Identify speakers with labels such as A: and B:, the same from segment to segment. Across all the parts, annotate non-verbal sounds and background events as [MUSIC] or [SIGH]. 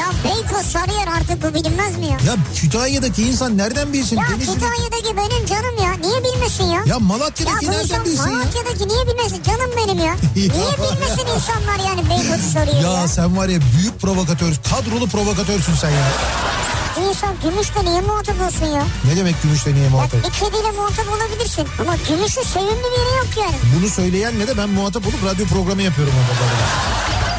A: Ya Beykoz Sarıyer artık bu bilinmez mi ya?
B: Ya Kütahya'daki insan nereden bilsin?
A: Ya
B: Denizli'de-
A: Kütahya'daki benim canım ya. Niye bilmesin ya?
B: Ya
A: Ya
B: Malatya'daki
A: bu
B: nereden
A: insan
B: bilsin ya?
A: Malatya'daki niye bilmesin? Canım
B: [LAUGHS]
A: benim ya. Niye bilmesin insanlar yani Beykoz'u soruyor ya?
B: Ya sen var ya büyük provokatör, kadrolu provokatörsün sen ya.
A: İnsan gümüşle niye muhatap olsun ya?
B: Ne demek gümüşle niye
A: Bak
B: muhatap?
A: bir kediyle muhatap olabilirsin. Ama gümüşün sevimli biri yok yani.
B: Bunu söyleyenle de ben muhatap olup radyo programı yapıyorum orada. beraber.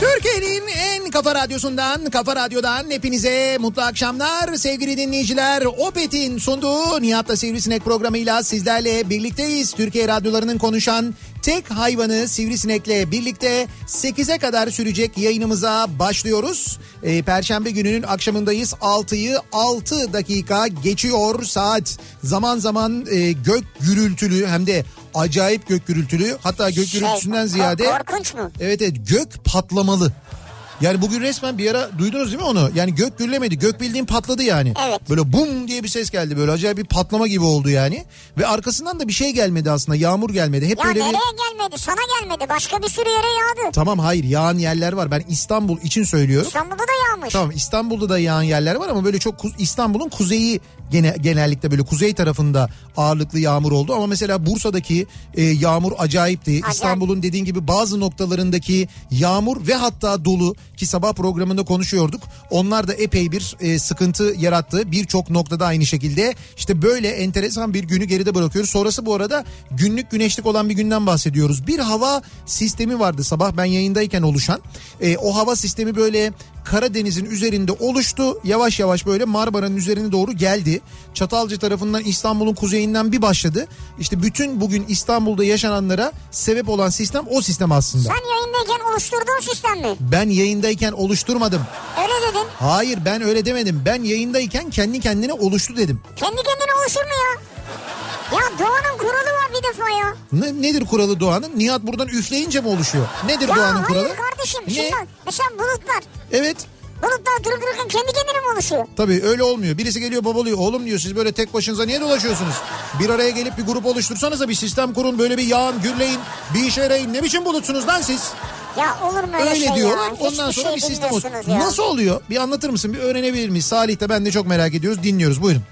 B: Türkiye'nin en kafa radyosundan, kafa radyodan hepinize mutlu akşamlar sevgili dinleyiciler. Opet'in sunduğu Nihat'la Sivrisinek programıyla sizlerle birlikteyiz. Türkiye radyolarının konuşan tek hayvanı Sivrisinek'le birlikte 8'e kadar sürecek yayınımıza başlıyoruz. Ee, Perşembe gününün akşamındayız. 6'yı 6 dakika geçiyor saat. Zaman zaman e, gök gürültülü hem de acayip gök gürültülü hatta gök
A: Şey,
B: gürültüsünden ziyade...
A: kork- Korkunç mu?
B: Evet evet gök patlamalı. Yani bugün resmen bir ara duydunuz değil mi onu? Yani gök gürlemedi. Gök bildiğin patladı yani.
A: Evet.
B: Böyle bum diye bir ses geldi böyle acayip bir patlama gibi oldu yani. Ve arkasından da bir şey gelmedi aslında. Yağmur gelmedi. Hep
A: Ya
B: böyle bir
A: nereye gelmedi? Sana gelmedi. Başka bir sürü yere yağdı.
B: Tamam hayır yağan yerler var. Ben İstanbul için söylüyorum.
A: İstanbul'da da yağmış.
B: Tamam İstanbul'da da yağan yerler var ama böyle çok kuz- İstanbul'un kuzeyi gene, genellikle böyle kuzey tarafında ağırlıklı yağmur oldu. Ama mesela Bursa'daki e, yağmur acayipti. İstanbul'un dediğin gibi bazı noktalarındaki yağmur ve hatta dolu ki sabah programında konuşuyorduk. Onlar da epey bir e, sıkıntı yarattı. Birçok noktada aynı şekilde. İşte böyle enteresan bir günü geride bırakıyoruz. Sonrası bu arada günlük güneşlik olan bir günden bahsediyoruz. Bir hava sistemi vardı sabah ben yayındayken oluşan. E, o hava sistemi böyle Karadeniz'in üzerinde oluştu. Yavaş yavaş böyle Marmara'nın üzerine doğru geldi. Çatalca tarafından İstanbul'un kuzeyinden bir başladı. İşte bütün bugün İstanbul'da yaşananlara sebep olan sistem o sistem aslında.
A: Sen yayındayken oluşturduğun sistem mi?
B: Ben yayındayken oluşturmadım.
A: Öyle dedin.
B: Hayır ben öyle demedim. Ben yayındayken kendi kendine oluştu dedim.
A: Kendi kendine oluşur mu ya? Ya doğanın kuralı var bir defa ya.
B: Ne- nedir kuralı doğanın? Nihat buradan üfleyince mi oluşuyor? Nedir
A: Ya
B: doğanın
A: hayır
B: kuralı?
A: kardeşim.
B: Ne?
A: Şimdi bak, mesela bulutlar.
B: Evet.
A: Bulutlar durup dururken kendi kendine mi oluşuyor?
B: Tabii öyle olmuyor. Birisi geliyor babalıyor. Oğlum diyor siz böyle tek başınıza niye dolaşıyorsunuz? Bir araya gelip bir grup oluştursanıza bir sistem kurun. Böyle bir yağın, gürleyin, bir işe yarayın. Ne biçim bulutsunuz lan siz?
A: Ya olur mu öyle,
B: Öyle
A: şey
B: diyorlar.
A: ya?
B: Ondan
A: Hiçbir
B: sonra
A: şey
B: bir sistem olsun.
A: bilmiyorsunuz ya.
B: Nasıl oluyor? Bir anlatır mısın? Bir öğrenebilir miyiz? Salih de ben de çok merak ediyoruz. Dinliyoruz. Buyurun.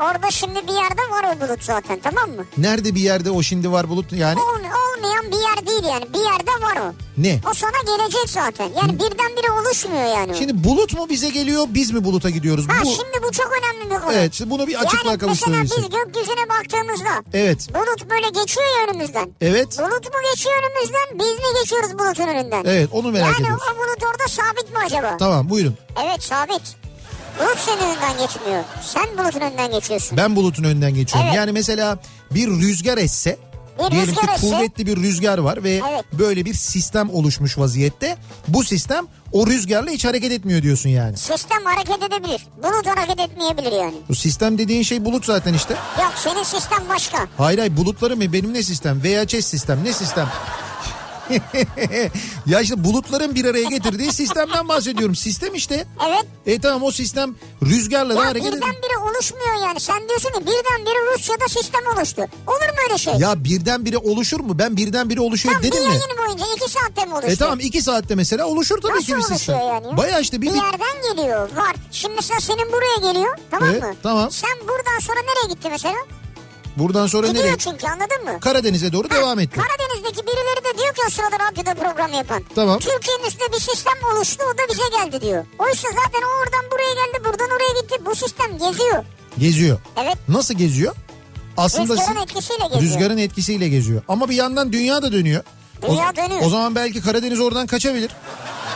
A: Orada şimdi bir yerde var o bulut zaten tamam mı?
B: Nerede bir yerde o şimdi var bulut yani?
A: Ol, olmayan bir yer değil yani. Bir yerde var o.
B: Ne?
A: O sana gelecek zaten. Yani birdenbire oluşmuyor yani. o.
B: Şimdi bulut mu bize geliyor biz mi buluta gidiyoruz?
A: ha
B: Bu...
A: şimdi bu çok önemli bir konu.
B: Evet şimdi bunu bir açıklığa
A: yani mesela
B: kavuşturabilirsin.
A: biz gökyüzüne baktığımızda
B: Evet.
A: bulut böyle geçiyor ya önümüzden.
B: Evet.
A: Bulut mu geçiyor önümüzden biz mi geçiyoruz bulutun önünden?
B: Evet onu merak
A: yani
B: ediyoruz.
A: o bulut orada sabit mi acaba?
B: Tamam buyurun.
A: Evet sabit. Bulut senin önünden geçmiyor. Sen bulutun önünden geçiyorsun.
B: Ben bulutun önünden geçiyorum.
A: Evet.
B: Yani mesela bir rüzgar esse
A: Bir
B: diyelim ki
A: rüzgar esse.
B: kuvvetli bir rüzgar var ve
A: Evet.
B: böyle bir sistem oluşmuş vaziyette. Bu sistem o rüzgarla hiç hareket etmiyor diyorsun yani.
A: Sistem hareket edebilir. Bulut hareket etmeyebilir yani.
B: Bu sistem dediğin şey bulut zaten işte.
A: Yok senin sistem başka.
B: Hayır hayır bulutları mı benim ne sistem? [LAUGHS] VHS sistem ne sistem? ya işte bulutların bir araya getirdiği sistemden bahsediyorum. Sistem işte.
A: Evet.
B: E tamam o sistem rüzgarla da
A: Ya
B: hareket ediyor.
A: birdenbire oluşmuyor yani. Sen diyorsun ki birdenbire Rusya'da sistem oluştu. Olur mu öyle şey?
B: Ya birdenbire oluşur mu? Ben birdenbire oluşuyor
A: Tam bir
B: dedim mi?
A: yayın boyunca iki saatte mi oluştu?
B: E tamam iki saatte mesela oluşur tabii
A: Nasıl
B: ki bir sistem.
A: oluşuyor yani?
B: Baya işte bir,
A: Bir yerden geliyor var. Şimdi mesela senin buraya geliyor tamam
B: Evet,
A: mı?
B: tamam.
A: Sen buradan sonra nereye gitti mesela?
B: buradan sonra
A: Gidiyor
B: nereye?
A: çünkü anladın mı?
B: Karadeniz'e doğru devam
A: Ha,
B: etti.
A: Karadeniz'deki birileri de diyor ki o sırada radyoda program yapan.
B: Tamam.
A: Türkiye'nin üstünde bir sistem oluştu o da bize geldi diyor. Oysa zaten o oradan buraya geldi buradan oraya gitti. Bu sistem geziyor.
B: Geziyor.
A: Evet.
B: Nasıl geziyor? Aslında
A: Rüzgarın
B: si-
A: etkisiyle geziyor.
B: Rüzgarın etkisiyle geziyor. Ama bir yandan dünya da dönüyor. O-
A: Dünya dönüyor.
B: O zaman belki Karadeniz oradan kaçabilir.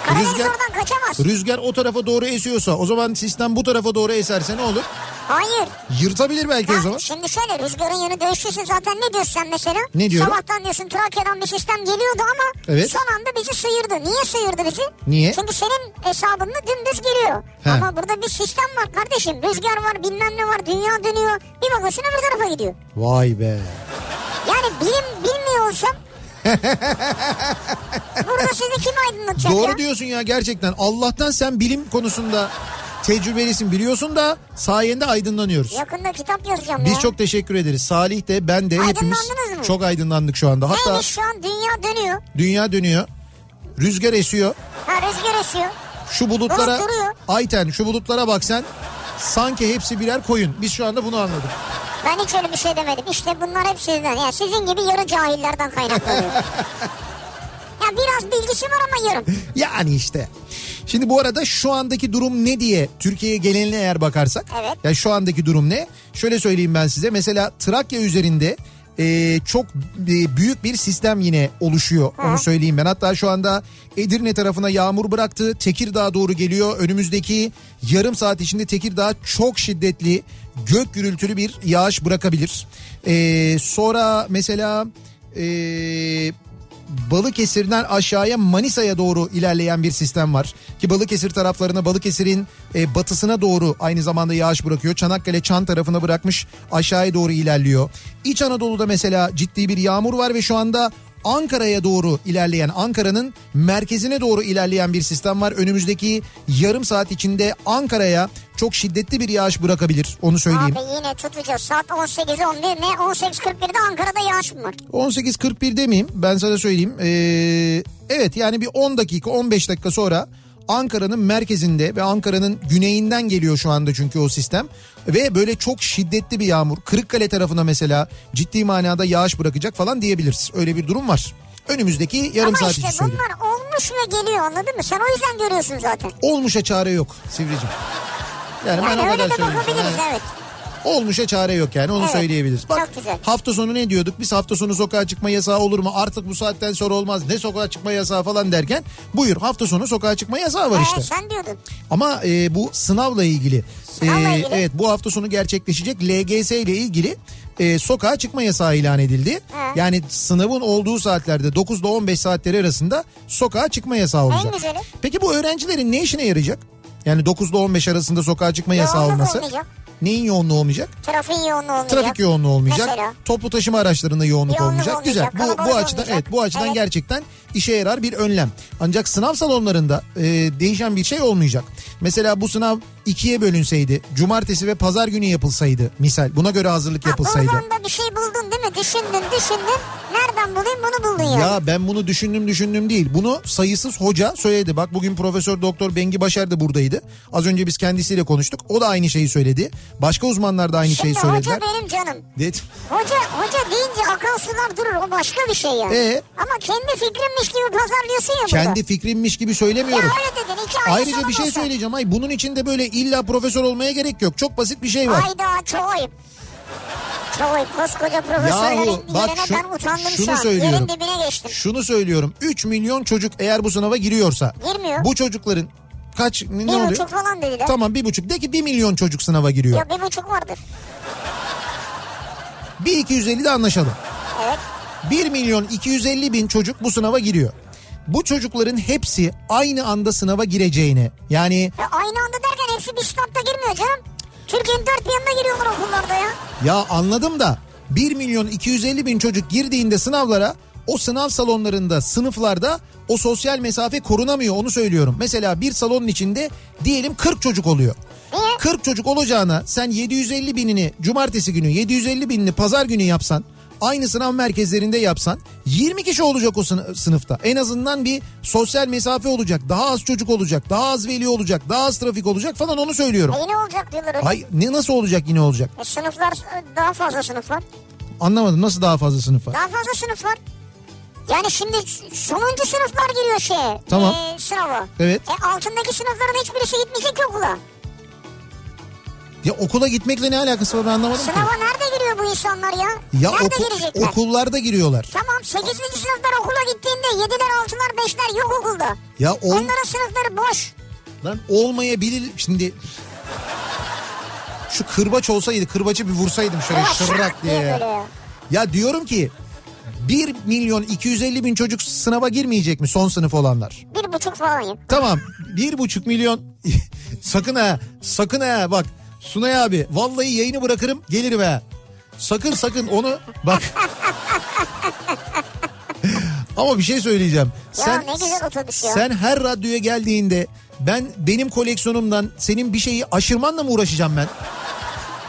A: Karadeniz oradan kaçamaz.
B: Rüzgar o tarafa doğru esiyorsa o zaman sistem bu tarafa doğru eserse ne olur?
A: Hayır.
B: Yırtabilir belki o zaman.
A: Ha, şimdi şöyle rüzgarın yönü değiştiyse zaten ne diyorsun sen mesela?
B: Ne diyorum?
A: Sabahtan diyorsun Trakya'dan bir sistem geliyordu ama
B: Evet.
A: son anda bizi sıyırdı. Niye sıyırdı bizi?
B: Niye?
A: Çünkü senin hesabında dümdüz geliyor.
B: He.
A: Ama burada bir sistem var kardeşim. Rüzgar var bilmem ne var dünya dönüyor. Bir bakıyorsun öbür tarafa gidiyor.
B: Vay be.
A: Yani bilim bilmiyor
B: [LAUGHS]
A: olsam burada sizi kim aydınlatacak ya?
B: Doğru diyorsun ya gerçekten. Allah'tan sen bilim konusunda tecrübelisin biliyorsun da sayende aydınlanıyoruz.
A: Yakında kitap yazacağım ya.
B: Biz çok teşekkür ederiz. Salih de ben de hepimiz
A: Aydınlandınız mı?
B: çok aydınlandık şu anda. Hatta
A: Neymiş şu an dünya dönüyor.
B: dünya dönüyor. Rüzgar esiyor.
A: Ha rüzgar esiyor.
B: Şu bulutlara
A: Bulut duruyor.
B: Ayten şu bulutlara bak sen. Sanki hepsi birer koyun. Biz şu anda bunu anladık.
A: Ben hiç öyle bir şey demedim. İşte bunlar hep sizden. Ya sizin gibi yarı cahillerden kaynaklanıyor.
B: [LAUGHS]
A: ya biraz bilgisi var ama yarım.
B: Yani işte. Şimdi bu arada şu andaki durum ne diye Türkiye'ye geleneline eğer bakarsak.
A: Evet.
B: Ya şu andaki durum ne? Şöyle söyleyeyim ben size. Mesela Trakya üzerinde e, çok e, büyük bir sistem yine oluşuyor. Onu söyleyeyim ben. Hatta şu anda Edirne tarafına yağmur bıraktı. Tekirdağ'a doğru geliyor. Önümüzdeki yarım saat içinde Tekirdağ çok şiddetli gök gürültülü bir yağış bırakabilir. E, sonra mesela e, Balıkesir'den aşağıya Manisa'ya doğru ilerleyen bir sistem var. Ki Balıkesir taraflarına Balıkesir'in e, batısına doğru aynı zamanda yağış bırakıyor. Çanakkale Çan tarafına bırakmış aşağıya doğru ilerliyor. İç Anadolu'da mesela ciddi bir yağmur var ve şu anda Ankara'ya doğru ilerleyen Ankara'nın merkezine doğru ilerleyen bir sistem var. Önümüzdeki yarım saat içinde Ankara'ya çok şiddetli bir yağış bırakabilir onu söyleyeyim.
A: Abi yine tutacağız. Saat 18.11 ne? 18.41'de Ankara'da yağış mı var?
B: 18.41 demeyeyim ben sana söyleyeyim. Ee, evet yani bir 10 dakika 15 dakika sonra Ankara'nın merkezinde ve Ankara'nın güneyinden geliyor şu anda çünkü o sistem. Ve böyle çok şiddetli bir yağmur. Kırıkkale tarafına mesela ciddi manada yağış bırakacak falan diyebiliriz. Öyle bir durum var. Önümüzdeki yarım
A: ama
B: saat
A: işte
B: için söylüyorum.
A: bunlar olmuş ve geliyor anladın mı? Sen o yüzden görüyorsun zaten.
B: Olmuşa çare yok Sivricim. Yani, ben o
A: Yani
B: kadar
A: öyle de
B: söyleyeyim.
A: bakabiliriz
B: Yani-
A: evet.
B: Olmuşa çare yok yani onu
A: Evet,
B: söyleyebiliriz. Bak
A: çok güzel.
B: hafta sonu ne diyorduk? Biz hafta sonu sokağa çıkma yasağı olur mu? Artık bu saatten sonra olmaz. Ne sokağa çıkma yasağı falan derken buyur hafta sonu sokağa çıkma yasağı var
A: Ee,
B: işte.
A: sen diyordun.
B: Ama e, bu sınavla ilgili.
A: Sınavla
B: e,
A: ilgili.
B: Evet bu hafta sonu gerçekleşecek LGS ile ilgili e, sokağa çıkma yasağı ilan edildi.
A: Hı.
B: Yani sınavın olduğu saatlerde 9 ile 15 saatleri arasında sokağa çıkma yasağı olacak.
A: güzeli.
B: Peki bu öğrencilerin ne işine yarayacak? Yani 9 ile 15 arasında sokağa çıkma yasağı
A: Yoğunluk
B: olması.
A: olmayacak.
B: Neyin yoğunluğu olmayacak?
A: Trafiğin yoğunluğu olmayacak.
B: Trafik yoğunluğu olmayacak.
A: Mesela.
B: Toplu taşıma araçlarında yoğunluk
A: Yoğunluk
B: olmayacak.
A: olmayacak,
B: Güzel. Bu bu
A: kalabalık
B: açıdan
A: olmayacak.
B: evet bu açıdan
A: Evet.
B: gerçekten işe yarar bir önlem. Ancak sınav salonlarında e, değişen bir şey olmayacak. Mesela bu sınav ikiye bölünseydi, cumartesi ve pazar günü yapılsaydı misal buna göre hazırlık
A: Ha,
B: yapılsaydı.
A: buradan da bir şey buldun değil mi? Düşündün düşündün. Nereden bulayım bunu buldun ya.
B: Ya ben bunu düşündüm düşündüm değil. Bunu sayısız hoca söyledi. Bak bugün Profesör Doktor Bengi Başar da buradaydı. Az önce biz kendisiyle konuştuk. O da aynı şeyi söyledi. Başka uzmanlar da aynı şeyi
A: Şimdi
B: şey söylediler.
A: hoca benim canım.
B: Evet.
A: Hoca hoca deyince akan sular durur o başka bir şey yani.
B: Ee?
A: Ama kendi fikrimmiş gibi pazarlıyorsun ya
B: Kendi
A: burada.
B: fikrimmiş gibi
A: Ya
B: söylemiyorum.
A: öyle dedin iki ayrı
B: Ayrıca bir şey
A: olsa.
B: söyleyeceğim. Ay bunun içinde böyle illa profesör olmaya gerek yok. Çok basit bir şey var.
A: Hayda çok ayıp. Çok ayıp koskoca profesörlerin
B: Yahu
A: yerine
B: bak şu-
A: ben utandım
B: şunu
A: şu an.
B: söylüyorum.
A: Yerin dibine geçtim.
B: Şunu söylüyorum. 3 milyon çocuk eğer bu sınava giriyorsa.
A: Girmiyor.
B: Bu çocukların kaç ne, ne
A: bir
B: oluyor?
A: buçuk falan dediler.
B: Tamam bir buçuk. De ki bir milyon çocuk sınava giriyor.
A: Ya bir buçuk vardır.
B: Bir 250 de anlaşalım.
A: Evet.
B: 1 milyon 250 bin çocuk bu sınava giriyor. Bu çocukların hepsi aynı anda sınava gireceğine yani
A: Ya aynı anda derken hepsi bir statta girmiyor canım. Türkiye'nin dört bir yanına giriyorlar okullarda ya.
B: Ya anladım da 1 milyon 250 bin çocuk girdiğinde sınavlara o sınav salonlarında, sınıflarda o sosyal mesafe korunamıyor onu söylüyorum. Mesela bir salonun içinde diyelim 40 çocuk oluyor. 40 çocuk olacağına sen 750 binini cumartesi günü 750 binini pazar günü yapsan aynı sınav merkezlerinde yapsan 20 kişi olacak o sını- sınıfta. En azından bir sosyal mesafe olacak. Daha az çocuk olacak. Daha az veli olacak. Daha az trafik olacak falan onu söylüyorum.
A: E yine olacak diyorlar öyle.
B: Ay ne nasıl olacak yine olacak?
A: E sınıflar e, daha fazla sınıf var.
B: Anlamadım nasıl daha fazla sınıf var?
A: Daha fazla sınıf var. Yani şimdi sonuncu sınıflar giriyor şeye.
B: Tamam.
A: E, sınava.
B: Evet.
A: E altındaki sınıfların hiçbirisi gitmeyecek ki okula.
B: Ya okula gitmekle ne alakası var ben anlamadım ki.
A: Sınava nerede giriyor bu insanlar ya?
B: Ya
A: nerede
B: oku-
A: girecekler?
B: okullarda giriyorlar.
A: Tamam 8. sınıflar okula gittiğinde 7'ler 6'lar 5'ler yok okulda.
B: Ya on,
A: Onların sınıfları boş.
B: Lan olmayabilir şimdi şu kırbaç olsaydı kırbaçı bir vursaydım şöyle
A: Ya
B: şırrak
A: şak
B: diye
A: diye böyle
B: ya.
A: ya.
B: Ya diyorum ki 1 milyon 250 bin çocuk sınava girmeyecek mi son sınıf olanlar?
A: Bir buçuk falan ya.
B: Tamam 1,5 milyon [LAUGHS] sakın ha sakın ha bak Sunay abi vallahi yayını bırakırım gelirim ha. Sakın sakın onu bak. [LAUGHS] Ama bir şey söyleyeceğim.
A: ne güzel otobüs ya.
B: Sen her radyoya geldiğinde ben benim koleksiyonumdan senin bir şeyi aşırmanla mı uğraşacağım ben?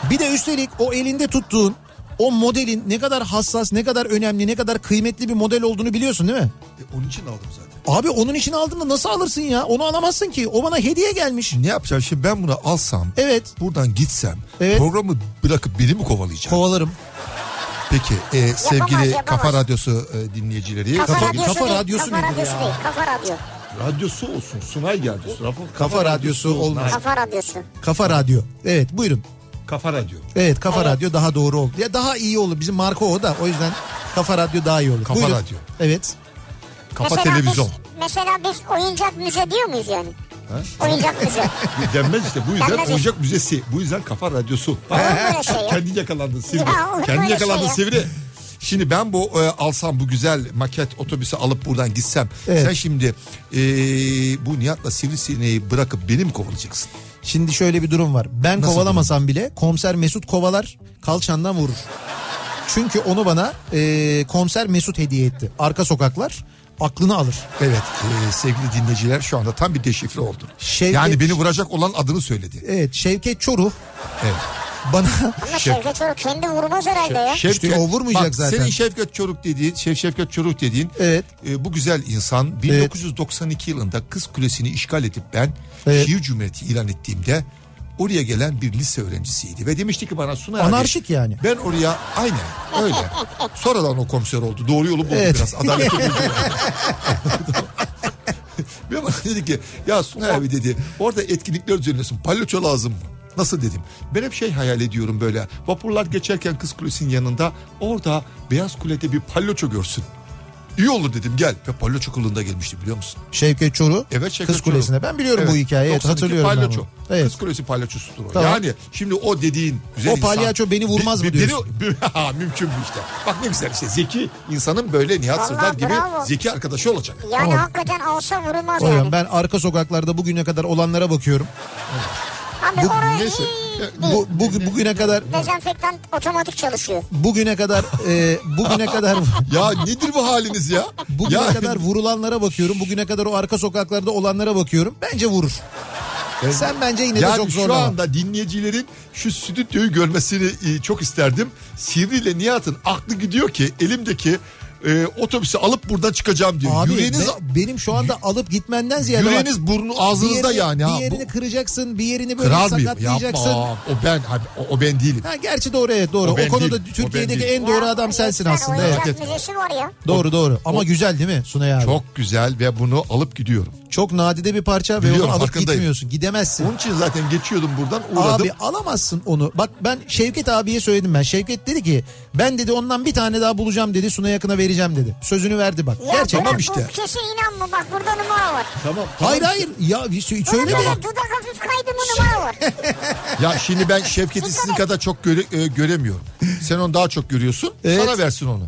B: Bir de üstelik o elinde tuttuğun o modelin ne kadar hassas, ne kadar önemli, ne kadar kıymetli bir model olduğunu biliyorsun değil mi?
C: E, onun için aldım zaten.
B: Abi onun için aldım da nasıl alırsın ya? Onu alamazsın ki. O bana hediye gelmiş.
C: Ne yapacağım şimdi ben bunu alsam
B: Evet.
C: buradan gitsem
B: Evet.
C: programı bırakıp beni mi kovalayacak?
B: Kovalarım.
C: Peki e, sevgili
A: yapamaz.
C: Kafa Radyosu e, dinleyicileri.
A: Kafa,
B: Kafa-
A: radyosu
B: kafa
A: değil.
B: radyosu
A: kafa
B: nedir
A: radyosu
B: ya?
A: değil. Kafa radyo.
C: radyosu olsun Sunay geldi.
B: Kafa radyosu olmaz.
A: Kafa radyosu.
B: Kafa radyo. Evet buyurun.
C: Kafa Radyo.
B: Evet kafa radyo daha doğru oldu. Ya daha iyi olur. Bizim marka o da. O yüzden kafa radyo daha iyi olur.
C: Kafa
B: Buyurun.
C: radyo.
B: Evet.
C: Kafa
A: Mesela
C: televizyon.
A: Biz, mesela biz oyuncak müze diyor muyuz yani? Oyuncak müze.
C: Denmez işte bu yüzden
A: Denmez.
C: oyuncak müzesi. Bu yüzden kafa radyosu. [LAUGHS]
A: böyle şey ya.
C: Kendi yakalandın sivri.
A: Ya olur
C: Kendi
A: böyle
C: yakalandın
A: şey ya.
C: sivri. Şimdi ben bu e, alsam bu güzel maket otobüsü alıp buradan gitsem.
B: Evet.
C: Sen şimdi e, bu Nihat'la sivrisineği bırakıp beni mi kovalayacaksın?
B: Şimdi şöyle bir durum var. Ben
C: Nasıl
B: kovalamasam bile komiser Mesut kovalar kalçandan vurur. Çünkü onu bana e, komiser Mesut hediye etti. Arka sokaklar aklını alır.
C: Evet e, sevgili dinleyiciler şu anda tam bir deşifre oldu.
B: Şevket-
C: Yani beni vuracak olan adını söyledi.
B: Evet Şevket Çoruh
C: Evet.
B: bana [LAUGHS]
A: Ama Şevket Oruk kendi vurmaz herhalde ya.
B: İşte o vurmayacak
C: bak,
B: zaten.
C: Senin Şevket Çoruk dediğin, Şev, Şevket Çoruk dediğin
B: Evet.
C: e, bu güzel insan 1992 yılında Kız Kulesi'ni işgal edip ben
B: Evet.
C: Şiir Cumhuriyeti ilan ettiğimde oraya gelen bir lise öğrencisiydi ve demişti ki bana Sunay abi,
B: Anarşik yani.
C: Ben oraya aynen öyle. Sonradan o komiser oldu. Doğru yolu buldu
B: Evet.
C: biraz. Adalet buldu.
B: [LAUGHS]
C: Ve bana dedi ki ya Sunay abi dedi orada etkinlikler düzenliyorsun palyaço lazım mı? Nasıl dedim. Ben hep şey hayal ediyorum böyle vapurlar geçerken Kız Kulesi'nin yanında orada Beyaz Kule'de bir palyaço görsün. İyi olur dedim gel. Ve palyaço kılığında gelmişti biliyor musun?
B: Şevket Çoruh
C: Evet Şevket
B: Kız
C: Çoruh.
B: Kulesi'nde. Ben biliyorum
C: Evet,
B: bu hikayeyi. Evet,
C: 92
B: hatırlıyorum ben
C: palyaço.
B: bunu. Evet.
C: Kız Kulesi palyaçosudur o.
B: Tamam.
C: Yani şimdi o dediğin güzel
B: O
C: insan-
B: palyaço beni vurmaz mı
C: beni-
B: diyorsun?
C: [LAUGHS] Ha, mümkün mü işte. Bak ne güzel işte zeki insanın böyle Nihat
A: Vallahi
C: Sırdar gibi
A: bravo.
C: zeki arkadaşı olacak.
A: Yani hakikaten alsa vurulmaz
B: O yüzden
A: yani.
B: ben arka sokaklarda bugüne kadar olanlara bakıyorum.
A: Abi oraya
C: neyse.
A: iyi değil.
B: Bu, bu bugüne kadar
A: Dezenfektan otomatik çalışıyor.
B: bugüne kadar e, bugüne
C: [LAUGHS]
B: kadar
C: Ya nedir bu haliniz ya?
B: bugüne
C: ya, [LAUGHS]
B: kadar vurulanlara bakıyorum. Bugüne kadar o arka sokaklarda olanlara bakıyorum. Bence vurur. Sen bence yine de
C: Yani
B: çok
C: şu
B: zorlama.
C: anda dinleyicilerin şu stüdyoyu görmesini e, çok isterdim. Sivri ile Nihat'ın aklı gidiyor ki elimdeki e, otobüsü alıp buradan çıkacağım diyor.
B: Abi
C: yüreğiniz
B: ben- benim şu anda alıp gitmenden ziyade bak,
C: yüreğiniz burnu
B: bir
C: ağzınızda
B: yerini-
C: yani. ha.
B: Bir yerini
C: Bu-
B: kıracaksın, bir yerini böyle
C: Kral mıyım?
B: sakatlayacaksın.
C: Yapma. O ben abi, o, o ben değilim.
B: Ha, gerçi doğru evet doğru. O,
C: O ben
B: konuda
C: değilim, o
B: Türkiye'deki
C: ben değilim.
B: en doğru
A: Ya,
B: adam sensin
A: lütfen
B: aslında. evet.
A: Oyuncak
C: evet.
A: müzesi var ya.
B: Doğru doğru. Ama güzel değil mi Sunay abi? Çok,
C: Çok güzel ve bunu alıp gidiyorum.
B: nadide bir parça ve
C: Biliyorum,
B: onu alıp
C: farkındayım.
B: gitmiyorsun. Gidemezsin.
C: Onun için zaten geçiyordum buradan uğradım.
B: Abi alamazsın onu. Bak ben Şevket abiye söyledim ben. Şevket dedi ki ben dedi ondan bir tane daha bulacağım dedi. Sunay yakına vereceğim dedi. Sözünü verdi bak.
A: Ya
B: Gerçekten.
A: bırak
C: tamam işte.
A: Bu kesin inanma bak burada numara var.
C: Tamam, tamam.
B: Hayır hayır. Ya bir şey-
A: Böyle
B: söyle
A: bir
B: ya.
A: de dudak hafif kaydı mı
B: [LAUGHS]
A: numara var.
C: Ya şimdi ben Şevket'i sizin kadar çok göre- e, göremiyorum. Sen onu daha çok görüyorsun.
B: Evet.
C: Sana versin onu.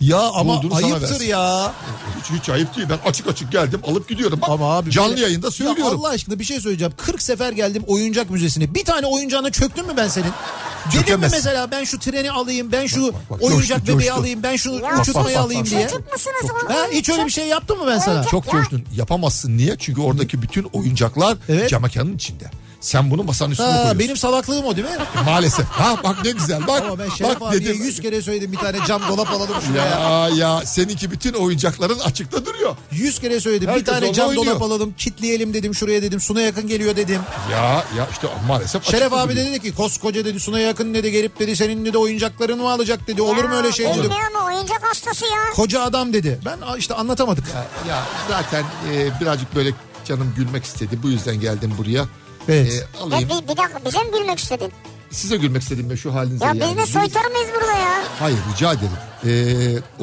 B: Ya ama
C: Bulduğunu sana
B: ayıptır
C: versin.
B: ya.
C: Hiç, hiç ayıp değil. Ben açık açık geldim alıp gidiyorum. Bak,
B: Ama abi
C: canlı
B: böyle-
C: yayında söylüyorum.
B: Ya Allah aşkına bir şey söyleyeceğim. 40 sefer geldim oyuncak müzesine. Bir tane oyuncağına çöktün mü ben senin? Dedim mi
C: Çökemez.
B: mesela ben şu treni alayım, ben şu
C: bak, bak,
B: oyuncak
C: coştu,
B: bebeği
C: coştu.
B: alayım, ben şu
A: Ya
B: uçurtmayı
C: bak, bak,
B: alayım
C: bak.
B: diye.
A: Çocuk musunuz? oğlum?
B: Ha, hiç öyle bir şey yaptım mı ben sana?
A: Oyuncak-
C: Çok
A: Ya.
C: coştun. Yapamazsın niye? Çünkü oradaki bütün oyuncaklar
B: Evet.
C: cam mekanın içinde. Sen bunu masanın üstüne
B: Ha,
C: koyuyorsun.
B: benim salaklığım o değil mi?
C: Maalesef. Ha bak ne güzel. Bak
B: Ama ben Şeref
C: bak
B: abiye
C: dedim.
B: 100 kere söyledim bir tane cam dolap alalım şuraya.
C: Ya ya seninki bütün oyuncakların açıkta duruyor.
B: 100 kere söyledim bir
C: Herkes
B: tane
C: onunla
B: cam
C: oynuyor.
B: dolap alalım, kitleyelim dedim şuraya dedim. Suna yakın geliyor dedim.
C: Ya ya işte maalesef
B: Şeref
C: açıkta
B: abi
C: duruyor.
B: dedi ki koskoca dedi Suna yakın dedi gelip dedi senin dedi oyuncaklarını mı alacak dedi. Olur mu öyle şey
A: Ya,
B: dedim.
A: bilmiyor mu? Oyuncak hastası ya.
B: Koca adam dedi. Ben "Aa, işte anlatamadık.
C: Ya zaten e, birazcık böyle canım gülmek istedi. Bu yüzden geldim buraya.
B: Evet.
C: E,
A: Ya
C: alayım.
A: bir, bir dakika bize mi gülmek istedin?
C: Size gülmek istedim ben şu halinize.
A: Ya
C: yani.
A: biz de soytarı mıyız burada ya?
C: Hayır rica ederim. E,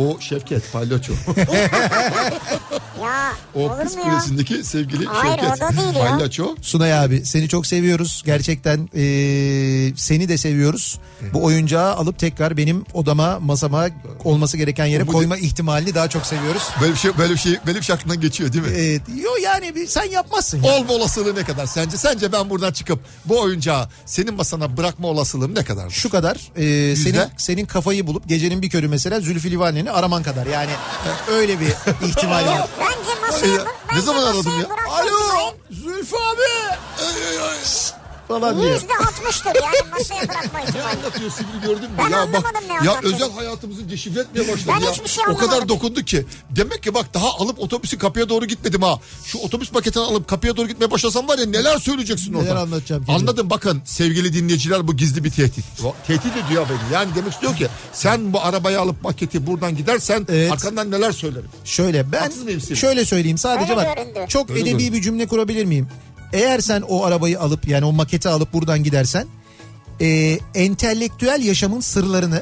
C: o Şevket Palyaço.
A: Ya
C: o
A: olur
C: Kız
A: mu ya?
C: Kulesi'ndeki sevgili
A: Hayır,
C: Şevket
A: o da değil ya.
C: Palyaço.
B: Sunay abi seni çok seviyoruz. Gerçekten eee, seni de seviyoruz. Bu oyuncağı alıp tekrar benim odama masama olması gereken yere
C: Bu-
B: koyma ihtimalini daha çok seviyoruz.
C: Böyle bir şey böyle bir şey böyle bir şey aklından geçiyor değil mi?
B: Evet, yo yani bir, sen yapmazsın. ya.
C: Olma olasılığı ne kadar sence? Sence ben buradan çıkıp bu oyuncağı senin masana bırakma olasılığım ne kadar?
B: Şu kadar eee, senin
C: Yüzde?
B: senin kafayı bulup gecenin bir körü mesela Zülfü Livaneli'ni araman kadar. Yani e, öyle bir
C: [LAUGHS]
B: ihtimal var.
A: Bence masaya, bak- bence
C: Şey ne zaman aradım
A: masaya
C: ya?
A: şey bırakmak
C: Alo
A: kolay.
C: Zülfü abi. Ay, ay, ay.
B: Falan diye.
A: Yüzde altmıştır yani masaya bırakma
C: Ne
A: ihtimali.
C: anlatıyor Sibri gördün mü?
A: Ben
C: ya
A: anlamadım
C: bak,
A: ne
C: Ya
A: anlatıyor.
C: özel hayatımızı deşifre etmeye başladı
A: Ben
C: ya.
A: hiçbir şey
C: o kadar
A: anlamadım.
C: dokundu ki. Demek ki bak daha alıp otobüsü kapıya doğru gitmedim ha. Şu otobüs paketini alıp kapıya doğru gitmeye başlasam var ya neler söyleyeceksin orada.
B: Neler anlatacağım ki?
C: Anladım bakın sevgili dinleyiciler bu gizli bir tehdit. O Tehdit ediyor beni. Yani demek istiyor ki sen bu arabayı alıp paketi buradan gidersen
B: Evet.
C: arkandan neler söylerim.
B: Şöyle ben
C: Haksız mıyım Sivri?
B: şöyle söyleyeyim sadece
A: Öyle
B: bak
A: göründü.
B: çok
C: Öyle
B: edebi
C: göründü.
B: bir cümle kurabilir miyim? Eğer sen o arabayı alıp yani o maketi alıp buradan gidersen e, entelektüel yaşamın
C: [LAUGHS]
B: sırlarını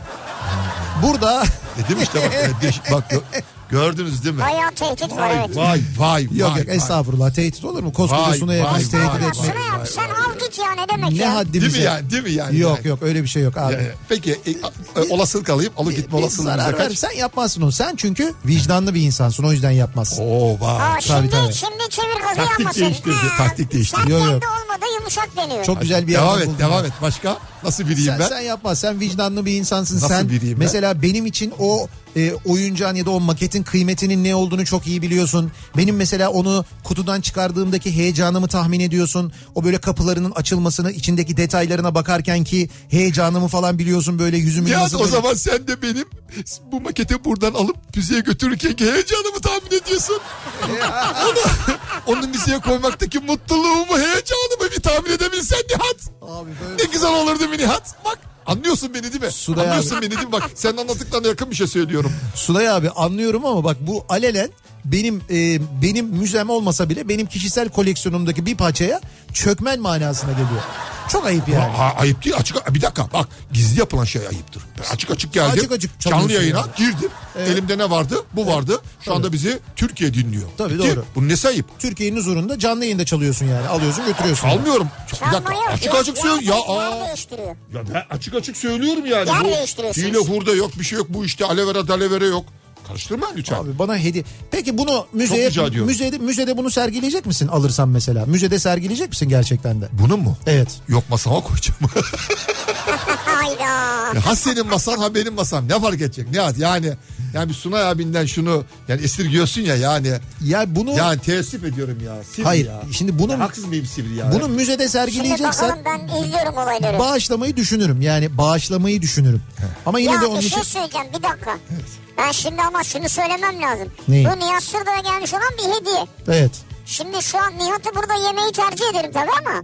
B: burada [LAUGHS]
C: Dedim işte
A: [LAUGHS]
C: bak. e, deş- bak gö- gördünüz değil mi?
A: Bayağı tehdit var
C: Vay
A: evet.
C: vay vay.
B: yok
C: vay,
B: yok
C: vay.
B: estağfurullah tehdit olur mu? Koskoca
C: Vay,
B: Suna
C: vay,
B: yakın
C: vay,
B: tehdit
C: vay.
B: etmek
A: Şuna yap sen al git ya ne demek
B: ne
A: ya?
C: Değil
B: haddimize.
C: mi yani? Değil mi yani?
B: Yok yok öyle bir şey yok abi.
C: Ya, ya. Peki e, a- e, olasılık alayım alıp gitme
B: Bir
C: olasılığımıza
B: zarar ver
C: kaç?
B: sen yapmazsın onu. Sen çünkü vicdanlı bir insansın o yüzden yapmazsın.
C: Oo
A: Aa,
C: vay.
B: Tabii,
A: şimdi,
B: tabii.
A: şimdi çevir kazı
C: Taktik
A: yanmasın.
C: değiştirdi, taktik değiştirdi.
A: Sen
B: Yok,
A: kendi
B: yok.
A: olmadı yumuşak deniyor.
B: Çok güzel bir
C: Devam
B: yerden
C: et
B: buldun
C: devam
B: ya.
C: et. Başka? Nasıl biriyim
B: sen,
C: ben?
B: sen yapma. Sen vicdanlı bir insansın.
C: Nasıl
B: sen
C: biriyim ben?
B: mesela benim için o e, oyuncağın ya da o maketin kıymetinin ne olduğunu çok iyi biliyorsun. Benim mesela onu kutudan çıkardığımdaki heyecanımı tahmin ediyorsun. O böyle kapılarının açılmasını, içindeki detaylarına bakarken ki heyecanımı falan biliyorsun böyle yüzümün
C: Ya
B: nasıl
C: o
B: böyle-
C: zaman sen de benim bu maketi buradan alıp müzeye götürürken ki heyecanımı tahmin
B: [LAUGHS]
C: ediyorsun. onu, onu müzeye koymaktaki mutluluğumu, heyecanımı bir tahmin edebilsen Nihat.
B: Abi böyle-
C: Ne güzel olurdu bir Nihat. Bak anlıyorsun beni değil mi?
B: Suda
C: anlıyorsun beni değil mi? Bak senin anlattıklarına yakın bir şey söylüyorum.
B: Sulay abi anlıyorum ama bak bu alelen benim e, benim müzem olmasa bile benim kişisel koleksiyonumdaki bir parçaya çökmen manasına geliyor. Çok ayıp yani.
C: Aa, ayıp değil açık bir dakika bak gizli yapılan şey ayıptır. Ben açık açık geldim.
B: Açık açık çalıyorsun
C: canlı yayına
B: yani.
C: girdim. Elimde ne vardı? Bu vardı. Şu anda bizi Türkiye dinliyor.
B: Tabii,
C: Bitti.
B: doğru.
C: Bunun nesi ayıp?
B: Türkiye'nin huzurunda canlı yayında çalıyorsun yani. Alıyorsun götürüyorsun.
C: Almıyorum. Çok- Bir dakika.
A: Çalma yok.
C: Açık
A: Yer-
C: açık söylüyorum. Ya,
A: yer- Yer
C: aa.
A: değiştiriyor.
C: ya ben açık açık söylüyorum yani.
A: Yer
C: Bu
A: değiştiriyorsunuz.
C: Hile hurda yok bir şey yok. Bu işte alevera dalevere yok. Karıştırma lütfen.
B: Abi bana hediye. Peki bunu müzeye
C: rica ediyorum.
B: müzede müzede bunu sergileyecek misin alırsan mesela? Müzede sergileyecek misin gerçekten de?
C: Bunun mu?
B: Evet.
C: Yok masama koyacağım. [LAUGHS]
A: Hayda.
C: ha senin masan ha benim masam. Ne fark edecek? Ne yani yani bir Sunay abinden şunu yani esirgiyorsun ya yani.
B: Ya bunu
C: Yani teessüf ediyorum ya. Sivri
B: hayır.
C: ya.
B: Şimdi bunun
C: Haksız mıyım Sivri ya?
B: bunu müzede
A: Şimdi bakalım
B: sergileyeceksen
A: ben izliyorum olayları.
B: bağışlamayı düşünürüm. Yani bağışlamayı düşünürüm. Ama yine
A: ya
B: de
A: bir
B: onun için
A: şey söyleyeceğim bir dakika. Ben şimdi ama şunu söylemem lazım.
B: Neyi?
A: Bu Nihat Sırdar'a gelmiş olan bir hediye.
B: evet.
A: Şimdi şu an Nihat'ı burada yemeği tercih ederim tabii ama.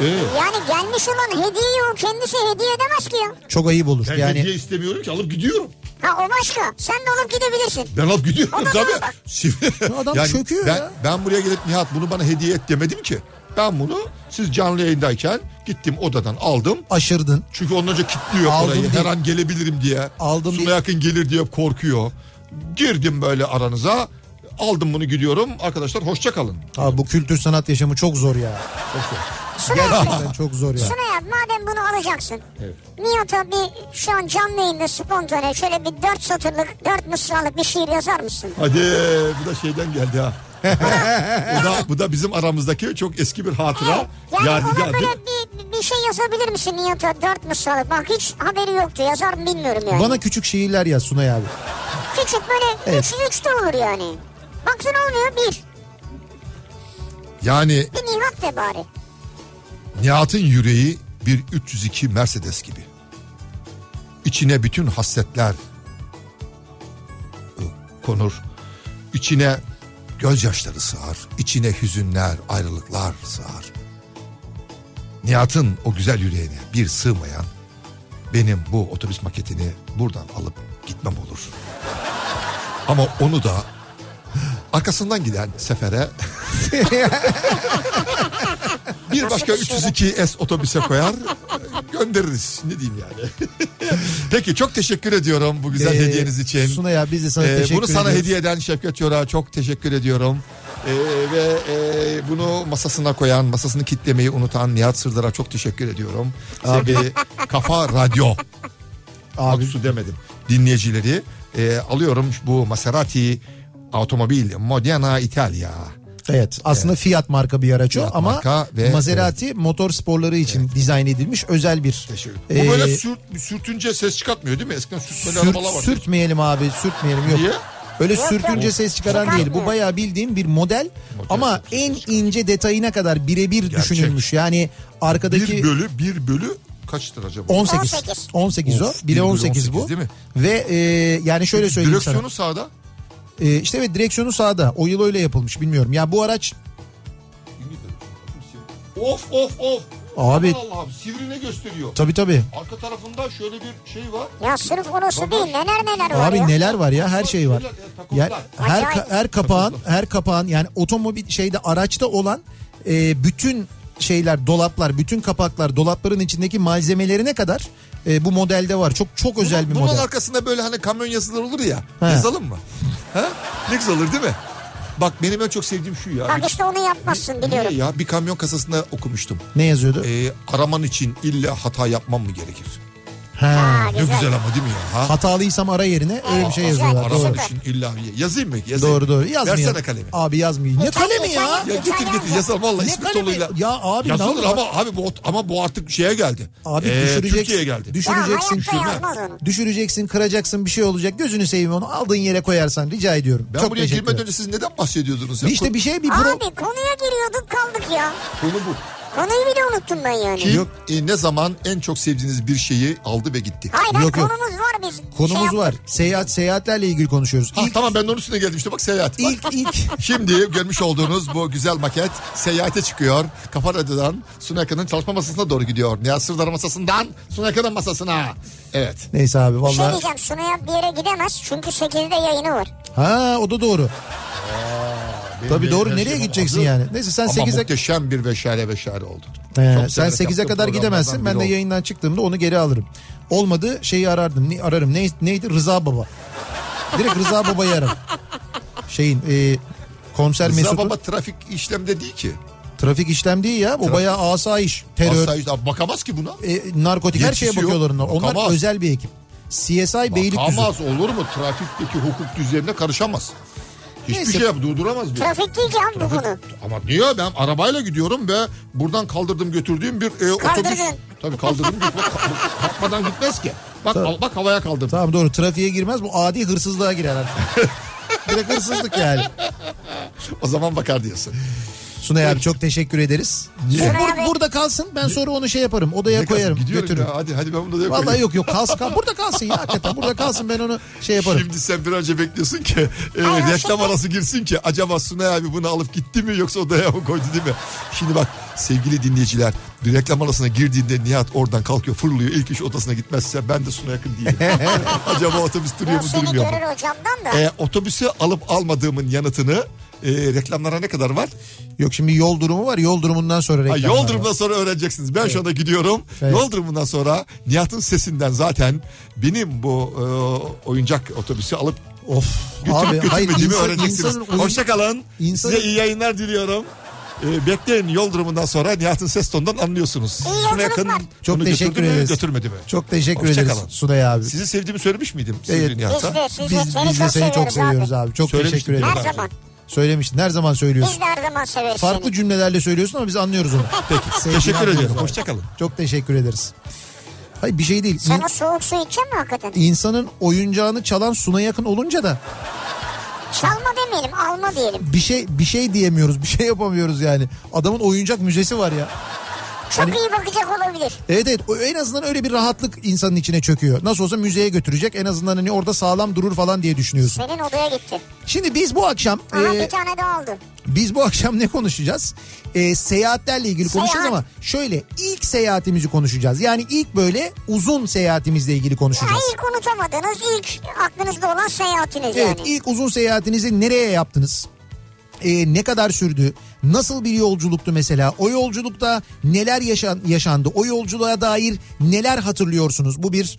C: Evet.
A: Yani gelmiş olan hediyeyi o kendisi hediye edemez ki ya.
B: Çok ayıp olur.
C: Ben
B: yani
C: hediye istemiyorum ki alıp gidiyorum.
A: Ha o başka. Sen de olup gidebilirsin.
C: Ben alıp gidiyorum
A: Adam
C: tabii.
A: bak.
C: Şimdi-
B: Adam çöküyor
C: ben,
B: ya.
C: Ben buraya gelip Nihat bunu bana hediye et demedim ki. Ben bunu siz canlı yayındayken gittim odadan aldım.
B: aşırdın.
C: Çünkü ondan önce kilitliyor
B: Aldım
C: orayı. Her
B: değil.
C: an gelebilirim diye.
B: Aldım
C: Suna
B: değil.
C: yakın gelir diye korkuyor. Girdim böyle aranıza. Aldım bunu gidiyorum. Arkadaşlar hoşça kalın.
B: Abi bu kültür sanat yaşamı çok zor ya.
A: Şuna yap.
C: Ah.
B: Gerçekten çok zor ya.
A: Şuna yap. Madem bunu alacaksın.
C: Evet.
A: Nihat'a bir şu an canlı yayında spontane şöyle bir dört satırlık, dört mısralık bir şiir yazar mısın?
C: Hadi bu da şeyden geldi ha. [LAUGHS] bu, da, bu da bizim aramızdaki çok eski bir hatıra.
A: Yani ona
C: Yadigardır.
A: böyle bir, bir şey yazabilir misin Nihat'a? Dört mü salı? Bak hiç haberi yoktu. Yazar mı bilmiyorum yani.
B: Bana küçük şiirler yaz Sunay abi.
A: Küçük böyle
B: Evet.
A: üç, üç de olur yani. Baksın olmuyor bir.
C: Yani
A: Bir Nihat de bari.
C: Nihat'ın yüreği bir 302 Mercedes gibi. İçine bütün hasretler e, konur. İçine gözyaşları sığar. İçine hüzünler, ayrılıklar sığar. Nihat'ın o güzel yüreğine bir sığmayan benim bu otobüs maketini buradan alıp gitmem olur. Ama onu da arkasından giden sefere bir başka 302S otobüse koyar göndeririz. Ne diyeyim yani. Peki çok teşekkür ediyorum bu güzel
B: Ee,
C: hediyeniz için.
B: Sunay abi biz de sana
C: Ee,
B: teşekkür
C: bunu sana
B: ediyoruz.
C: hediye eden Şevket Yor'a çok teşekkür ediyorum. Ee, ve e, bunu masasına koyan, masasını kitlemeyi unutan Nihat Sırdar'a çok teşekkür ediyorum. Sevgili Kafa Radyo. Abi.
B: Abi
C: su demedim. Dinleyicileri e, alıyorum bu Maserati otomobil Modena İtalya.
B: evet aslında Fiat marka bir araç o
C: Fiat
B: ama
C: marka ve-
B: Maserati motor sporları için dizayn edilmiş özel bir.
C: Teşekkür.
B: Ee,
C: Bu böyle sürt, sürtünce ses çıkartmıyor değil mi? Eskiden sürtmeli
B: sürt-
C: arabalar vardı.
B: sürtmeyelim abi sürtmeyelim yok.
C: Niye?
B: Öyle
A: Yok,
B: sürtünce
A: yok.
B: ses çıkaran değil. Bu
A: Çıkarmıyor.
B: bayağı bildiğim bir model
C: Model
B: ama
C: sürtünce
B: en
C: ses çıkarıyor.
B: ince detayına kadar birebir
C: Gerçek.
B: düşünülmüş. Yani arkadaki
C: Bir bölü bir bölü kaçtır acaba?
B: 18. 18 o.
C: Of,
B: Bire
C: bir bölü
B: 18 bu.
C: 18 değil mi?
B: Ve e, yani şöyle söyleyeyim sana.
C: Direksiyonu sağda.
B: E, işte evet direksiyonu sağda. O yıl öyle yapılmış bilmiyorum. Ya bu araç
C: Of of of.
B: Abi-
C: Aman Allah'ım sivrine gösteriyor.
B: tabii tabii.
C: Arka tarafında şöyle bir şey var.
A: Ya sırf orası değil. Neler neler var
B: Abi
A: ya.
B: neler var ya her şey var.
C: Takozlar.
B: Ya, her ka-
A: Acayip.
B: her kapağın her kapağın yani otomobil şeyde araçta olan e, bütün şeyler dolaplar bütün kapaklar dolapların içindeki malzemelerine kadar e, bu modelde var. Çok çok özel bir
C: Bunun
B: model.
C: arkasında böyle hani kamyon yazıları olur ya.
B: He.
C: Yazalım mı? ha? Ne güzel olur değil mi? Bak benim en çok sevdiğim şu ya.
A: Bak işte onu yapmazsın biliyorum.
C: Niye ya? Bir kamyon kasasında okumuştum.
B: Ne yazıyordu?
C: Ee, araman için illa hata yapmam mı gerekir?
B: Ha.
A: Ha,
C: Ne
A: güzel.
C: güzel ama değil mi ya? Ha?
B: Hatalıysam ara yerine öyle bir şey
A: güzel.
B: yazıyorlar.
C: Araman
B: Doğru.
A: Süper.
C: için illa yazayım mı? Yazayım.
B: Doğru doğru. Yazmayın.
C: Versene kalemi.
B: Abi yazmayın. Ne
A: E, kalemi,
B: kalemi ya?
A: kalemi.
C: Ya getir getir yazalım valla
B: Ne
C: İsmet
B: kalemi?
C: Oğlu'yla.
B: Ya abi ne
C: Yazılır
B: olur?
C: ama abi bu ama bu artık şeye geldi.
B: Abi
C: Ee,
B: düşüreceksin.
C: Türkiye'ye geldi.
B: Düşüreceksin.
A: Ya hayatta yazmaz onu.
B: Düşüreceksin, kıracaksın, bir şey olacak. Gözünü seveyim onu aldığın yere koyarsan rica ediyorum.
C: ben
B: Çok
C: buraya
B: teşekkür
C: girmeden
B: ederim.
C: önce siz neden bahsediyordunuz ya?
B: İşte bir şey bir pro...
A: Abi konuya giriyorduk kaldık ya.
C: Konu bu.
A: Konuyu bile unuttum ben yani.
C: Kim e, ne zaman en çok sevdiğiniz bir şeyi aldı ve gitti?
A: Hayır hayır
B: Yok, yok.
A: konumuz var biz. şey
B: konumuz
A: yap-
B: var. Seyahat seyahatlerle ilgili konuşuyoruz.
C: Ha,
B: İlk,
C: tamam ben de onun üstüne geldim işte bak seyahat.
B: ilk
A: [LAUGHS]
B: ilk
C: Şimdi görmüş olduğunuz bu güzel maket seyahate çıkıyor. Kafa Radyo'dan Sunay Akın'ın çalışma masasına doğru gidiyor. Nihat Sırdar masasından Sunay Akın'ın masasına. Evet.
B: neyse abi
A: Bir şey
B: vallahi.
A: diyeceğim Sunay'a bir yere gidemez çünkü 8'de yayını var.
B: Ha o da doğru.
C: Benim
B: Tabii
C: de
B: doğru.
C: her
B: Nereye
C: şeyim
B: gideceksin
C: hazır.
B: yani? Neyse sen
C: Ama
B: 8'e
C: muhteşem bir veşare veşare oldu.
B: He,
C: Çok
B: sen
C: severek
B: 8'e
C: yaptığım
B: kadar gidemezsin. Ben de
C: programlardan biri oldu.
B: yayından çıktığımda onu geri alırım. Olmadı şeyi arardım. Ne, ararım. Ne, neydi? Rıza Baba. Direkt Rıza Baba'yı ararım. Şeyin e, konser
C: Rıza
B: Mesut'un
C: Baba trafik işlemde değil ki.
B: trafik işlem değil ya. O bayağı asayiş, terör,
C: Asla yüz- Abi bakamaz ki buna.
B: e, narkotik her
C: Yetkisi
B: şeye
C: yok.
B: bakıyorlar onlar. Onlar
C: Bakamaz.
B: özel bir ekip. CSI Beylikdüzü.
C: Bakamaz olur mu? Trafikteki hukuk düzenine karışamaz. Hiçbir
B: Neyse.
C: şey yap durduramaz diyor.
A: Trafik değil ki abi bu konu.
C: Ama niye ben arabayla gidiyorum ve buradan kaldırdım götürdüğüm bir e, otobüs.
A: Kaldırdın. [LAUGHS]
C: Tabii kaldırdım götürdüm. Ka- Kalkmadan gitmez ki. Bak al- bak havaya kaldırdım.
B: Tamam doğru trafiğe girmez bu adi hırsızlığa girer artık.
C: [LAUGHS]
B: Direkt hırsızlık yani.
C: O zaman bakar diyorsun.
B: Sunay abi çok teşekkür ederiz.
A: Sunay
B: Bur-
A: abi-
B: burada kalsın ben sonra onu şey yaparım odaya koyarım
C: Gidiyorum
B: götürürüm.
C: ya. Hadi hadi ben bunu da
B: [LAUGHS]
C: yapayım.
B: Vallahi yok yok kalsın kal. Burada kalsın ya hakikaten. Burada kalsın ben onu şey yaparım.
C: Şimdi sen bir önce bekliyorsun ki e,
A: Ay,
C: reklam
A: aslında-
C: arası girsin ki acaba Sunay abi bunu alıp gitti mi yoksa odaya mı koydu değil mi? Şimdi bak sevgili dinleyiciler bir reklam arasına girdiğinde Nihat oradan kalkıyor fırlıyor ilk iş odasına gitmezse ben de Sunay yakın
A: [LAUGHS]
C: değilim. acaba otobüs duruyor
A: Ya
C: mu
A: seni
C: durmuyor mu?
A: görür hocamdan da.
C: E, otobüsü alıp almadığımın yanıtını e, reklamlara ne kadar var?
B: Yok şimdi yol durumu var. Yol durumundan sonra
C: Ha,
B: reklamlar
C: yol
B: var.
C: durumundan sonra öğreneceksiniz. Ben şu anda gidiyorum.
B: Evet.
C: Yol durumundan sonra Nihat'ın sesinden zaten benim bu e, oyuncak otobüsü alıp
B: Of.
C: götürüp götürmediğimi
B: insan-
C: öğreneceksiniz.
B: insanın uyum-
C: Hoşçakalın.
B: insanın-
C: Size iyi yayınlar diliyorum. E, bekleyin yol durumundan sonra Nihat'ın ses tonundan anlıyorsunuz.
A: İyi
C: Şuna
A: yolculuklar.
B: Çok
C: bunu
B: teşekkür
C: götürdü mü,
B: ederiz.
C: Götürmedi mi?
B: Çok teşekkür
C: Hoşça
B: ederiz
C: kalın.
B: Sunay abi.
C: Sizi sevdiğimi söylemiş miydim?
B: Evet.
C: sevgili Nihat'a?
A: Biz de sizi
B: Biz,
A: seni
B: biz de seni çok seviyoruz abi. Çok
C: Söylemiştim
B: teşekkür
C: değil mi?
B: ederiz.
A: Her zaman.
B: Söylemiştin. Her zaman söylüyorsun.
A: Biz de her zaman severiz
B: Farklı
A: seni.
B: cümlelerle söylüyorsun ama biz anlıyoruz onu. Peki.
C: Teşekkür ediyorum. Hoşçakalın.
B: Çok teşekkür ederiz. Hayır bir şey değil.
A: Sen
B: İn-
A: o soğuk su içecek mi hakikaten?
B: insanın oyuncağını çalan suna yakın olunca da
A: Çalma demeyelim alma diyelim.
B: bir şey bir şey diyemiyoruz. Bir şey yapamıyoruz yani. Adamın oyuncak müzesi var ya.
A: Çok
B: Hani-
A: iyi bakacak olabilir.
B: Evet evet O- en azından öyle bir rahatlık insanın içine çöküyor. Nasıl olsa müzeye götürecek en azından hani orada sağlam durur falan diye düşünüyorsun.
A: Senin odaya gitti.
B: Şimdi biz bu akşam
A: Aha
B: e,
A: bir tane daha aldı.
B: biz bu akşam ne konuşacağız? E, seyahatlerle ilgili konuşacağız
A: Seyahat.
B: ama şöyle ilk seyahatimizi konuşacağız. Yani ilk böyle uzun seyahatimizle ilgili
A: Ya
B: konuşacağız.
A: ilk unutamadığınız, ilk aklınızda olan seyahatiniz
B: Evet
A: yani.
B: ilk uzun seyahatinizi nereye yaptınız? Ee, ne kadar sürdü? Nasıl bir yolculuktu mesela? O yolculukta neler yaşan, yaşandı? O yolculuğa dair neler hatırlıyorsunuz? Bu bir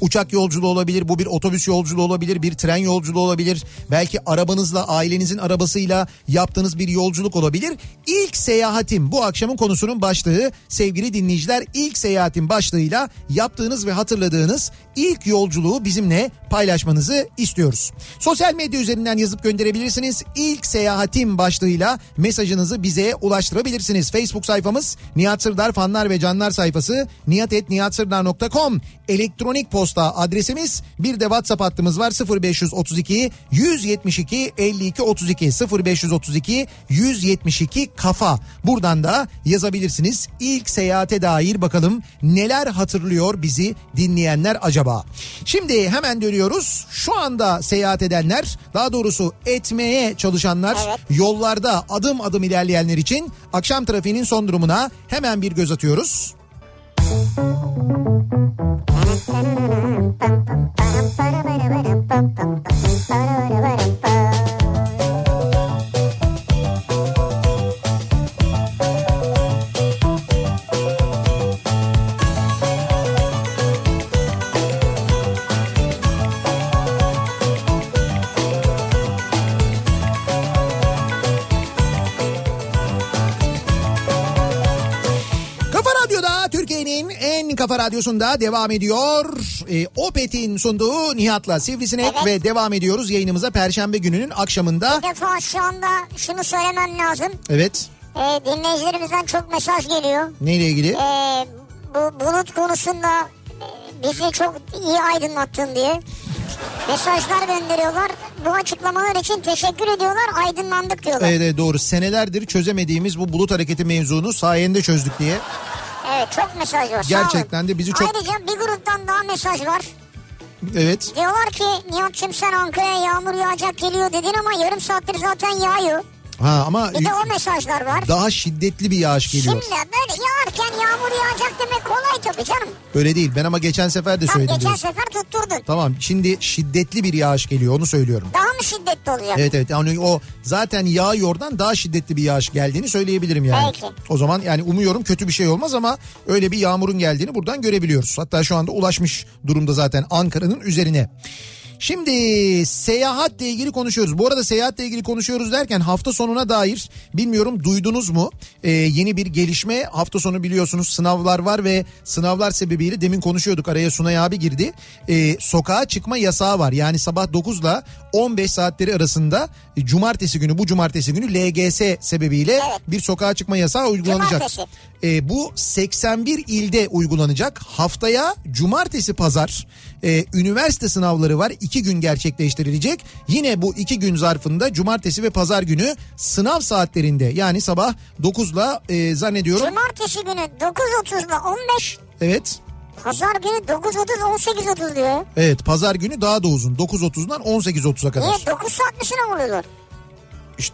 B: uçak yolculuğu olabilir, bu bir otobüs yolculuğu olabilir, bir tren yolculuğu olabilir. Belki arabanızla, ailenizin arabasıyla yaptığınız bir yolculuk olabilir. İlk seyahatim bu akşamın konusunun başlığı sevgili dinleyiciler ilk seyahatim başlığıyla yaptığınız ve hatırladığınız ilk yolculuğu bizimle paylaşmanızı istiyoruz. Sosyal medya üzerinden yazıp gönderebilirsiniz. İlk seyahatim başlığıyla mesajınızı bize ulaştırabilirsiniz. Facebook sayfamız Nihat Sırdar fanlar ve canlar sayfası niyatetniyatsırdar.com elektronik posta adresimiz bir de WhatsApp hattımız var 0532 172 52 32 0532 172 kafa buradan da yazabilirsiniz. İlk seyahate dair bakalım neler hatırlıyor bizi dinleyenler acaba? Şimdi hemen dönüyoruz. Şu anda seyahat edenler daha doğrusu etmeye çalışanlar
A: Evet.
B: yollarda adım adım ilerleyenler için akşam trafiğinin son durumuna hemen bir göz atıyoruz. Kafa Radyo'da Türkiye'nin en kafa radyosunda devam ediyor. E, Opet'in sunduğu Nihat'la Sivrisinek
A: Evet.
B: ve devam ediyoruz yayınımıza Perşembe gününün akşamında.
A: Bir defa şu anda şunu söylemem lazım.
B: Evet
A: Ee, dinleyicilerimizden çok mesaj geliyor.
B: neyle ilgili?
A: Ee, bu bulut konusunda e, bizi çok iyi aydınlattın diye. Mesajlar gönderiyorlar. Bu açıklamalar için teşekkür ediyorlar. Aydınlandık diyorlar. Evet,
B: Evet, evet, doğru senelerdir çözemediğimiz bu bulut hareketi mevzunu sayende çözdük diye.
A: çok mesaj var. Sağ
B: Gerçekten
A: olun.
B: de bizi çok-
A: Ayrıca bir gruptan daha mesaj var.
B: Evet
A: Diyorlar ki Nihat'cığım sen Ankara'ya yağmur yağacak geliyor dedin ama yarım saattir zaten yağıyor.
B: ha ama
A: Bir de o mesajlar var.
B: daha şiddetli bir yağış geliyor.
A: Şimdi böyle yağarken yağmur yağacak demek kolay tabii canım.
B: Öyle değil ben ama geçen sefer de
A: Tam
B: söyledim.
A: geçen
B: diyorsun.
A: sefer tutturdun.
B: Tamam şimdi şiddetli bir yağış geliyor onu söylüyorum.
A: Daha mı şiddetli olacak?
B: Evet evet yani o zaten yağıyordan daha şiddetli bir yağış geldiğini söyleyebilirim yani.
A: Peki.
B: O zaman yani umuyorum kötü bir şey olmaz ama öyle bir yağmurun geldiğini buradan görebiliyoruz. Hatta şu anda ulaşmış durumda zaten Ankara'nın üzerine. Şimdi seyahatle ilgili konuşuyoruz. Bu arada seyahatle ilgili konuşuyoruz derken hafta sonuna dair bilmiyorum duydunuz mu? Ee, yeni bir gelişme hafta sonu biliyorsunuz sınavlar var ve sınavlar sebebiyle demin konuşuyorduk araya Sunay abi girdi. Ee, sokağa çıkma yasağı var. Yani sabah 9 ile 15 saatleri arasında e, cumartesi günü bu cumartesi günü LGS sebebiyle
A: Evet.
B: bir sokağa çıkma yasağı uygulanacak.
A: Cumartesi.
B: E, bu 81 ilde uygulanacak. Haftaya cumartesi pazar e, üniversite sınavları var. iki gün gerçekleştirilecek. Yine bu iki gün zarfında cumartesi ve pazar günü sınav saatlerinde yani sabah 9'la e, zannediyorum.
A: Cumartesi günü 9.30 ile 15,
B: Evet.
A: pazar günü 9.30 18.30 diyor.
B: Evet pazar günü daha da uzun. 9.30'dan 18.30'a kadar.
A: Niye 9 saat mi sınav oluyorlar?
B: İşte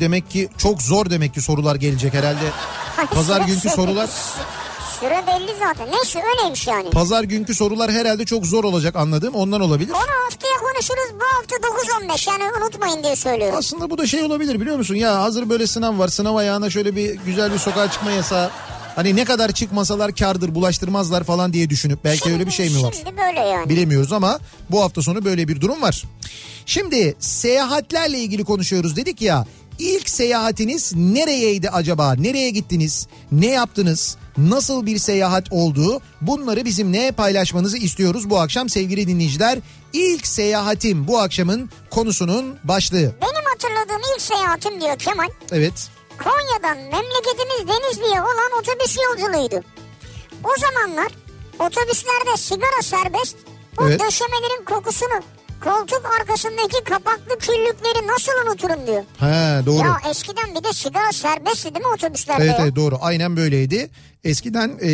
B: demek ki çok zor demek ki sorular gelecek herhalde. Pazar günkü sorular
A: Süre belli zaten. Neyse öyleymiş yani.
B: pazar günkü sorular herhalde çok zor olacak anladığım ondan olabilir.
A: Onu haftaya konuşuruz. Bu hafta 9.15 yani unutmayın diye söylüyorum.
B: Aslında bu da şey olabilir biliyor musun? Ya hazır böyle sınav var. Sınav ayağına şöyle bir güzel bir sokağa çıkma yasağı. Hani ne kadar çıkmasalar kardır bulaştırmazlar falan diye düşünüp belki öyle bir şey mi var?
A: Şimdi böyle yani.
B: Bilemiyoruz ama bu hafta sonu böyle bir durum var. Şimdi seyahatlerle ilgili konuşuyoruz dedik ya. İlk seyahatiniz nereyeydi acaba? Nereye gittiniz? Ne yaptınız? Nasıl bir seyahat oldu? Bunları bizimle paylaşmanızı istiyoruz bu akşam sevgili dinleyiciler. İlk seyahatim bu akşamın konusunun başlığı.
A: Benim hatırladığım yaptığım ilk seyahatim diyor Kemal.
B: Evet.
A: Konya'dan memleketimiz Denizli'ye olan otobüs yolculuğuydu. O zamanlar otobüslerde sigara serbest. O
B: Evet.
A: döşemelerin kokusunu koltuk arkasındaki kapaklı küllükleri nasıl unuturum diyor.
B: He doğru.
A: Ya eskiden bir de sigara serbestti değil mi otobüslerde
B: evet
A: ya?
B: evet doğru. Aynen böyleydi. Eskiden e,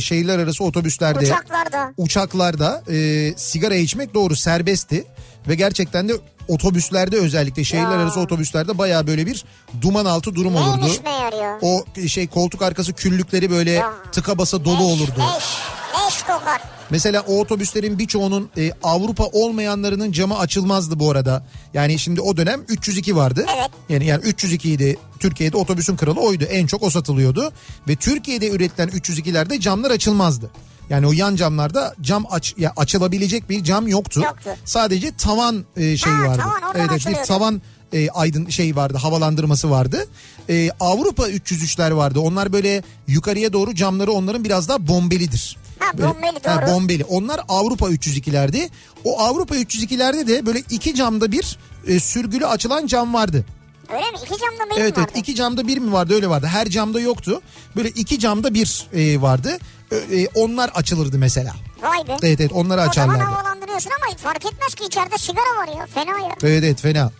B: şehirler arası otobüslerde
A: Uçaklarda.
B: uçaklarda e, sigara içmek doğru serbestti ve gerçekten de otobüslerde özellikle şehirler
A: Ya.
B: arası otobüslerde bayağı böyle bir duman altı durum olurdu.
A: Neymiş meğer ya?
B: O şey koltuk arkası küllükleri böyle
A: Ya.
B: tıka basa dolu olurdu.
A: Leş, leş kokar.
B: Mesela o otobüslerin birçoğunun e, Avrupa olmayanlarının camı açılmazdı bu arada. Yani şimdi o dönem 302 vardı.
A: Evet.
B: Yani yani 302 idi Türkiye'de otobüsün kralı oydu. En çok o satılıyordu ve Türkiye'de üretilen 302'lerde camlar açılmazdı. Yani o yan camlarda cam aç ya açılabilecek bir cam yoktu.
A: Yoktu.
B: Sadece tavan e, şeyi
A: Ha,
B: vardı.
A: tavan, oradan
B: evet, evet, bir
A: açılıyordu.
B: tavan e, aydın şey vardı havalandırması vardı. E, Avrupa 303'ler vardı. Onlar böyle yukarıya doğru camları onların biraz daha bombelidir.
A: Ha,
B: Böyle-
A: bombeli,
B: Ha,
A: doğru.
B: bombeli. Onlar Avrupa 302'lerdi. O Avrupa 302'lerde de böyle iki camda bir e, sürgülü açılan cam vardı.
A: Öyle mi? İki camda benim
B: Evet
A: vardı.
B: evet iki camda bir mi vardı öyle vardı. Her camda yoktu. Böyle iki camda bir e, vardı. Ö- e, onlar açılırdı mesela.
A: Vay be.
B: Evet evet onları
A: o zaman
B: açarlardı.
A: havalandırıyorsun ama fark etmez ki içeride sigara var ya. Fena ya.
B: Evet evet fena.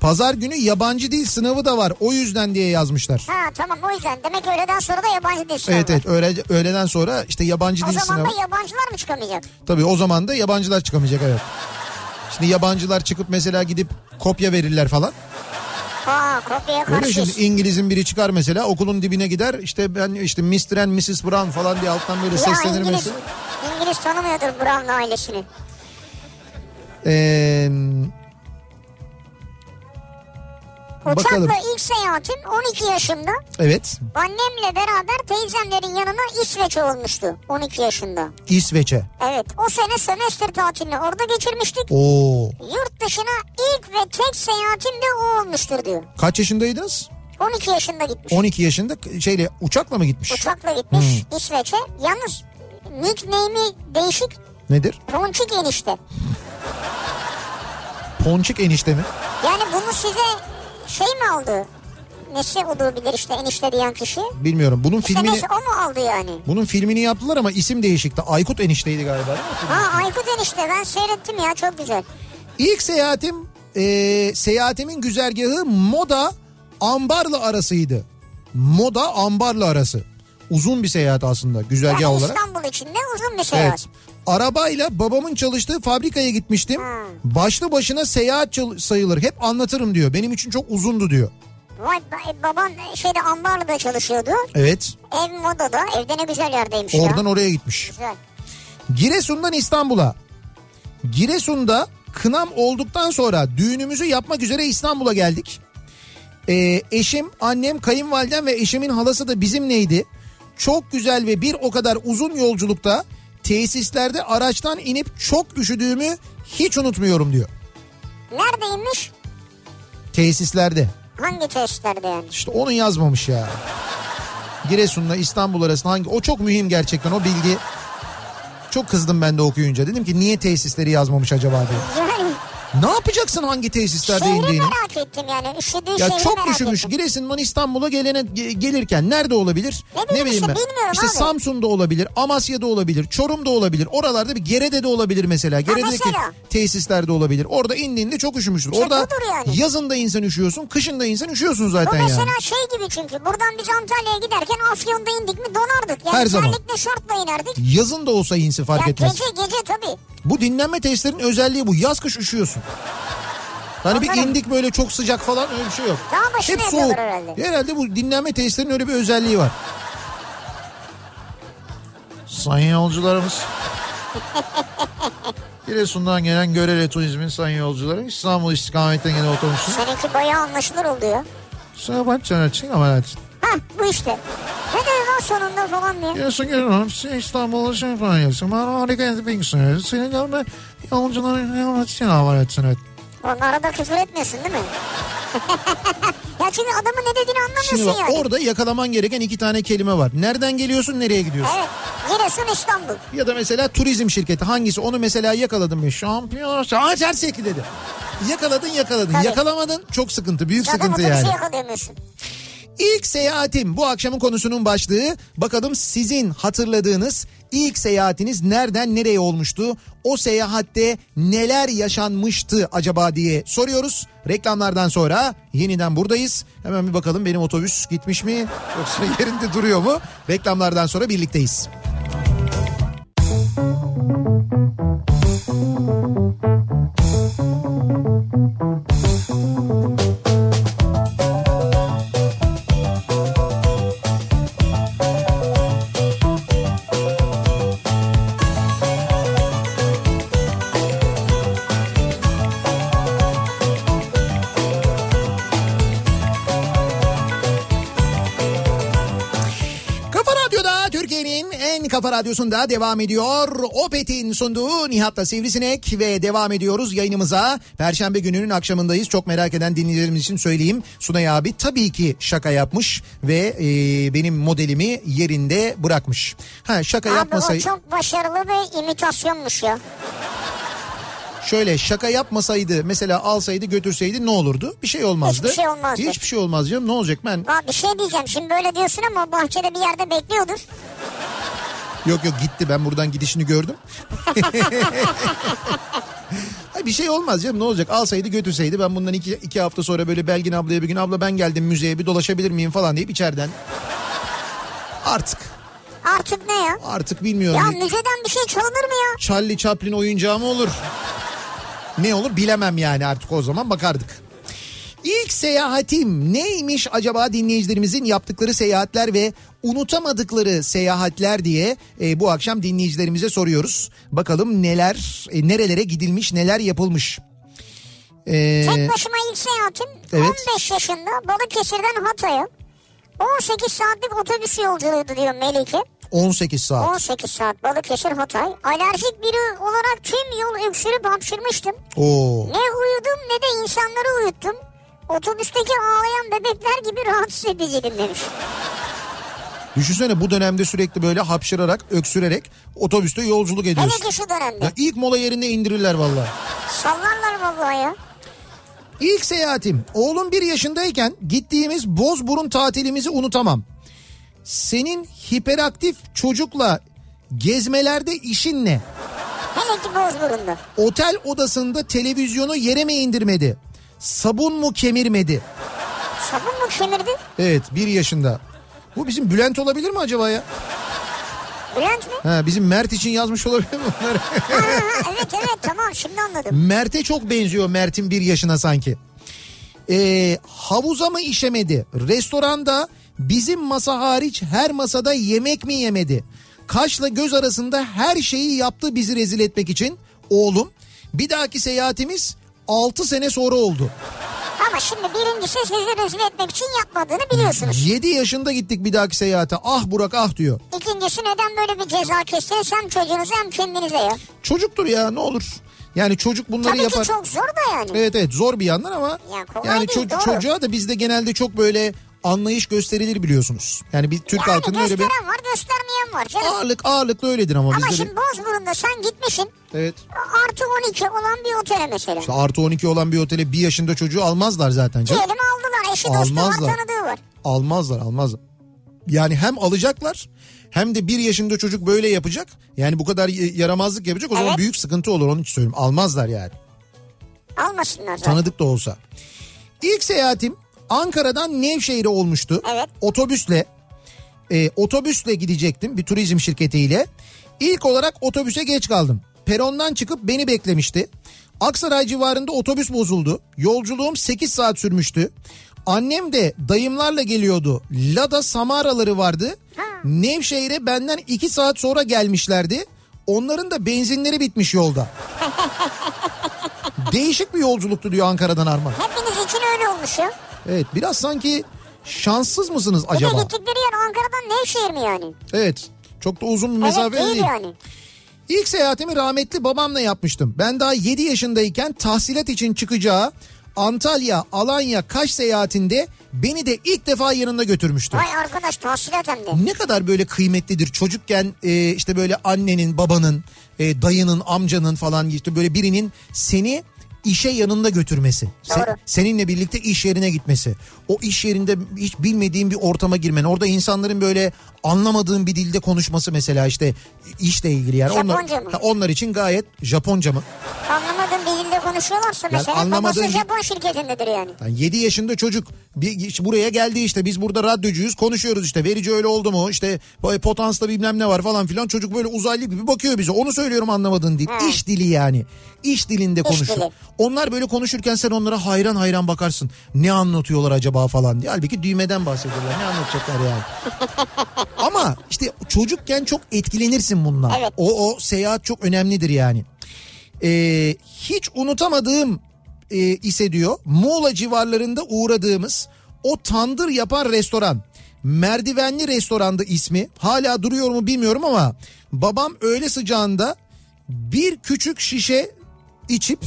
B: Pazar günü yabancı dil sınavı da var. O yüzden diye yazmışlar.
A: Ha tamam o yüzden. Demek ki öğleden sonra da yabancı dil sınavı
B: Evet
A: var.
B: evet öğle, öğleden sonra işte yabancı
A: O
B: dil
A: zaman
B: sınavı.
A: da yabancılar mı çıkamayacak?
B: Tabii o zaman da yabancılar çıkamayacak evet. Şimdi yabancılar çıkıp mesela gidip kopya verirler falan.
A: Ha kopyaya
B: Öyle şimdi
A: karşıyız.
B: İngiliz'in biri çıkar mesela okulun dibine gider işte ben işte Mr. and Mrs. Brown falan diye alttan böyle
A: Ya
B: seslenir
A: İngiliz,
B: mesela.
A: İngiliz tanımıyordur Brown ailesini.
B: Ee, Bakalım.
A: Uçakla ilk seyahatim 12 yaşımda.
B: evet
A: Annemle beraber teyzemlerin yanına İsveç'e olmuştu 12 yaşında.
B: İsveç'e.
A: Evet o sene sömestr tatilini orada geçirmiştik.
B: Oo.
A: Yurt dışına ilk ve tek seyahatim de o olmuştur diyor.
B: Kaç yaşındaydınız?
A: 12 yaşında gitmiş.
B: 12 yaşında şeyle uçakla mı gitmiş?
A: Uçakla gitmiş
B: Hmm.
A: İsveç'e. Yalnız nickname'i değişik
B: Nedir?
A: Ponçik enişte.
B: Ponçik enişte mi?
A: Yani bunu size şey mi aldı? Nesi olabilir işte enişte diyen kişi? İşte
B: Bilmiyorum. Bunun filmini
A: neyse o mu aldı yani?
B: bunun filmini yaptılar ama isim değişikti. Aykut enişteydi galiba. değil mi?
A: Ha Aykut enişte ben seyrettim ya çok güzel.
B: İlk seyahatim e, seyahatimin güzergahı Moda Ambarlı arasıydı. Moda Ambarlı arası. Uzun bir seyahat aslında güzergah
A: Yani
B: olarak.
A: İstanbul içinde uzun bir seyahat.
B: Evet. Arabayla babamın çalıştığı fabrikaya gitmiştim. Başlı başına seyahat çal- sayılır. Hep anlatırım diyor. Benim için çok uzundu diyor.
A: Vay ba- e, baban şeyde ambarlıda çalışıyordu.
B: Evet.
A: Ev modada evde ne güzel yerdeymiş
B: Oradan
A: ya.
B: oraya gitmiş.
A: Güzel.
B: Giresun'dan İstanbul'a. Giresun'da kınam olduktan sonra düğünümüzü yapmak üzere İstanbul'a geldik. Ee, eşim, annem, kayınvalidem ve eşimin halası da bizimleydi. Çok güzel ve bir o kadar uzun yolculukta tesislerde araçtan inip çok üşüdüğümü hiç unutmuyorum diyor.
A: Neredeymiş?
B: Tesislerde.
A: Hangi tesislerde yani?
B: İşte onu yazmamış ya. Giresun'la İstanbul arasında hangi... O çok mühim gerçekten o bilgi. Çok kızdım ben de okuyunca. Dedim ki niye tesisleri yazmamış acaba diye.
A: Yani
B: Ne yapacaksın hangi tesislerde
A: şehri
B: indiğini?
A: merak ettim yani. Üşüdüğü
B: Ya
A: şehri
B: çok
A: merak
B: üşümüş.
A: ettim.
B: Giresun'dan İstanbul'a gelene ge- gelirken nerede olabilir?
A: Ne bileyim işte, bilmiyorum
B: İşte
A: abi.
B: Samsun'da olabilir, Amasya'da olabilir, Çorum'da olabilir. Oralarda bir Gerede'de olabilir mesela. Gerede'deki
A: mesela.
B: tesislerde olabilir. Orada indiğinde çok üşümüştür.
A: İşte
B: Orada
A: budur yani.
B: yazın da insan üşüyorsun, kışın da insan üşüyorsun
A: Bu
B: zaten
A: mesela
B: yani.
A: şey gibi çünkü buradan biz Antalya'ya giderken Afyon'da indik mi donardık. Yani
B: Her zaman.
A: terlikle şortla inerdik.
B: Yazın da olsa insi fark
A: ya
B: etmez.
A: gece gece tabii.
B: Bu dinlenme tesislerinin özelliği bu. Yaz kış üşüyorsun. Hani bir
A: Anladım.
B: indik böyle çok sıcak falan öyle bir şey yok.
A: Dağ başına
B: Hep
A: yapıyorlar
B: soğuk.
A: herhalde.
B: Herhalde bu dinlenme tesislerinin öyle bir özelliği var. Sayın
A: [LAUGHS]
B: yolcularımız. Giresun'dan gelen Görele Turizm'in sayın yolcuları İstanbul istikametten gelen otobüsün.
A: Seninki bayağı anlaşılır oluyor.
B: Sabah Çanaç'ın ameliyatı.
A: Hah bu işte. Ne diyor lan sonunda falan diye.
B: Giresun Giresun İstanbul'da şey falan yazsın. Ben harika bir insanım. Senin gelme yolcuların ameliyatı ameliyatı.
A: Onun arada küfür etmiyorsun değil mi? [LAUGHS] ya çünkü adamın ne dediğini anlamıyorsun
B: Şimdi bak,
A: yani.
B: orada yakalaman gereken iki tane kelime var. Nereden geliyorsun, nereye gidiyorsun?
A: Evet. Giresun İstanbul.
B: Ya da mesela turizm şirketi hangisi? Onu mesela yakaladım bir şampiyon. Aa Çersekli dedi.
D: Yakaladın yakaladın.
A: Tabii. şey
D: Yakalamadın çok sıkıntı büyük
A: Zaten
D: sıkıntı
A: otobüsü
D: yani.
A: yakalayamıyorsun.
D: İlk seyahatim bu akşamın konusunun başlığı. Bakalım sizin hatırladığınız ilk seyahatiniz nereden nereye olmuştu? O seyahatte neler yaşanmıştı acaba diye soruyoruz. Reklamlardan sonra yeniden buradayız. Hemen bir bakalım benim otobüs gitmiş mi yoksa [LAUGHS] yerinde duruyor mu? Reklamlardan sonra birlikteyiz. Kafa Radyo'da Türkiye'nin en kafa radyosunda devam ediyor. Opet'in sunduğu Nihat'la Sivrisinek ve devam ediyoruz yayınımıza. Perşembe gününün akşamındayız. Çok merak eden dinleyicilerimiz için söyleyeyim. Sunay abi tabii ki şaka yapmış ve e, benim modelimi yerinde bırakmış. Ha şaka
A: Abi o
D: yapmasaydı
A: çok başarılı bir imitasyonmuş ya.
D: şöyle şaka yapmasaydı mesela alsaydı götürseydi ne olurdu? Bir şey olmazdı.
A: Hiçbir şey olmazdı.
D: Hiçbir şey olmaz canım. Ne olacak ben?
A: Bak bir şey diyeceğim şimdi böyle diyorsun ama bahçede bir yerde bekliyordur.
D: Yok yok gitti ben buradan gidişini gördüm. Ay bir şey olmaz canım ne olacak alsaydı götürseydi ben bundan iki, iki hafta sonra böyle Belgin ablaya bir gün abla ben geldim müzeye bir dolaşabilir miyim falan deyip içeriden. Artık
A: Artık ne ya?
D: artık bilmiyorum.
A: Ya müzeden bir şey çalınır mı ya?
D: Charlie Chaplin oyuncağı mı olur? Ne olur bilemem yani artık o zaman bakardık. İlk seyahatim neymiş acaba dinleyicilerimizin yaptıkları seyahatler ve unutamadıkları seyahatler diye e, bu akşam dinleyicilerimize soruyoruz. Bakalım neler e, nerelere gidilmiş neler yapılmış. E,
A: Tek başıma ilk şey seyahatim
D: Evet.
A: 15 yaşında Balıkesir'den Hatay'a 18 saatlik otobüs yolculuğuydu diyor Melike.
D: 18 saat.
A: 18 saat Balıkesir Hatay. Alerjik biri olarak tüm yol öksürüp hapşırmıştım.
D: Oo.
A: Ne uyudum ne de insanları uyuttum. Otobüsteki ağlayan bebekler gibi rahatsız ediciydim demiş.
D: Düşünsene bu dönemde sürekli böyle hapşırarak, öksürerek otobüste yolculuk ediyorsun.
A: Hele ki şu dönemde.
D: Ya ilk mola yerinde indirirler vallahi.
A: Sallarlar vallahi ya.
D: İlk seyahatim oğlum bir yaşındayken gittiğimiz Bozburun tatilimizi unutamam. Senin hiperaktif çocukla gezmelerde işin ne?
A: Hele ki Bozburun'da.
D: Otel odasında televizyonu yere mi indirmedi? Sabun mu kemirmedi?
A: Sabun mu kemirdi?
D: Evet bir yaşında. Bu bizim Bülent olabilir mi acaba ya?
A: Bülent mi?
D: Ha, bizim Mert için yazmış olabilir mi bunları?
A: Ha, ha, evet evet tamam şimdi anladım.
D: Mert'e çok benziyor Mert'in bir yaşına sanki. Ee, havuza mı işemedi? Restoranda bizim masa hariç her masada yemek mi yemedi? Kaşla göz arasında her şeyi yaptı bizi rezil etmek için oğlum. Bir dahaki seyahatimiz 6 sene sonra oldu.
A: Ama şimdi birincisi sizi rezil etmek için yapmadığını biliyorsunuz.
D: 7 yaşında gittik bir dahaki seyahate. Ah Burak ah diyor.
A: İkincisi neden böyle bir ceza kestiniz hem çocuğunuza hem kendinize ya.
D: Çocuktur ya ne olur. Yani çocuk bunları
A: Tabii
D: yapar.
A: ki çok zor da yani.
D: Evet evet zor bir yandan ama
A: Ya kolay
D: yani
A: değil,
D: ço-
A: doğru.
D: çocuğa da bizde genelde çok böyle anlayış gösterilir biliyorsunuz. Yani bir Türk
A: yani
D: halkının öyle bir
A: gösteren var göstermeyen var canım.
D: ağırlık ağırlıklı öyledir ama,
A: Ama
D: bizde
A: şimdi
D: de.
A: Bozburun'da sen gitmişsin
D: Evet.
A: artı 12 olan bir otele mesela.
D: İşte artı 12 olan bir otele bir yaşında çocuğu almazlar zaten. canım.
A: Diyelim aldılar eşi dostu var
D: Almazlar.
A: tanıdığı var.
D: Almazlar almazlar. Yani hem alacaklar hem de bir yaşında çocuk böyle yapacak. Yani bu kadar y- yaramazlık yapacak o zaman
A: Evet.
D: büyük sıkıntı olur onun için söylüyorum. Almazlar yani.
A: Almasınlar zaten.
D: Tanıdık da olsa. İlk seyahatim Ankara'dan Nevşehir'e olmuştu.
A: Evet.
D: Otobüsle e, otobüsle gidecektim bir turizm şirketiyle. İlk olarak otobüse geç kaldım. Perondan çıkıp beni beklemişti. Aksaray civarında otobüs bozuldu. Yolculuğum 8 saat sürmüştü. Annem de dayımlarla geliyordu. Lada Samaraları vardı. Nevşehir'e benden 2 saat sonra gelmişlerdi. Onların da benzinleri bitmiş yolda. Değişik bir yolculuktu diyor Ankara'dan Arman.
A: Hepiniz için öyle olmuş ya.
D: Evet biraz sanki şanssız mısınız acaba?
A: Bir de gittikleri yer Ankara'dan Nevşehir mi yani?
D: Evet. Çok da uzun bir mesafe
A: evet değil,
D: değil.
A: yani.
D: İlk seyahatimi rahmetli babamla yapmıştım. Ben daha 7 yaşındayken tahsilat için çıkacağı Antalya, Alanya, Kaş seyahatinde beni de ilk defa yanında götürmüştü.
A: Vay arkadaş tahsilat hem de.
D: Ne kadar böyle kıymetlidir çocukken e, işte böyle annenin, babanın, e, dayının, amcanın falan işte böyle birinin seni işe yanında götürmesi. Se-
A: Doğru.
D: seninle birlikte iş yerine gitmesi. O iş yerinde hiç bilmediğin bir ortama girmen. Orada insanların böyle anlamadığın bir dilde konuşması mesela işte işle ilgili yani.
A: Japonca
D: onlar,
A: mı?
D: Ha, onlar için gayet Japonca mı?
A: Anlamadığım bir dilde konuşuyorlarsa mesela
D: anlamadığın
A: babası
D: dil-
A: Japon şirketindedir yani.
D: Yani 7 yaşında çocuk bir, işte buraya geldi işte biz burada radyocuyuz konuşuyoruz işte verici öyle oldu mu işte böyle potansta bilmem ne var falan filan çocuk böyle uzaylı gibi bakıyor bize onu söylüyorum anlamadığın değil
A: He.
D: iş dili yani iş dilinde konuşuyor.
A: Hmm. dili.
D: Onlar böyle konuşurken sen onlara hayran hayran bakarsın ne anlatıyorlar acaba falan diye halbuki düğmeden bahsediyorlar ne
A: [LAUGHS]
D: anlatacaklar yani. Ama işte çocukken çok etkilenirsin bundan
A: Evet.
D: o, o seyahat çok önemlidir yani. Ee, hiç unutamadığım e, ise diyor Muğla civarlarında uğradığımız o tandır yapan restoran. Merdivenli restoranda ismi hala duruyor mu bilmiyorum ama babam öğle sıcağında bir küçük şişe içip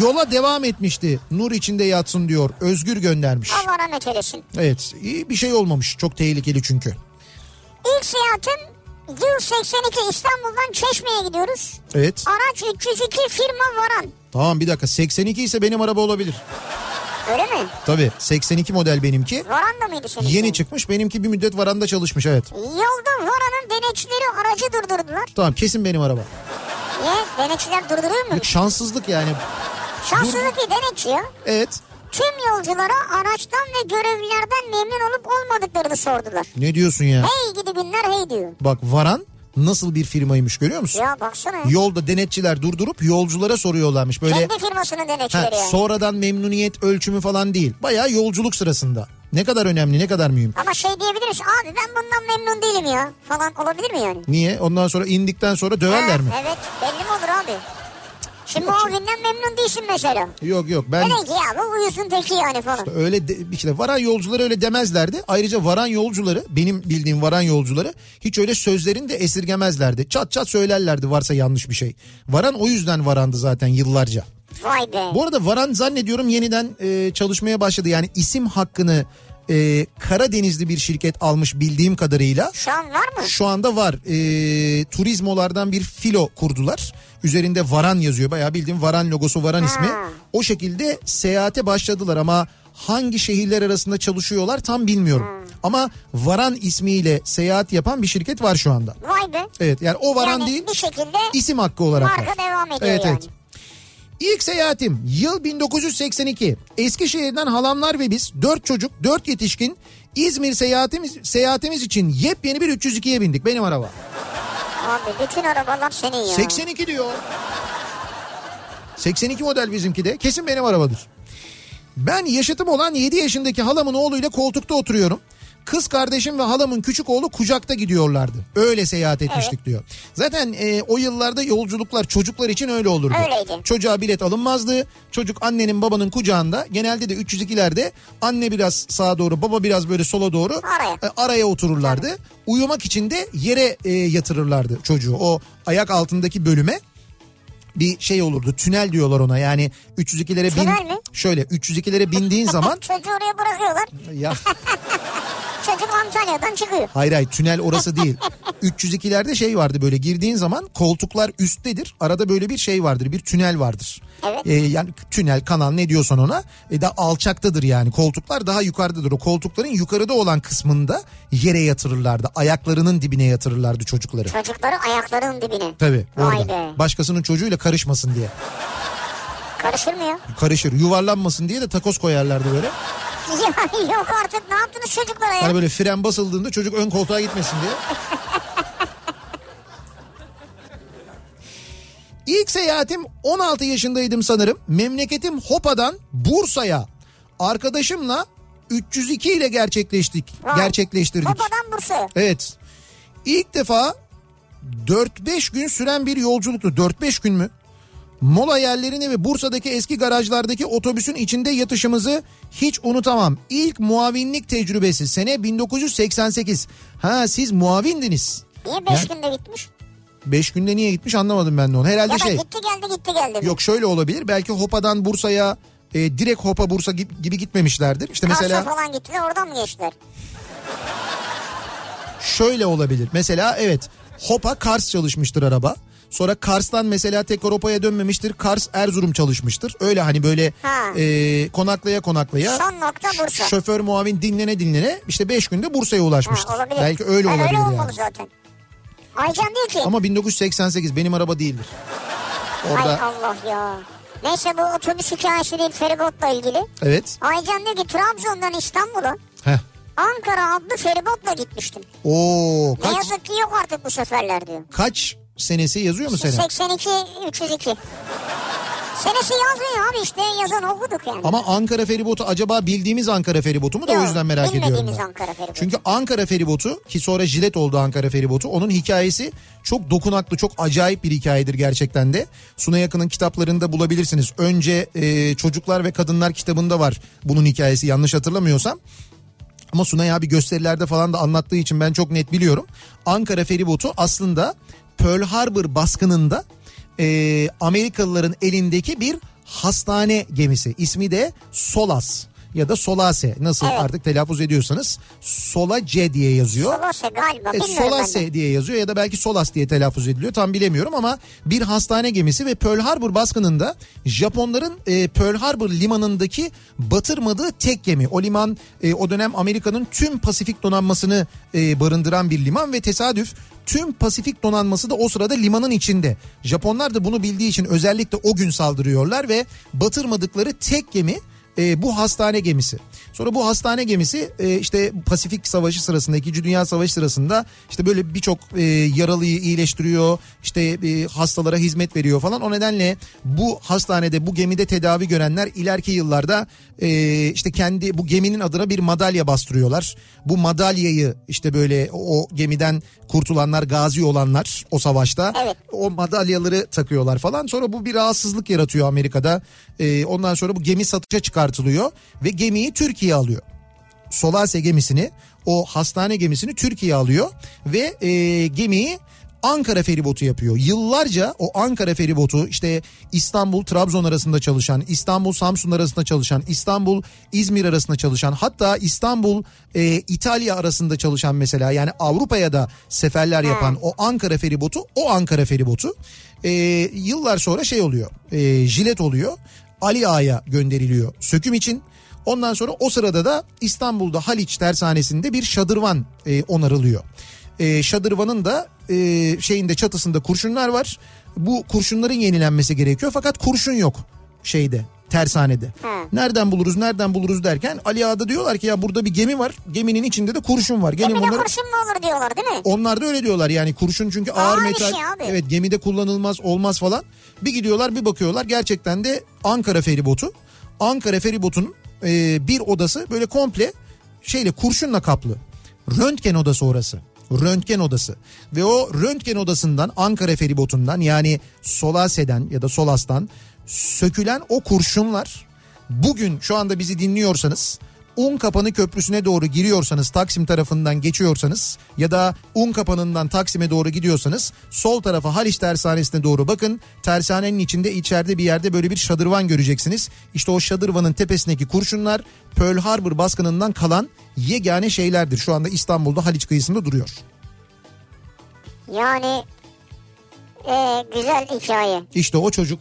D: yola devam etmişti. Nur içinde yatsın diyor. Özgür göndermiş.
A: Allah rahmet eylesin.
D: Evet iyi bir şey olmamış. Çok tehlikeli çünkü.
A: İlk seyahatim yıl 82 İstanbul'dan Çeşme'ye gidiyoruz.
D: Evet.
A: Araç 302 firma varan.
D: Tamam bir dakika 82 ise benim araba olabilir.
A: Öyle mi?
D: Tabii 82 model benimki.
A: Varan da mıydı senin?
D: Yeni
A: için?
D: çıkmış benimki bir müddet varanda çalışmış evet.
A: Yolda Varan'ın denetçileri aracı durdurdular.
D: Tamam kesin benim araba.
A: Niye? Denetçiler durduruyor mu?
D: Şanssızlık yani.
A: Şanssızlık bir denetçi ya.
D: Evet.
A: Tüm yolculara araçtan ve görevlilerden memnun olup olmadıklarını sordular.
D: Ne diyorsun ya?
A: Hey gidi günler hey diyor.
D: Bak Varan nasıl bir firmaymış görüyor musun?
A: Ya baksana.
D: Yolda denetçiler durdurup yolculara soruyorlarmış böyle.
A: Kendi firmasının
D: ha,
A: denetçileri yani.
D: sonradan memnuniyet ölçümü falan değil. Bayağı yolculuk sırasında. Ne kadar önemli, ne kadar mühim.
A: Ama şey diyebiliriz abi ben bundan memnun değilim ya falan olabilir mi yani?
D: Niye? Ondan sonra indikten sonra döverler
A: Ha,
D: mi?
A: Evet belli mi olur abi? Şimdi o günden memnun değilsin mesela.
D: Yok yok ben
A: Öyle ki ya bu uyusun teki yani falan.
D: öyle de, işte varan yolcuları öyle demezlerdi. Ayrıca varan yolcuları benim bildiğim varan yolcuları hiç öyle sözlerini de esirgemezlerdi. Çat çat söylerlerdi varsa yanlış bir şey. Varan o yüzden varandı zaten yıllarca.
A: Vay be.
D: Bu arada Varan zannediyorum yeniden e, çalışmaya başladı. Yani isim hakkını e, Karadenizli bir şirket almış bildiğim kadarıyla.
A: Şu an var mı?
D: Şu anda var. E, turizmolardan bir filo kurdular. Üzerinde Varan yazıyor. Bayağı bildiğim Varan logosu, Varan ismi.
A: Hmm.
D: O şekilde seyahate başladılar ama hangi şehirler arasında çalışıyorlar tam bilmiyorum.
A: Hmm.
D: Ama Varan ismiyle seyahat yapan bir şirket var şu anda.
A: Vay be.
D: Evet yani o Varan
A: yani
D: değil
A: bir şekilde
D: isim hakkı olarak
A: Marka
D: var.
A: devam ediyor yani.
D: İlk seyahatim yıl 1982. Eskişehir'den halamlar ve biz 4 çocuk 4 yetişkin İzmir seyahatimiz, seyahatimiz için yepyeni bir 302'ye bindik benim araba.
A: abi bütün arabalar senin ya.
D: 82 diyor. 82 model bizimki de kesin benim arabadır. Ben yaşıtım olan 7 yaşındaki halamın oğluyla koltukta oturuyorum. Kız kardeşim ve halamın küçük oğlu kucakta gidiyorlardı. Öyle seyahat etmiştik diyor. Zaten e, o yıllarda yolculuklar çocuklar için öyle olurdu.
A: Öyleydi.
D: Çocuğa bilet alınmazdı. Çocuk annenin babanın kucağında. Genelde de 302'lerde anne biraz sağa doğru baba biraz böyle sola doğru
A: Araya.
D: e, araya otururlardı. Uyumak için de yere e, yatırırlardı çocuğu. O ayak altındaki bölüme bir şey olurdu. Tünel diyorlar ona. Yani 302'lere bin
A: Tünel mi?
D: şöyle
A: [LAUGHS]
D: 302'lere bindiğin zaman
A: Çocuğu oraya bırakıyorlar.
D: ya
A: Çocuk Antalya'dan çıkıyor.
D: hayır hayır tünel
A: [LAUGHS]
D: orası değil. 302'lerde şey vardı böyle girdiğin zaman koltuklar üsttedir. Arada böyle bir şey vardır. Bir tünel vardır.
A: Evet.
D: E, yani tünel, kanal ne diyorsan ona e, da alçaktadır yani. Koltuklar daha yukarıdadır. O koltukların yukarıda olan kısmında yere yatırırlardı. Ayaklarının dibine yatırırlardı çocukları.
A: Çocukları ayaklarının dibine.
D: Tabii
A: Vay
D: orada.
A: be.
D: Başkasının çocuğuyla karışmasın diye.
A: Karışır mı ya?
D: Karışır. Yuvarlanmasın diye de takoz koyarlardı böyle.
A: [LAUGHS] Ya Yok artık ne yaptınız çocuklara ya?
D: Hani böyle fren basıldığında çocuk ön koltuğa gitmesin diye. İlk seyahatim 16 yaşındaydım sanırım. Memleketim Hopa'dan Bursa'ya arkadaşımla 302 ile gerçekleştik.
A: Vay.
D: Gerçekleştirdik.
A: Babadan Bursa'ya.
D: Evet. İlk defa 4-5 gün süren bir yolculuktu. 4-5 gün mü? Mola yerlerini ve Bursa'daki eski garajlardaki otobüsün içinde yatışımızı hiç unutamam. İlk muavinlik tecrübesi sene 1988. Ha siz muavindiniz.
A: Niye 5
D: Ya-
A: günde gitmiş?
D: 5 günde niye gitmiş anlamadım ben de onu. Herhalde
A: Ya da
D: şey.
A: gitti geldi gitti geldi. mi?
D: Yok şöyle olabilir. Belki Hopa'dan Bursa'ya e, direkt Hopa Bursa gibi, gibi gitmemişlerdir. İşte mesela
A: Kars'a falan gittiler oradan mı geçtiler?
D: şöyle olabilir. Mesela evet Hopa Kars çalışmıştır araba. Sonra Kars'tan mesela tek Avrupa'ya dönmemiştir. Kars Erzurum çalışmıştır. Öyle hani böyle
A: Ha.
D: e, konaklaya konaklaya.
A: Son nokta Bursa.
D: Şoför muavin dinlene dinlene işte 5 günde Bursa'ya ulaşmıştır.
A: Ha, olabilir.
D: Belki öyle
A: Ha,
D: olabilir
A: Öyle
D: yani.
A: olmalı zaten. Aycan diyor ki.
D: Ama 1988 benim araba değildir.
A: Ay
D: Orada
A: Allah ya. Neyse bu otobüs hikayesi değil feribotla ilgili.
D: evet.
A: Aycan diyor ki Trabzon'dan İstanbul'a
D: Heh.
A: Ankara adlı feribotla gitmiştim.
D: Oo
A: Ne
D: kaç
A: yazık ki yok artık bu seferler diyor.
D: kaç senesi yazıyor
A: Şey
D: mu sene?
A: 82 302. Senesi yazmıyor abi işte yazan okuduk yani.
D: Ama Ankara feribotu acaba bildiğimiz Ankara feribotu mu da o yüzden merak ediyorum.
A: Bilmediğimiz
D: ben.
A: Ankara feribotu.
D: Çünkü Ankara feribotu ki sonra jilet oldu Ankara feribotu. Onun hikayesi çok dokunaklı, çok acayip bir hikayedir gerçekten de. Suna Yakın'ın kitaplarında bulabilirsiniz. Önce e, Çocuklar ve Kadınlar kitabında var bunun hikayesi yanlış hatırlamıyorsam. Ama Sunay abi gösterilerde falan da anlattığı için ben çok net biliyorum. Ankara feribotu aslında Pearl Harbor baskınında e, Amerikalıların elindeki bir hastane gemisi. İsmi de Solas ya da Solase nasıl
A: Evet.
D: artık telaffuz ediyorsanız Solace diye yazıyor.
A: Solose galiba
D: E,
A: bilmiyorum ben de.
D: Solase diye yazıyor ya da belki Solas diye telaffuz ediliyor tam bilemiyorum ama bir hastane gemisi ve Pearl Harbor baskınında Japonların e, Pearl Harbor limanındaki batırmadığı tek gemi. O liman e, o dönem Amerika'nın tüm Pasifik donanmasını e, barındıran bir liman ve tesadüf tüm Pasifik donanması da o sırada limanın içinde. Japonlar da bunu bildiği için özellikle o gün saldırıyorlar ve batırmadıkları tek gemi e, bu hastane gemisi. Sonra bu hastane gemisi e, işte Pasifik Savaşı sırasında, İkinci Dünya Savaşı sırasında işte böyle birçok e, yaralıyı iyileştiriyor, işte e, hastalara hizmet veriyor falan. O nedenle bu hastanede, bu gemide tedavi görenler ileriki yıllarda e, işte kendi bu geminin adına bir madalya bastırıyorlar. Bu madalyayı işte böyle o o gemiden kurtulanlar, gazi olanlar o savaşta
A: Evet.
D: o madalyaları takıyorlar falan. Sonra bu bir rahatsızlık yaratıyor Amerika'da. Ee, ondan sonra bu gemi satışa çıkartılıyor ve gemiyi Türkiye alıyor. Solase gemisini o hastane gemisini Türkiye alıyor ve e, gemiyi Ankara feribotu yapıyor. Yıllarca o Ankara feribotu işte İstanbul Trabzon arasında çalışan, İstanbul Samsun arasında çalışan, İstanbul İzmir arasında çalışan, hatta İstanbul e, İtalya arasında çalışan mesela yani Avrupa'ya da seferler yapan o Ankara feribotu, o Ankara feribotu e, yıllar sonra şey oluyor, e, jilet oluyor. Ali Ağa'ya gönderiliyor söküm için. Ondan sonra o sırada da İstanbul'da Haliç tersanesinde bir şadırvan e, onarılıyor. E, şadırvanın da e, şeyinde çatısında kurşunlar var. Bu kurşunların yenilenmesi gerekiyor fakat kurşun yok şeyde tersanede. Nereden buluruz nereden buluruz derken Ali Ağa'da diyorlar ki ya burada bir gemi var. Geminin içinde de kurşun var. Gelin
A: Bir de
D: bunları
A: kurşun mu olur diyorlar değil mi?
D: onlar da öyle diyorlar yani kurşun çünkü ağır
A: Ağır bir
D: metal.
A: şey abi.
D: evet gemide kullanılmaz olmaz falan. Bir gidiyorlar bir bakıyorlar gerçekten de Ankara feribotu. Ankara feribotunun e, bir odası böyle komple şeyle kurşunla kaplı. Röntgen odası orası. Röntgen odası ve o röntgen odasından Ankara feribotundan yani Solase'den ya da Solas'tan sökülen o kurşunlar bugün şu anda bizi dinliyorsanız Unkapanı Köprüsü'ne doğru giriyorsanız Taksim tarafından geçiyorsanız ya da Unkapanı'ndan Taksim'e doğru gidiyorsanız sol tarafa Haliç Tersanesi'ne doğru bakın. Tersanenin içinde içeride bir yerde böyle bir şadırvan göreceksiniz. İşte o şadırvanın tepesindeki kurşunlar Pearl Harbor baskınından kalan yegane şeylerdir. Şu anda İstanbul'da Haliç kıyısında duruyor.
A: Yani e, güzel hikaye.
D: İşte o çocuk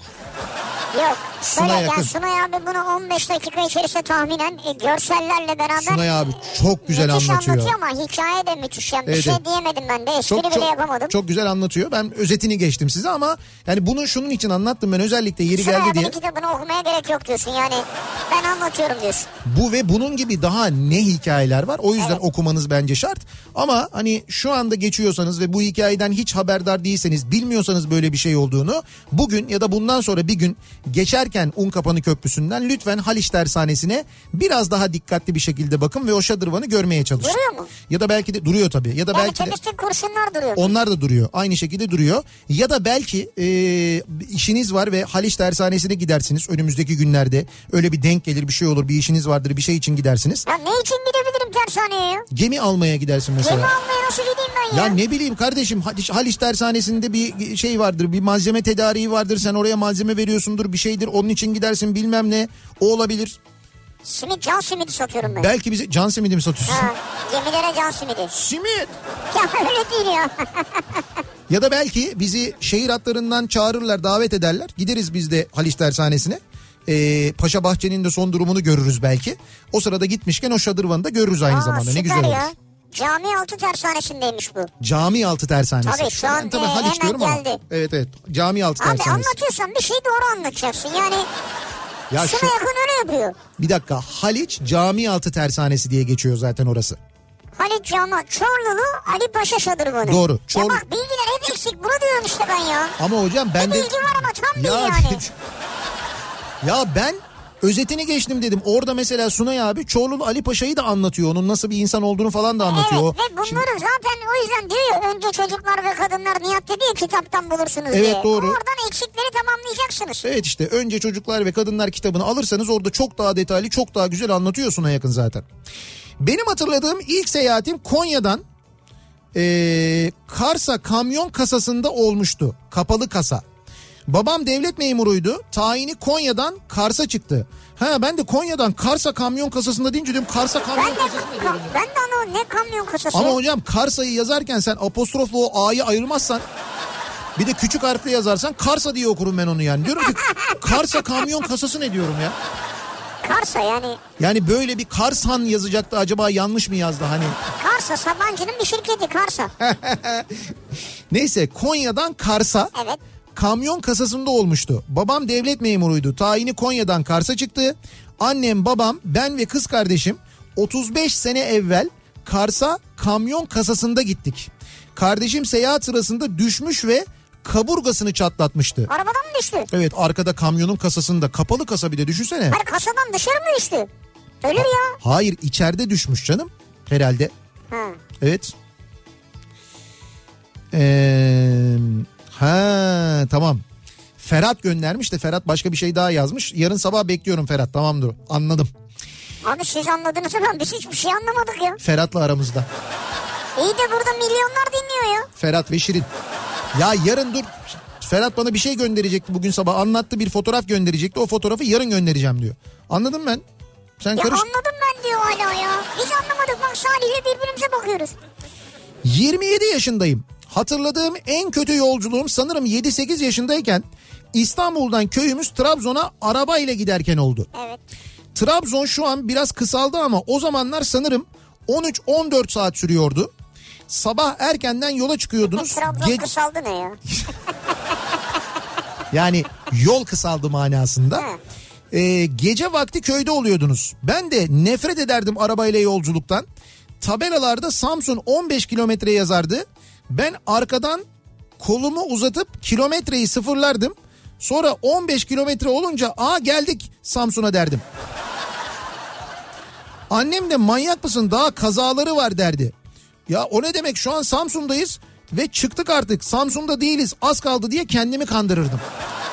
A: Yok.
D: Sunay
A: Sunay,
D: yakın.
A: yani Sunay abi bunu 15 dakika içerisinde tahminen e, görsellerle beraber
D: Sunay abi çok güzel
A: müthiş
D: anlatıyor.
A: ama hikaye de müthiş. Yani
D: Evet,
A: bir şey
D: evet.
A: diyemedim ben de. Espri bile yapamadım.
D: çok güzel anlatıyor. Ben özetini geçtim size ama yani bunu şunun için anlattım ben özellikle yeri
A: Sunay
D: geldi
A: abinin
D: diye.
A: kitabını okumaya gerek yok diyorsun yani. Ben anlatıyorum diyorsun.
D: Bu ve bunun gibi daha ne hikayeler var. O yüzden
A: Evet.
D: okumanız bence şart. Ama hani şu anda geçiyorsanız ve bu hikayeden hiç haberdar değilseniz, bilmiyorsanız böyle bir şey olduğunu bugün ya da bundan sonra bir gün geçerken Unkapanı Köprüsü'nden lütfen Haliç Tersanesi'ne biraz daha dikkatli bir şekilde bakın ve o şadırvanı görmeye çalışın.
A: Duruyor mu?
D: Ya da belki de duruyor tabii. Ya da
A: Yani
D: belki de
A: temizlik kurşunlar duruyor.
D: onlar da duruyor. Aynı şekilde duruyor. Ya da belki e, işiniz var ve Haliç Tersanesi'ne gidersiniz önümüzdeki günlerde. Öyle bir denk gelir bir şey olur bir işiniz vardır bir şey için gidersiniz.
A: Ya ne için gidebilirim tersaneye ya?
D: Gemi almaya gidersin mesela.
A: Gemi almaya nasıl gideyim ben ya?
D: Ya ne bileyim kardeşim Haliç, Haliç tersanesinde bir şey vardır bir malzeme tedariği vardır sen oraya malzeme veriyorsundur bir şeydir onun için gidersin bilmem ne o olabilir.
A: Simit can simidi satıyorum ben.
D: Belki bize can simidi mi satıyorsun?
A: Ha, gemilere can simidi.
D: Simit
A: Ya öyle değil ya.
D: Ya da belki bizi şehir hatlarından çağırırlar, davet ederler. Gideriz biz de Haliç Tersanesi'ne. Ee, Paşa Bahçe'nin de son durumunu görürüz belki. O sırada gitmişken o şadırvanı da görürüz aynı
A: Aa,
D: zamanda. Ne
A: süper
D: güzel olur.
A: ya. Cami altı tersanesindeymiş bu.
D: Cami altı tersanesi.
A: Tabii, şu an,
D: tabii
A: e,
D: Haliç
A: hemen
D: diyorum ama.
A: geldi.
D: Evet evet. Cami altı
A: Abi
D: tersanesi.
A: anlatıyorsan bir şeyi doğru anlatacaksın. Yani
D: Ya
A: şuna
D: şu-
A: yakın öyle yapıyor.
D: Bir dakika. Haliç Cami altı tersanesi diye geçiyor zaten orası.
A: Halit Cama Çorlulu Ali Paşa Şadırvanı.
D: Doğru,
A: Ya
D: Çorlu-
A: bak bilgiler hep eksik. Bunu diyorum işte ben ya.
D: Ama hocam ben
A: Ne
D: de...
A: bilgi var ama tam değil
D: [LAUGHS]
A: yani.
D: ya ben özetini geçtim dedim. Orada mesela Sunay abi Çorlulu Ali Paşa'yı da anlatıyor. Onun nasıl bir insan olduğunu falan da anlatıyor.
A: Evet
D: O-
A: ve bunları zaten o yüzden diyor ya önce çocuklar ve kadınlar Nihat dedi ya kitaptan bulursunuz
D: Evet,
A: diye.
D: doğru.
A: Oradan eksikleri tamamlayacaksınız.
D: Evet işte önce çocuklar ve kadınlar kitabını alırsanız orada çok daha detaylı çok daha güzel anlatıyor Sunay yakın zaten. Benim hatırladığım ilk seyahatim Konya'dan eee, Kars'a kamyon kasasında olmuştu. Kapalı kasa. Babam devlet memuruydu. Tayini Konya'dan Kars'a çıktı. Ha ben de Konya'dan Kars'a kamyon kasasında deyince dedim Kars'a kamyon
A: Ben de,
D: kasasında.
A: ka- ben de anlamadım ne kamyon kasası.
D: Ama hocam Kars'a'yı yazarken sen apostrofla o A'yı ayırmazsan bir de küçük harfle yazarsan Karsa diye okurum ben onu yani. Diyorum ki Karsa kamyon kasası ne diyorum ya.
A: Karsa yani.
D: Yani böyle bir Karsan yazacaktı acaba yanlış mı yazdı hani.
A: Karsa Sabancı'nın bir şirketi Karsa.
D: Neyse Konya'dan Kars'a
A: Evet.
D: kamyon kasasında olmuştu. Babam devlet memuruydu. Tayini Konya'dan Kars'a çıktı. Annem, babam, ben ve kız kardeşim 35 sene evvel Kars'a kamyon kasasında gittik. Kardeşim seyahat sırasında düşmüş ve kaburgasını çatlatmıştı.
A: Arabadan mı düştü?
D: Evet arkada kamyonun kasasında kapalı kasa bir de düşünsene.
A: Hayır kasadan dışarı mı düştü? Ölür ya.
D: Hayır içeride düşmüş canım herhalde.
A: Ha.
D: Evet. Ee, ha tamam. Ferhat göndermiş de Ferhat başka bir şey daha yazmış. Yarın sabah bekliyorum Ferhat tamamdır anladım.
A: Abi siz anladınız ama biz hiçbir şey anlamadık ya.
D: Ferhat'la aramızda.
A: İyi de burada milyonlar dinliyor ya.
D: Ferhat ve Şirin. Ya yarın dur Ferhat bana bir şey gönderecekti bugün sabah anlattı bir fotoğraf gönderecekti. O fotoğrafı yarın göndereceğim diyor. Anladım ben. Sen
A: Ya
D: karış.
A: anladım ben diyor hala ya. Biz anlamadık bak Salih'le birbirimize bakıyoruz.
D: 27 yaşındayım. Hatırladığım en kötü yolculuğum sanırım 7-8 yaşındayken İstanbul'dan köyümüz Trabzon'a arabayla giderken oldu.
A: Evet.
D: Trabzon şu an biraz kısaldı ama o zamanlar sanırım 13-14 saat sürüyordu. Sabah erkenden yola çıkıyordunuz.
A: Trabzon
D: Ge-
A: kısaldı ne ya?
D: yani yol kısaldı manasında.
A: He.
D: Ee, gece vakti köyde oluyordunuz. Ben de nefret ederdim arabayla yolculuktan. Tabelalarda Samsun 15 kilometre yazardı. Ben arkadan kolumu uzatıp kilometreyi sıfırlardım. Sonra 15 kilometre olunca aa geldik Samsun'a derdim. Annem de manyak mısın daha kazaları var derdi. Ya o ne demek şu an Samsun'dayız ve çıktık artık Samsun'da değiliz az kaldı diye kendimi kandırırdım.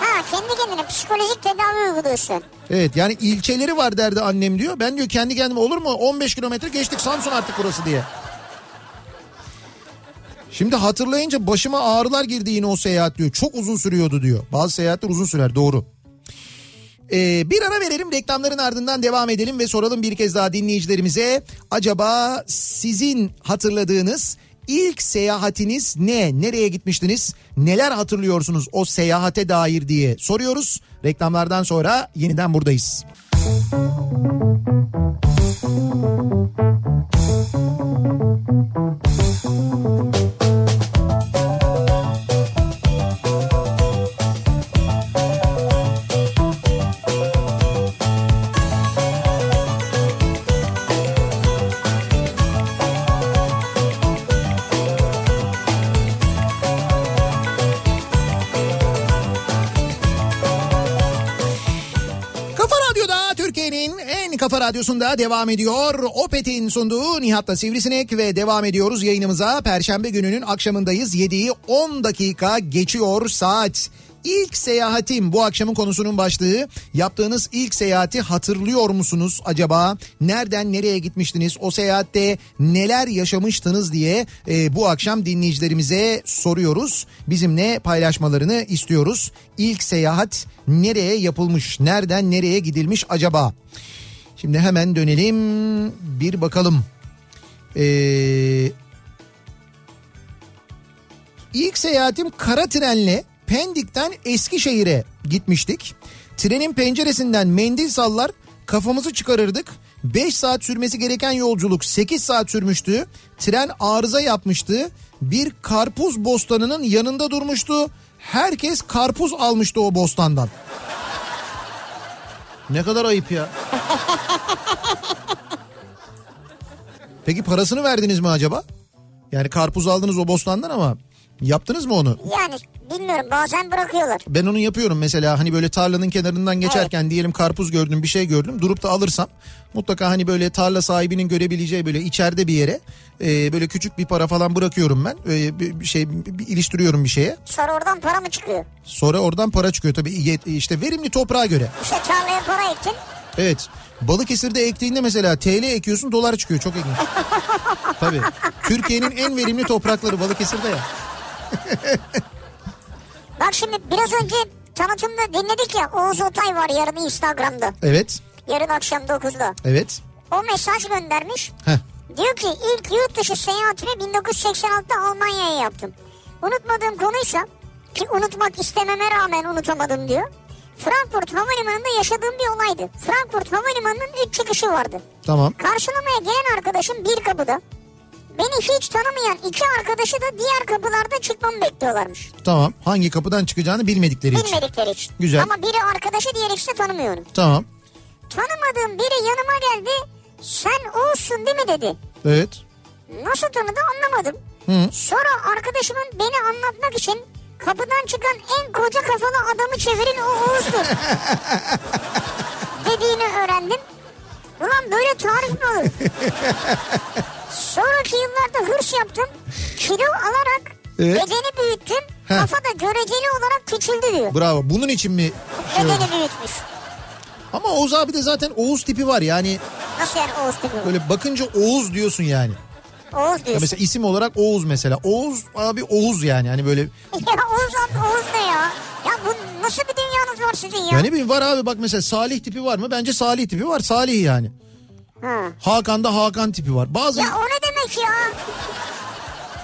A: Ha kendi kendine psikolojik tedavi uyguluyorsun.
D: Evet yani ilçeleri var derdi annem diyor. Ben diyor kendi kendime olur mu 15 kilometre geçtik Samsun artık burası diye. Şimdi hatırlayınca başıma ağrılar girdi yine o seyahat diyor. Çok uzun sürüyordu diyor. Bazı seyahatler uzun sürer doğru. Ee, bir ara verelim reklamların ardından devam edelim ve soralım bir kez daha dinleyicilerimize. Acaba sizin hatırladığınız ilk seyahatiniz ne? Nereye gitmiştiniz? Neler hatırlıyorsunuz o seyahate dair diye soruyoruz. Reklamlardan sonra yeniden buradayız. Kafa Radyo'da Türkiye'nin en kafa radyosunda devam ediyor. Opet'in sunduğu Nihat'la Sivrisinek ve devam ediyoruz yayınımıza. Perşembe gününün akşamındayız. 7'yi 10 dakika geçiyor saat. İlk seyahatim bu akşamın konusunun başlığı. Yaptığınız ilk seyahati hatırlıyor musunuz acaba? Nereden nereye gitmiştiniz? O seyahatte neler yaşamıştınız diye e, bu akşam dinleyicilerimize soruyoruz. Bizimle paylaşmalarını istiyoruz. İlk seyahat nereye yapılmış? Nereden nereye gidilmiş acaba? Şimdi hemen dönelim bir E, bakalım. Ee, İlk seyahatim kara trenle Pendik'ten Eskişehir'e gitmiştik. Trenin penceresinden mendil sallar kafamızı çıkarırdık. 5 saat sürmesi gereken yolculuk 8 saat sürmüştü. Tren arıza yapmıştı. Bir karpuz bostanının yanında durmuştu. Herkes karpuz almıştı o bostandan. Ne kadar ayıp ya. Peki parasını verdiniz mi acaba? Yani karpuz aldınız o bostandan ama yaptınız mı onu?
A: Yani bilmiyorum bazen bırakıyorlar.
D: Ben onu yapıyorum mesela hani böyle tarlanın kenarından geçerken diyelim karpuz gördüm bir şey gördüm durup da alırsam mutlaka hani böyle tarla sahibinin görebileceği böyle içeride bir yere e, böyle küçük bir para falan bırakıyorum ben E, bir bir şey bir- bir iliştiriyorum bir şeye
A: Sonra oradan para mı çıkıyor?
D: sonra oradan para çıkıyor tabii yet- işte verimli toprağa göre.
A: İşte tarlaya para ektin.
D: Evet. Balıkesir'de ektiğinde mesela TL ekiyorsun dolar çıkıyor. Çok ilginç. Tabii. Türkiye'nin en verimli toprakları Balıkesir'de ya.
A: Bak şimdi biraz önce tanıtımda dinledik ya Oğuz Otay var yarın Instagram'da.
D: Evet.
A: Yarın akşam 9'da.
D: Evet.
A: O mesaj göndermiş.
D: Heh.
A: Diyor ki ilk yurt dışı seyahatimi 1986'da Almanya'ya yaptım. Unutmadığım konuysa ki unutmak istememe rağmen unutamadım diyor. Frankfurt Havalimanı'nda yaşadığım bir olaydı. Frankfurt Havalimanı'nın 3 çıkışı vardı.
D: Tamam.
A: Karşılamaya gelen arkadaşım bir kapıda. Beni hiç tanımayan iki arkadaşı da diğer kapılarda çıkmamı bekliyorlarmış.
D: Tamam. Hangi kapıdan çıkacağını bilmedikleri için.
A: Bilmedikleri için.
D: Güzel.
A: Ama biri arkadaşı diğer ikisi de tanımıyorum.
D: Tamam.
A: Tanımadığım biri yanıma geldi. Sen olsun değil mi dedi.
D: Evet.
A: Nasıl tanıdı anlamadım.
D: Hı.
A: Sonra arkadaşımın beni anlatmak için kapıdan çıkan en koca kafalı adamı çevirin o
D: [LAUGHS]
A: Oğuz'dur. dediğini öğrendim. Ulan böyle tarif mi olur? Sonraki yıllarda hırs yaptım. Kilo alarak
D: Evet.
A: bedeni büyüttüm.
D: Ee? Heh.
A: Kafa da göreceli olarak küçüldü diyor.
D: Bravo. Bunun için mi? şey oldu?
A: bedeni büyütmüş.
D: Ama Oğuz abi de zaten Oğuz tipi var. Yani
A: Nasıl yani Oğuz diyor?
D: böyle bakınca Oğuz diyorsun yani.
A: Oğuz
D: Ya
A: diyorsun.
D: mesela isim olarak Oğuz mesela. Oğuz abi Oğuz yani. Hani
A: [LAUGHS]
D: böyle
A: ya Oğuz, abi, Oğuz ne ya? Ya bu nasıl bir dünyanız var sizin ya?
D: yani ne bileyim var abi bak mesela Salih tipi var mı? Bence Salih tipi var. Salih yani.
A: Ha.
D: Hakan'da Hakan tipi var. Bazı
A: Ya o ne demek ya?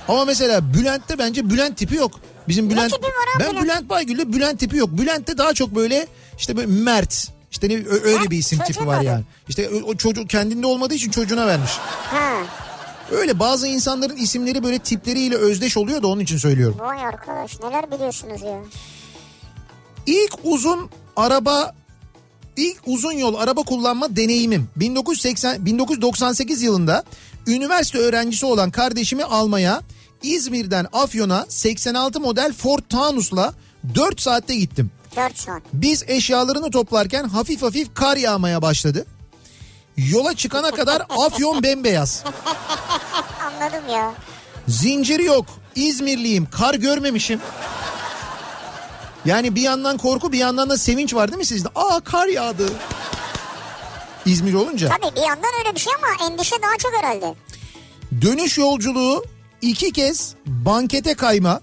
D: Ama mesela Bülent'te bence Bülent tipi yok. Bizim Bülent
A: tipi var abi
D: Ben
A: Bülent?
D: Bülent Baygül'de Bülent tipi yok. Bülent'te daha çok böyle işte böyle Mert işte ne, ö- öyle
A: Mert
D: bir isim
A: çocuğun
D: tipi var
A: adı.
D: yani. İşte o, o çocuk kendinde olmadığı için çocuğuna vermiş.
A: Ha.
D: Öyle bazı insanların isimleri böyle tipleriyle özdeş oluyor da onun için söylüyorum.
A: Vay arkadaş neler biliyorsunuz ya.
D: İlk uzun araba ilk uzun yol araba kullanma deneyimim 1980 1998 yılında üniversite öğrencisi olan kardeşimi almaya İzmir'den Afyon'a 86 model Ford Taunus'la 4 saatte gittim.
A: 4 saat.
D: Biz eşyalarını toplarken hafif hafif kar yağmaya başladı. Yola çıkana kadar Afyon bembeyaz.
A: Anladım ya.
D: Zinciri yok. İzmirliyim. Kar görmemişim. Yani bir yandan korku bir yandan da sevinç var değil mi sizde? Aa kar yağdı. İzmir olunca.
A: Tabii bir yandan öyle bir şey ama endişe daha çok herhalde.
D: Dönüş yolculuğu iki kez bankete kayma.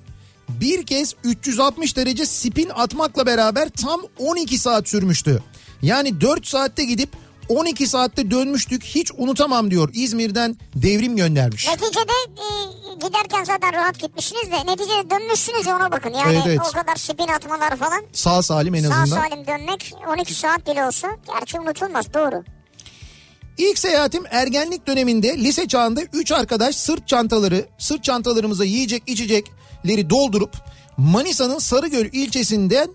D: Bir kez 360 derece spin atmakla beraber tam 12 saat sürmüştü. Yani 4 saatte gidip 12 saatte dönmüştük hiç unutamam diyor. İzmir'den devrim göndermiş.
A: Neticede e, giderken zaten rahat gitmişsiniz de neticede dönmüşsünüz ya ona bakın. Yani
D: Evet, evet.
A: o kadar spin atmalar falan.
D: Sağ salim en
A: Sağ
D: azından.
A: salim dönmek 12 saat bile olsa gerçi unutulmaz doğru.
D: İlk seyahatim ergenlik döneminde lise çağında 3 arkadaş sırt çantaları, sırt çantalarımıza yiyecek içecekleri doldurup Manisa'nın Sarıgöl ilçesinden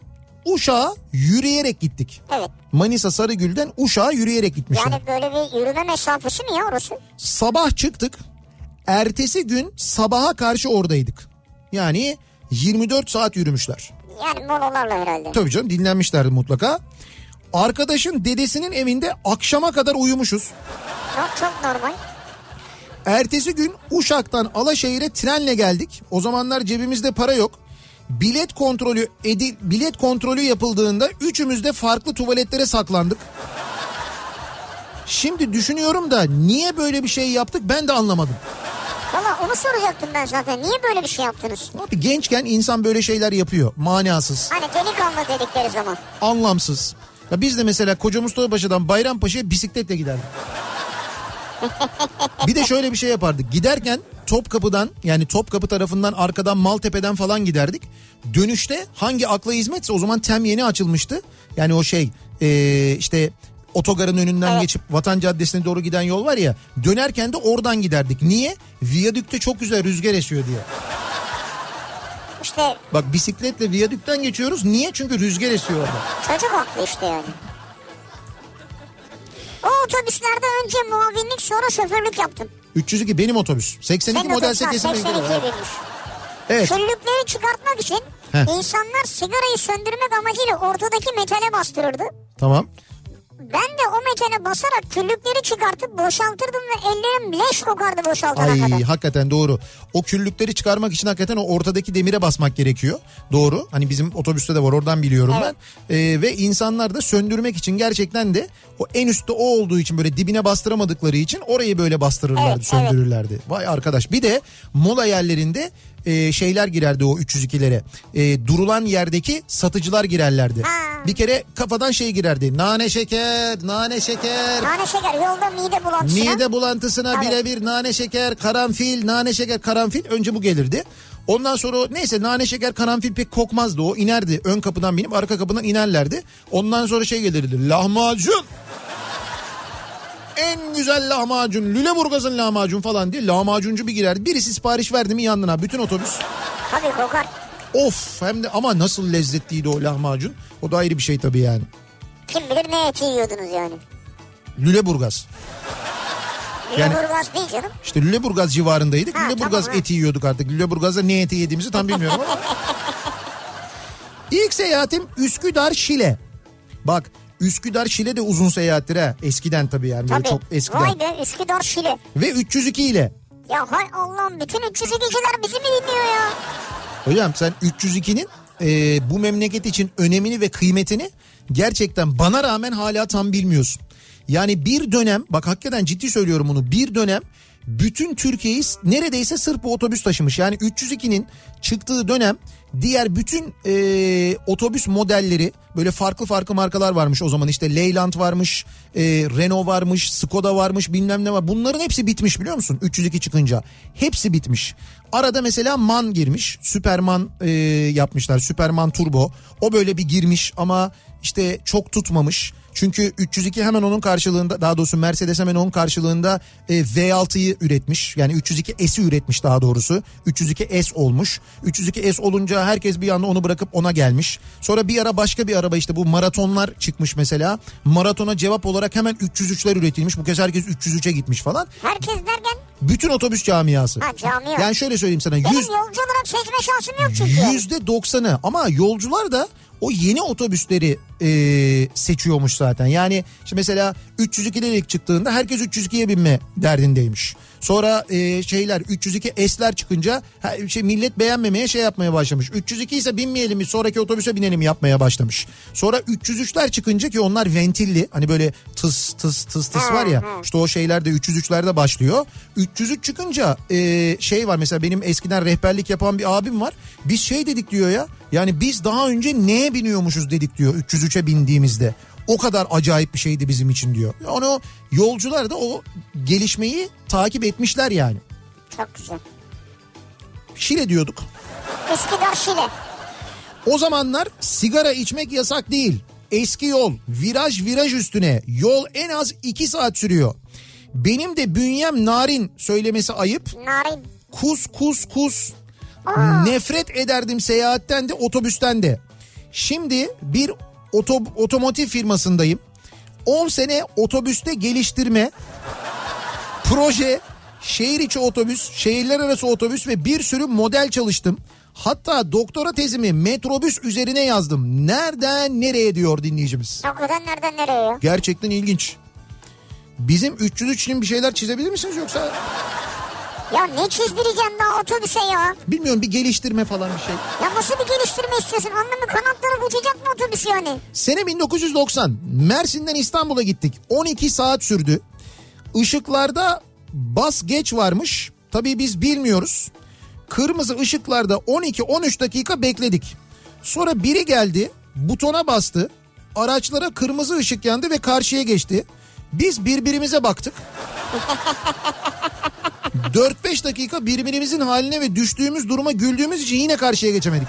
D: Uşak'a yürüyerek gittik.
A: Evet.
D: Manisa Sarıgül'den Uşak'a yürüyerek gitmişler.
A: Yani böyle bir yürüme mesafesi mi ya orası?
D: Sabah çıktık. Ertesi gün sabaha karşı oradaydık. Yani 24 saat yürümüşler.
A: Yani molalarla herhalde.
D: Tabii canım dinlenmişlerdi mutlaka. Arkadaşın dedesinin evinde akşama kadar uyumuşuz.
A: Çok, çok normal.
D: Ertesi gün Uşak'tan Alaşehir'e trenle geldik. O zamanlar cebimizde para yok. Bilet kontrolü edi, bilet kontrolü yapıldığında üçümüz de farklı tuvaletlere saklandık. Şimdi düşünüyorum da niye böyle bir şey yaptık ben de anlamadım.
A: Valla onu soracaktım ben zaten. Niye böyle bir şey yaptınız?
D: Abi gençken insan böyle şeyler yapıyor. Manasız,
A: Hani delikanlı dedikleri zaman.
D: anlamsız. Ya biz de mesela Koca Mustafa Paşa'dan Bayrampaşa'ya bisikletle giderdik. bir de şöyle bir şey yapardık. Giderken Topkapı'dan yani Topkapı tarafından arkadan Maltepe'den falan giderdik. Dönüşte hangi akla hizmetse o zaman tem yeni açılmıştı. Yani o şey e, işte otogarın önünden
A: Evet.
D: geçip Vatan Caddesi'ne doğru giden yol var ya dönerken de oradan giderdik. Niye? Viyadükte çok güzel rüzgar esiyor diye.
A: İşte
D: Bak bisikletle viyadükten geçiyoruz. Niye? Çünkü rüzgar esiyor orada.
A: çocuk haklı işte yani. O otobüslerde önce muavinlik sonra şoförlük yaptım.
D: 302 benim otobüs. 82
A: Sen
D: model
A: otobüs var,
D: 8
A: 82'ye binmiş.
D: Evet.
A: Küllükleri çıkartmak için
D: Heh.
A: insanlar sigarayı söndürmek amacıyla ortadaki metale bastırırdı.
D: Tamam.
A: Ben de o metale basarak küllükleri çıkartıp boşaltırdım ve ellerim leş kokardı boşaltana
D: Ay
A: kadar.
D: hakikaten doğru. O küllükleri çıkarmak için hakikaten o ortadaki demire basmak gerekiyor. Doğru. Hani bizim otobüste de var oradan biliyorum
A: Evet.
D: ben. Ee, ve insanlar da söndürmek için gerçekten de o en üstte o olduğu için böyle dibine bastıramadıkları için orayı böyle bastırırlardı,
A: Evet,
D: söndürürlerdi. Vay arkadaş. Bir de mola yerlerinde e, şeyler girerdi o 302'lere. E, durulan yerdeki satıcılar girerlerdi.
A: Ha.
D: Bir kere kafadan şey girerdi. Nane şeker, nane şeker.
A: Nane şeker yolda mide bulantısına.
D: Mide bulantısına
A: Tabii.
D: birebir nane şeker, karanfil, nane şeker, karanfil önce bu gelirdi. Ondan sonra o- neyse nane şeker karanfil pek kokmazdı o inerdi ön kapıdan binip arka kapıdan inerlerdi. Ondan sonra şey gelirdi lahmacun. En güzel lahmacun Lüleburgaz'ın lahmacun falan diye lahmacuncu bir girerdi. Birisi sipariş verdi mi yanına bütün otobüs.
A: Tabii kokar.
D: Of hem de ama nasıl lezzetliydi o lahmacun. O da ayrı bir şey tabii yani.
A: Kim bilir ne eti yiyordunuz yani.
D: Lüleburgaz.
A: Yani...
D: Yani-
A: değil canım.
D: İşte Lüleburgaz civarındaydık.
A: Ha,
D: Lüleburgaz
A: tamam, ha.
D: eti yiyorduk artık. Lüleburgaz'da ne eti yediğimizi tam bilmiyorum
A: [LAUGHS]
D: ama. İlk seyahatim Üsküdar Şile. Bak Üsküdar Şile de uzun seyahattir ha. Eskiden tabii yani böyle
A: Tabii.
D: çok eskiden.
A: Vay be Üsküdar Şili.
D: Ve 302 ile.
A: Ya hay Allah'ım bütün 302'ciler bizi mi dinliyor ya?
D: Hocam sen 302'nin e, bu memleket için önemini ve kıymetini gerçekten bana rağmen hala tam bilmiyorsun. Yani bir dönem bak hakikaten ciddi söylüyorum bunu bir dönem bütün Türkiye'yi s- neredeyse sırf bu otobüs taşımış. Yani 302'nin çıktığı dönem diğer bütün e, otobüs modelleri böyle farklı farklı markalar varmış o zaman işte Leyland varmış, e, Renault varmış, Skoda varmış bilmem ne var. Bunların hepsi bitmiş biliyor musun 302 çıkınca. Hepsi bitmiş. Arada mesela Man girmiş. Superman e, yapmışlar. Superman Turbo. O böyle bir girmiş ama işte çok tutmamış. Çünkü 302 hemen onun karşılığında daha doğrusu Mercedes hemen onun karşılığında e, V6'yı üretmiş. Yani 302 S'i üretmiş daha doğrusu. 302 S olmuş. 302 S olunca herkes bir anda onu bırakıp ona gelmiş. Sonra bir ara başka bir araba işte bu maratonlar çıkmış mesela. Maratona cevap olarak hemen 303'ler üretilmiş. Bu kez herkes 303'e gitmiş falan.
A: Herkes derken
D: Bütün otobüs camiası.
A: Ha, camia.
D: Yani şöyle söyleyeyim sana.
A: benim
D: Yüz,
A: yolcu olarak seçme şansım yok çünkü.
D: yüzde doksanı ama yolcular da o yeni otobüsleri e, seçiyormuş zaten. Yani işte mesela 302 delik çıktığında herkes 302'ye binme derdindeymiş. Sonra e, şeyler 302 S'ler çıkınca her, şey, millet beğenmemeye şey yapmaya başlamış. 302 ise binmeyelim biz sonraki otobüse binelim yapmaya başlamış. Sonra 303'ler çıkınca ki onlar ventilli hani böyle tıs tıs tıs tıs var ya işte o şeyler de 303'lerde başlıyor. 303 çıkınca e, şey var mesela benim eskiden rehberlik yapan bir abim var. Biz şey dedik diyor ya yani biz daha önce neye biniyormuşuz dedik diyor 303'e bindiğimizde. O kadar acayip bir şeydi bizim için diyor. Onu yolcular da o gelişmeyi takip etmişler yani.
A: Çok güzel.
D: Şile diyorduk.
A: Üsküdar Şili.
D: O zamanlar sigara içmek yasak değil. Eski yol, viraj viraj üstüne. Yol en az 2 saat sürüyor. Benim de bünyem narin söylemesi ayıp.
A: Narin.
D: Kus kus kus. Nefret ederdim seyahatten de otobüsten de. Şimdi bir oto, otomotiv firmasındayım. 10 sene otobüste geliştirme, proje, şehir içi otobüs, şehirler arası otobüs ve bir sürü model çalıştım. Hatta doktora tezimi metrobüs üzerine yazdım. Nereden nereye diyor dinleyicimiz.
A: Dokudan nereden nereye ya?
D: Gerçekten ilginç. Bizim 303 için bir şeyler çizebilir misiniz yoksa?
A: Ya ne çizdireceğim daha otobüse ya?
D: Bilmiyorum bir geliştirme falan bir şey.
A: Ya nasıl bir geliştirme istiyorsun? Anlamı kanatları uçacak mı otobüs yani?
D: Sene 1990. Mersin'den İstanbul'a gittik. 12 saat sürdü. Işıklarda bas geç varmış. Tabii biz bilmiyoruz. Kırmızı ışıklarda 12-13 dakika bekledik. Sonra biri geldi, butona bastı. Araçlara kırmızı ışık yandı ve karşıya geçti. Biz birbirimize baktık. 4-5 dakika birbirimizin haline ve düştüğümüz duruma güldüğümüz için yine karşıya geçemedik.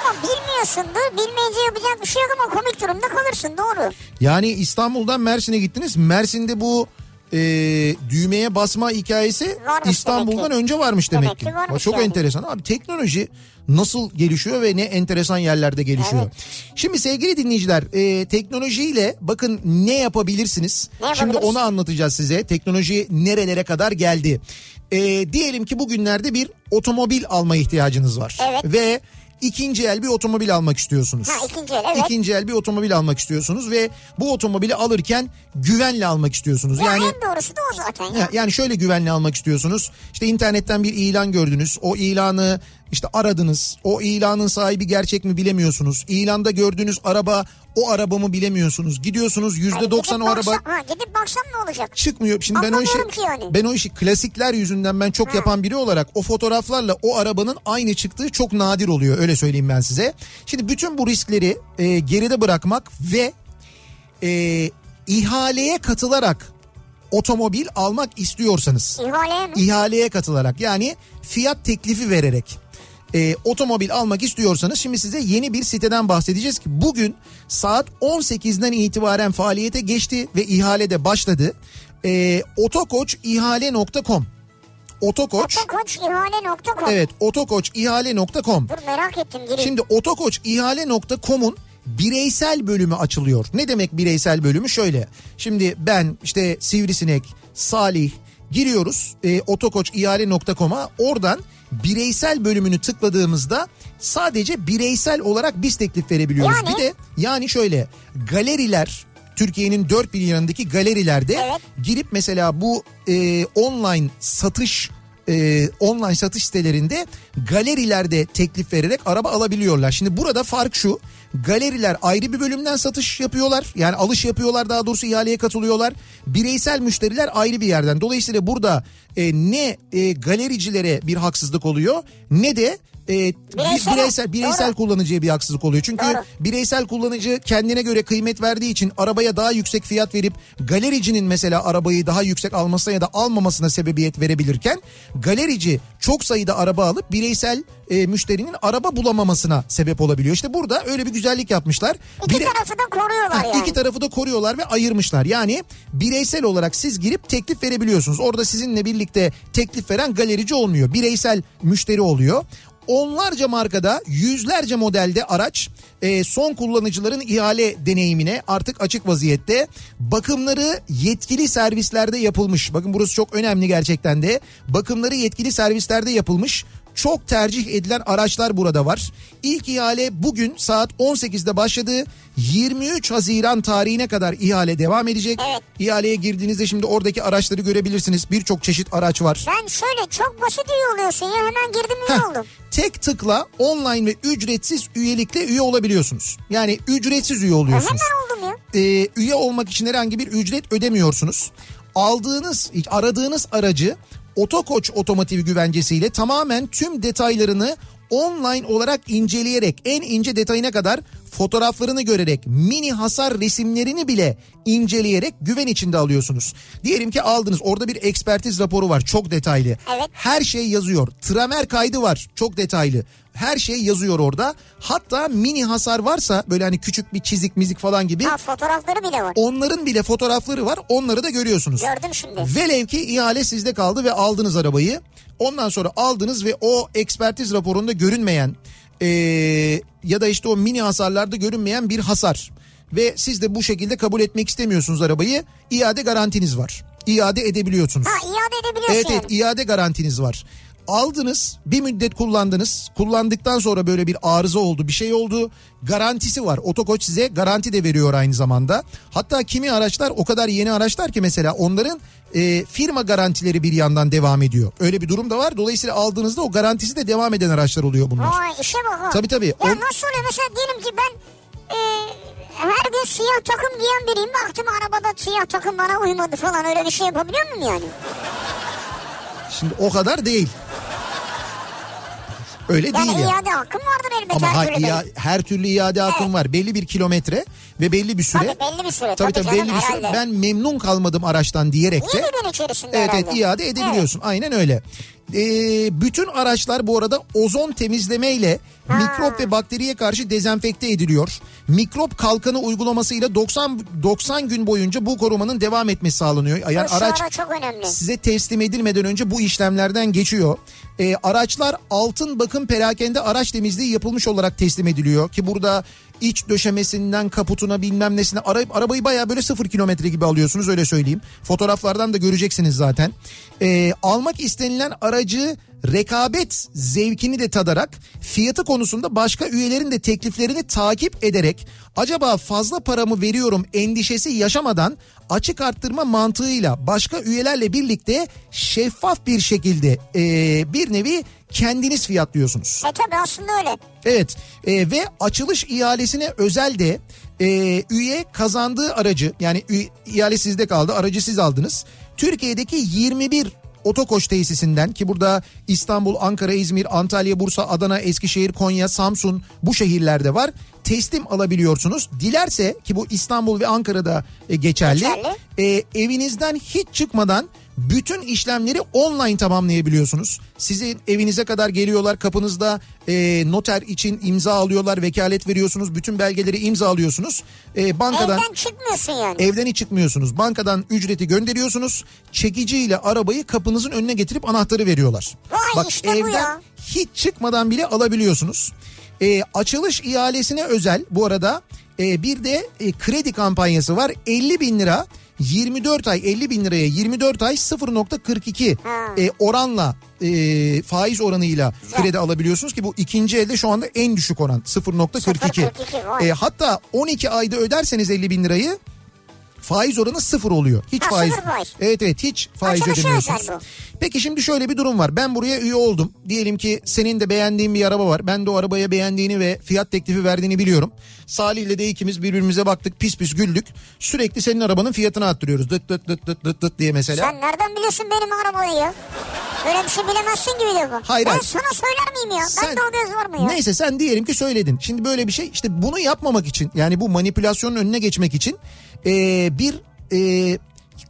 A: Ama bilmiyorsundur. Bilmeyince yapacak bir şey yok ama komik durumda kalırsın doğru.
D: Yani İstanbul'dan Mersin'e gittiniz. Mersin'de bu e, düğmeye basma hikayesi
A: Varmış
D: İstanbul'dan
A: demek ki.
D: önce varmış demek,
A: Demek ki varmış
D: Ama Çok
A: yani.
D: enteresan. Abi teknoloji nasıl gelişiyor ve ne enteresan yerlerde gelişiyor.
A: Evet.
D: Şimdi sevgili dinleyiciler e, teknolojiyle bakın ne yapabilirsiniz.
A: Ne
D: Şimdi
A: yapabiliriz?
D: onu anlatacağız size. Teknoloji nerelere kadar geldi. E, diyelim ki bugünlerde bir otomobil alma ihtiyacınız var.
A: Evet.
D: Ve ikinci el bir otomobil almak istiyorsunuz.
A: Ha, ikinci el, evet.
D: İkinci el bir otomobil almak istiyorsunuz ve bu otomobili alırken güvenle almak istiyorsunuz.
A: Ya
D: Yani
A: en doğrusu da o zaten ya.
D: Ya- yani şöyle güvenli almak istiyorsunuz. İşte internetten bir ilan gördünüz. O ilanı işte aradınız. O ilanın sahibi gerçek mi bilemiyorsunuz. İlanda gördüğünüz araba o araba mı bilemiyorsunuz. Gidiyorsunuz
A: Hani
D: yüzde doksan
A: gidip
D: o araba
A: baksam- Ha, gidip baksam ne olacak?
D: çıkmıyor. Şimdi ben o işi
A: Anlamıyorum ki yani.
D: ben o işi klasikler yüzünden ben çok
A: Ha.
D: yapan biri olarak o fotoğraflarla o arabanın aynı çıktığı çok nadir oluyor öyle söyleyeyim ben size. Şimdi bütün bu riskleri e, geride bırakmak ve e, ihaleye katılarak otomobil almak istiyorsanız
A: İhaleye mi?
D: ihaleye katılarak yani fiyat teklifi vererek e, otomobil almak istiyorsanız şimdi size yeni bir siteden bahsedeceğiz ki bugün saat 18'den itibaren faaliyete geçti ve ihale de başladı. E, otokoçihale.com Otokoç
A: Otokoçihale.com
D: evet otokoçihale.com
A: Dur merak ettim gireyim.
D: Şimdi otokoçihale.com'un bireysel bölümü açılıyor. Ne demek bireysel bölümü? Şöyle. Şimdi ben işte Sivrisinek, Salih giriyoruz e, otokoçihale.com'a. Oradan bireysel bölümünü tıkladığımızda sadece bireysel olarak biz teklif verebiliyoruz.
A: Yani?
D: Bir de yani şöyle galeriler Türkiye'nin dört bir yanındaki galerilerde
A: Evet.
D: girip mesela bu e, online satış e, online satış sitelerinde galerilerde teklif vererek araba alabiliyorlar. Şimdi burada fark şu. Galeriler ayrı bir bölümden satış yapıyorlar. Yani alış yapıyorlar daha doğrusu ihaleye katılıyorlar. Bireysel müşteriler ayrı bir yerden. Dolayısıyla burada e, ne e, galericilere bir haksızlık oluyor ne de e,
A: Bireysel.
D: bireysel bireysel, bireysel
A: Doğru.
D: kullanıcıya bir haksızlık oluyor. Çünkü
A: Doğru.
D: bireysel kullanıcı kendine göre kıymet verdiği için arabaya daha yüksek fiyat verip galericinin mesela arabayı daha yüksek almasına ya da almamasına sebebiyet verebilirken galerici çok sayıda araba alıp bireysel e, müşterinin araba bulamamasına sebep olabiliyor. İşte burada öyle bir güzellik yapmışlar.
A: İki
D: Bire-
A: tarafı da koruyorlar
D: Ha,
A: yani.
D: İki tarafı da koruyorlar ve ayırmışlar. Yani bireysel olarak siz girip teklif verebiliyorsunuz. Orada sizinle birlikte teklif veren galerici olmuyor. Bireysel müşteri oluyor. Onlarca markada yüzlerce modelde araç e, son kullanıcıların ihale deneyimine artık açık vaziyette. Bakımları yetkili servislerde yapılmış. Bakın burası çok önemli gerçekten de. Bakımları yetkili servislerde yapılmış. Çok tercih edilen araçlar burada var. İlk ihale bugün saat 18'de başladı. 23 Haziran tarihine kadar ihale devam edecek.
A: Evet.
D: İhaleye girdiğinizde şimdi oradaki araçları görebilirsiniz. Birçok çeşit araç var.
A: Sen şöyle çok basit üye oluyorsun ya hemen girdim üye
D: Heh,
A: oldum.
D: Tek tıkla online ve ücretsiz üyelikle üye olabiliyorsunuz. Yani ücretsiz üye
A: Ya
D: oluyorsunuz.
A: E, hemen oldum ya.
D: Ee, üye olmak için herhangi bir ücret ödemiyorsunuz. Aldığınız, aradığınız aracı Otokoç otomotiv güvencesiyle tamamen tüm detaylarını online olarak inceleyerek en ince detayına kadar fotoğraflarını görerek mini hasar resimlerini bile inceleyerek güven içinde alıyorsunuz. Diyelim ki aldınız orada bir ekspertiz raporu var çok detaylı.
A: Evet.
D: Her şey yazıyor. Tramer kaydı var. Çok detaylı. Her şey yazıyor orada. Hatta mini hasar varsa böyle hani küçük bir çizik mizik falan gibi
A: Ha fotoğrafları bile var.
D: onların bile fotoğrafları var. Onları da görüyorsunuz.
A: Gördüm şimdi.
D: Velev ki ihale sizde kaldı ve aldınız arabayı. Ondan sonra aldınız ve o ekspertiz raporunda görünmeyen eee, ya da işte o mini hasarlarda görünmeyen bir hasar. Ve siz de bu şekilde kabul etmek istemiyorsunuz arabayı. İade garantiniz var. İade edebiliyorsunuz.
A: Ha iade edebiliyorsun
D: Evet
A: yani.
D: evet iade garantiniz var. Aldınız bir müddet kullandınız kullandıktan sonra böyle bir arıza oldu bir şey oldu garantisi var otokoç size garanti de veriyor aynı zamanda hatta kimi araçlar o kadar yeni araçlar ki mesela onların e, firma garantileri bir yandan devam ediyor öyle bir durum da var dolayısıyla aldığınızda o garantisi de devam eden araçlar oluyor bunlar.
A: Vay işe bak ha.
D: Tabii, tabii.
A: Ya
D: On-
A: nasıl oluyor mesela diyelim ki ben e, her gün siyah takım giyen biriyim. Baktım arabada siyah takım bana uymadı falan öyle bir şey yapabiliyor muyum yani?
D: Şimdi o kadar değil öyle
A: Yani
D: değil ya.
A: iade hakkım vardır elbette
D: Ama
A: her
D: ha-
A: türlü benim.
D: iya- her türlü iade hakkım var. Belli bir kilometre ve belli bir süre
A: Tabii belli bir süre,
D: tabii,
A: E, tabii
D: tabii belli
A: canım,
D: bir süre
A: herhalde.
D: ben memnun kalmadım araçtan diyerek de
A: İyi bir gün içerisinde
D: evet,
A: herhalde.
D: evet iade edebiliyorsun. Aynen öyle. Ee, bütün araçlar bu arada ozon temizlemeyle mikrop ve bakteriye karşı dezenfekte ediliyor. Mikrop kalkanı uygulamasıyla 90 90 gün boyunca bu korumanın devam etmesi sağlanıyor. Yani
A: Bu şu
D: araç
A: ara çok önemli.
D: size teslim edilmeden önce bu işlemlerden geçiyor. Ee, araçlar altın bakım perakende araç temizliği yapılmış olarak teslim ediliyor ki burada iç döşemesinden kaputuna bilmem nesine ara- arabayı bayağı böyle sıfır kilometre gibi alıyorsunuz öyle söyleyeyim. Fotoğraflardan da göreceksiniz zaten. Ee, almak istenilen aracı rekabet zevkini de tadarak fiyatı konusunda başka üyelerin de tekliflerini takip ederek acaba fazla paramı veriyorum endişesi yaşamadan açık arttırma mantığıyla başka üyelerle birlikte şeffaf bir şekilde e, bir nevi kendiniz fiyatlıyorsunuz.
A: E tabii aslında öyle.
D: Evet e, ve açılış ihalesine özel de e, üye kazandığı aracı yani ü- ihale sizde kaldı aracı siz aldınız. Türkiye'deki 21 otokoç tesisinden ki burada İstanbul, Ankara, İzmir, Antalya, Bursa, Adana, Eskişehir, Konya, Samsun bu şehirlerde var. Teslim alabiliyorsunuz. Dilerse ki bu İstanbul ve Ankara'da e, geçerli.
A: Geçerli.
D: E, evinizden hiç çıkmadan bütün işlemleri online tamamlayabiliyorsunuz. Sizin evinize kadar geliyorlar kapınızda e, noter için imza alıyorlar vekalet veriyorsunuz bütün belgeleri imzalıyorsunuz. E, bankadan
A: Evden çıkmıyorsun yani.
D: evden hiç çıkmıyorsunuz bankadan ücreti gönderiyorsunuz çekiciyle arabayı kapınızın önüne getirip anahtarı veriyorlar.
A: Vay işte bu
D: evden
A: ya.
D: hiç çıkmadan bile alabiliyorsunuz. E, açılış ihalesine özel bu arada e, bir de e, kredi kampanyası var 50 bin lira 24 ay 50 bin liraya 24 ay 0.42 e, oranla e, faiz oranıyla kredi alabiliyorsunuz ki bu ikinci elde şu anda en düşük oran 0.42.
A: 0.42, vay.
D: E, hatta 12 ayda öderseniz 50 bin lirayı faiz oranı sıfır oluyor. Hiç
A: Ha,
D: faiz.
A: sıfır faiz.
D: Evet evet hiç faiz
A: Açılışa
D: ödemiyorsunuz.
A: özel bu.
D: Peki şimdi şöyle bir durum var. Ben buraya üye oldum. Diyelim ki senin de beğendiğin bir araba var. Ben de o arabaya beğendiğini ve fiyat teklifi verdiğini biliyorum. Salih'le de ikimiz birbirimize baktık pis pis güldük. Sürekli senin arabanın fiyatını arttırıyoruz. Dıt dıt dıt dıt dıt dıt diye mesela.
A: Sen nereden biliyorsun benim arabayı ya? Böyle bir şey bilemezsin gibi diyor bu.
D: Hayır,
A: Ben
D: hayır.
A: sana söyler miyim ya? Ben de o göz var mı ya?
D: Neyse sen diyelim ki söyledin. Şimdi böyle bir şey işte bunu yapmamak için yani bu manipülasyonun önüne geçmek için eee, bir eee,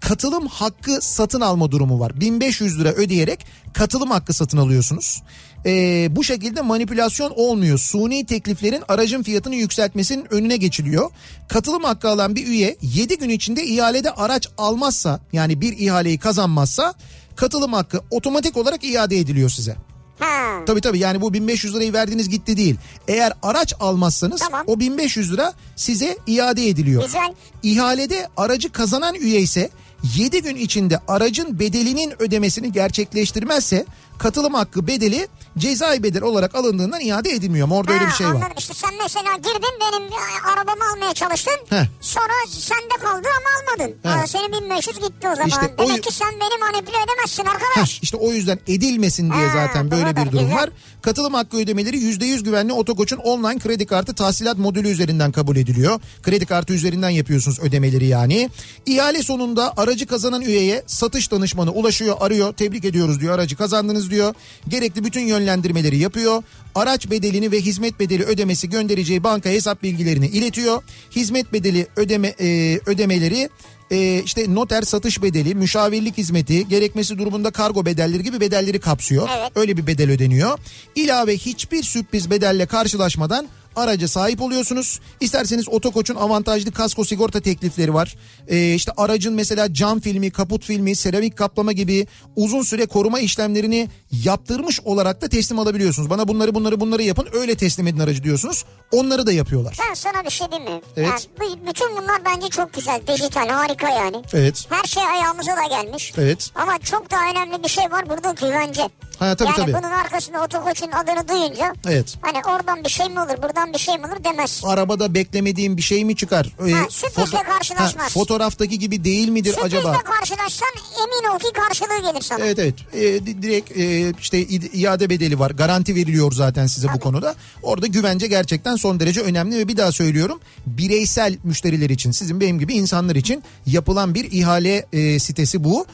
D: katılım hakkı satın alma durumu var. 1500 lira ödeyerek katılım hakkı satın alıyorsunuz. Eee, bu şekilde manipülasyon olmuyor. Suni tekliflerin aracın fiyatını yükseltmesinin önüne geçiliyor. Katılım hakkı alan bir üye 7 gün içinde ihalede araç almazsa yani bir ihaleyi kazanmazsa katılım hakkı otomatik olarak iade ediliyor size.
A: Ha.
D: Tabii tabii yani bu 1500 lirayı verdiğiniz gitti değil. Eğer araç almazsanız
A: Tamam.
D: o 1500 lira size iade ediliyor.
A: Güzel.
D: İhalede aracı kazanan üye ise 7 gün içinde aracın bedelinin ödemesini gerçekleştirmezse katılım hakkı bedeli cezai bedel olarak alındığından iade edilmiyor. ama Orada öyle bir
A: Ha,
D: şey var.
A: anladım. İşte sen mesela girdin benim e, arabamı almaya çalıştın.
D: Heh.
A: Sonra sende kaldı ama almadın.
D: He.
A: Aa, senin 1500 gitti o zaman.
D: İşte o-
A: Demek ki sen beni manipüle edemezsin
D: Heh,
A: arkadaş.
D: işte o yüzden edilmesin diye
A: Ha,
D: zaten böyle
A: doğrudur,
D: bir durum
A: güzel.
D: var. Katılım hakkı ödemeleri %100 güvenli Otokoç'un online kredi kartı tahsilat modülü üzerinden kabul ediliyor. Kredi kartı üzerinden yapıyorsunuz ödemeleri yani. İhale sonunda aracı kazanan üyeye satış danışmanı ulaşıyor, arıyor, tebrik ediyoruz diyor. Aracı kazandınız diyor. Gerekli bütün yönlendirmeleri yapıyor. Araç bedelini ve hizmet bedeli ödemesi göndereceği banka hesap bilgilerini iletiyor. Hizmet bedeli ödeme e, ödemeleri e, işte noter satış bedeli, müşavirlik hizmeti, gerekmesi durumunda kargo bedelleri gibi bedelleri kapsıyor.
A: Evet.
D: Öyle bir bedel ödeniyor. İlave hiçbir sürpriz bedelle karşılaşmadan araca sahip oluyorsunuz. İsterseniz Otokoç'un avantajlı kasko sigorta teklifleri var. Ee, işte aracın mesela cam filmi, kaput filmi, seramik kaplama gibi uzun süre koruma işlemlerini yaptırmış olarak da teslim alabiliyorsunuz. Bana bunları bunları bunları yapın öyle teslim edin aracı diyorsunuz. Onları da yapıyorlar.
A: Ben sana bir şey diyeyim mi?
D: Evet.
A: Yani bu- bütün bunlar bence çok güzel. Dijital harika yani.
D: Evet.
A: Her şey ayağımıza da gelmiş.
D: Evet.
A: Ama çok daha önemli bir şey var burada güvence.
D: Ha, tabii,
A: yani
D: tabii.
A: bunun arkasında otokoçun adını duyunca
D: Evet.
A: hani oradan bir şey mi olur buradan bir şey mi olur demez.
D: arabada beklemediğim bir şey mi çıkar? Ee,
A: Ha, sürprizle karşılaşmaz.
D: fotoğraftaki gibi değil midir
A: Sürprizle
D: acaba?
A: karşılaşsan emin ol ki karşılığı gelir sana.
D: Evet evet Ee, di- direkt e, işte i- iade bedeli var garanti veriliyor zaten size bu konuda orada güvence gerçekten son derece önemli ve bir daha söylüyorum bireysel müşteriler için sizin benim gibi insanlar için yapılan bir ihale e, sitesi bu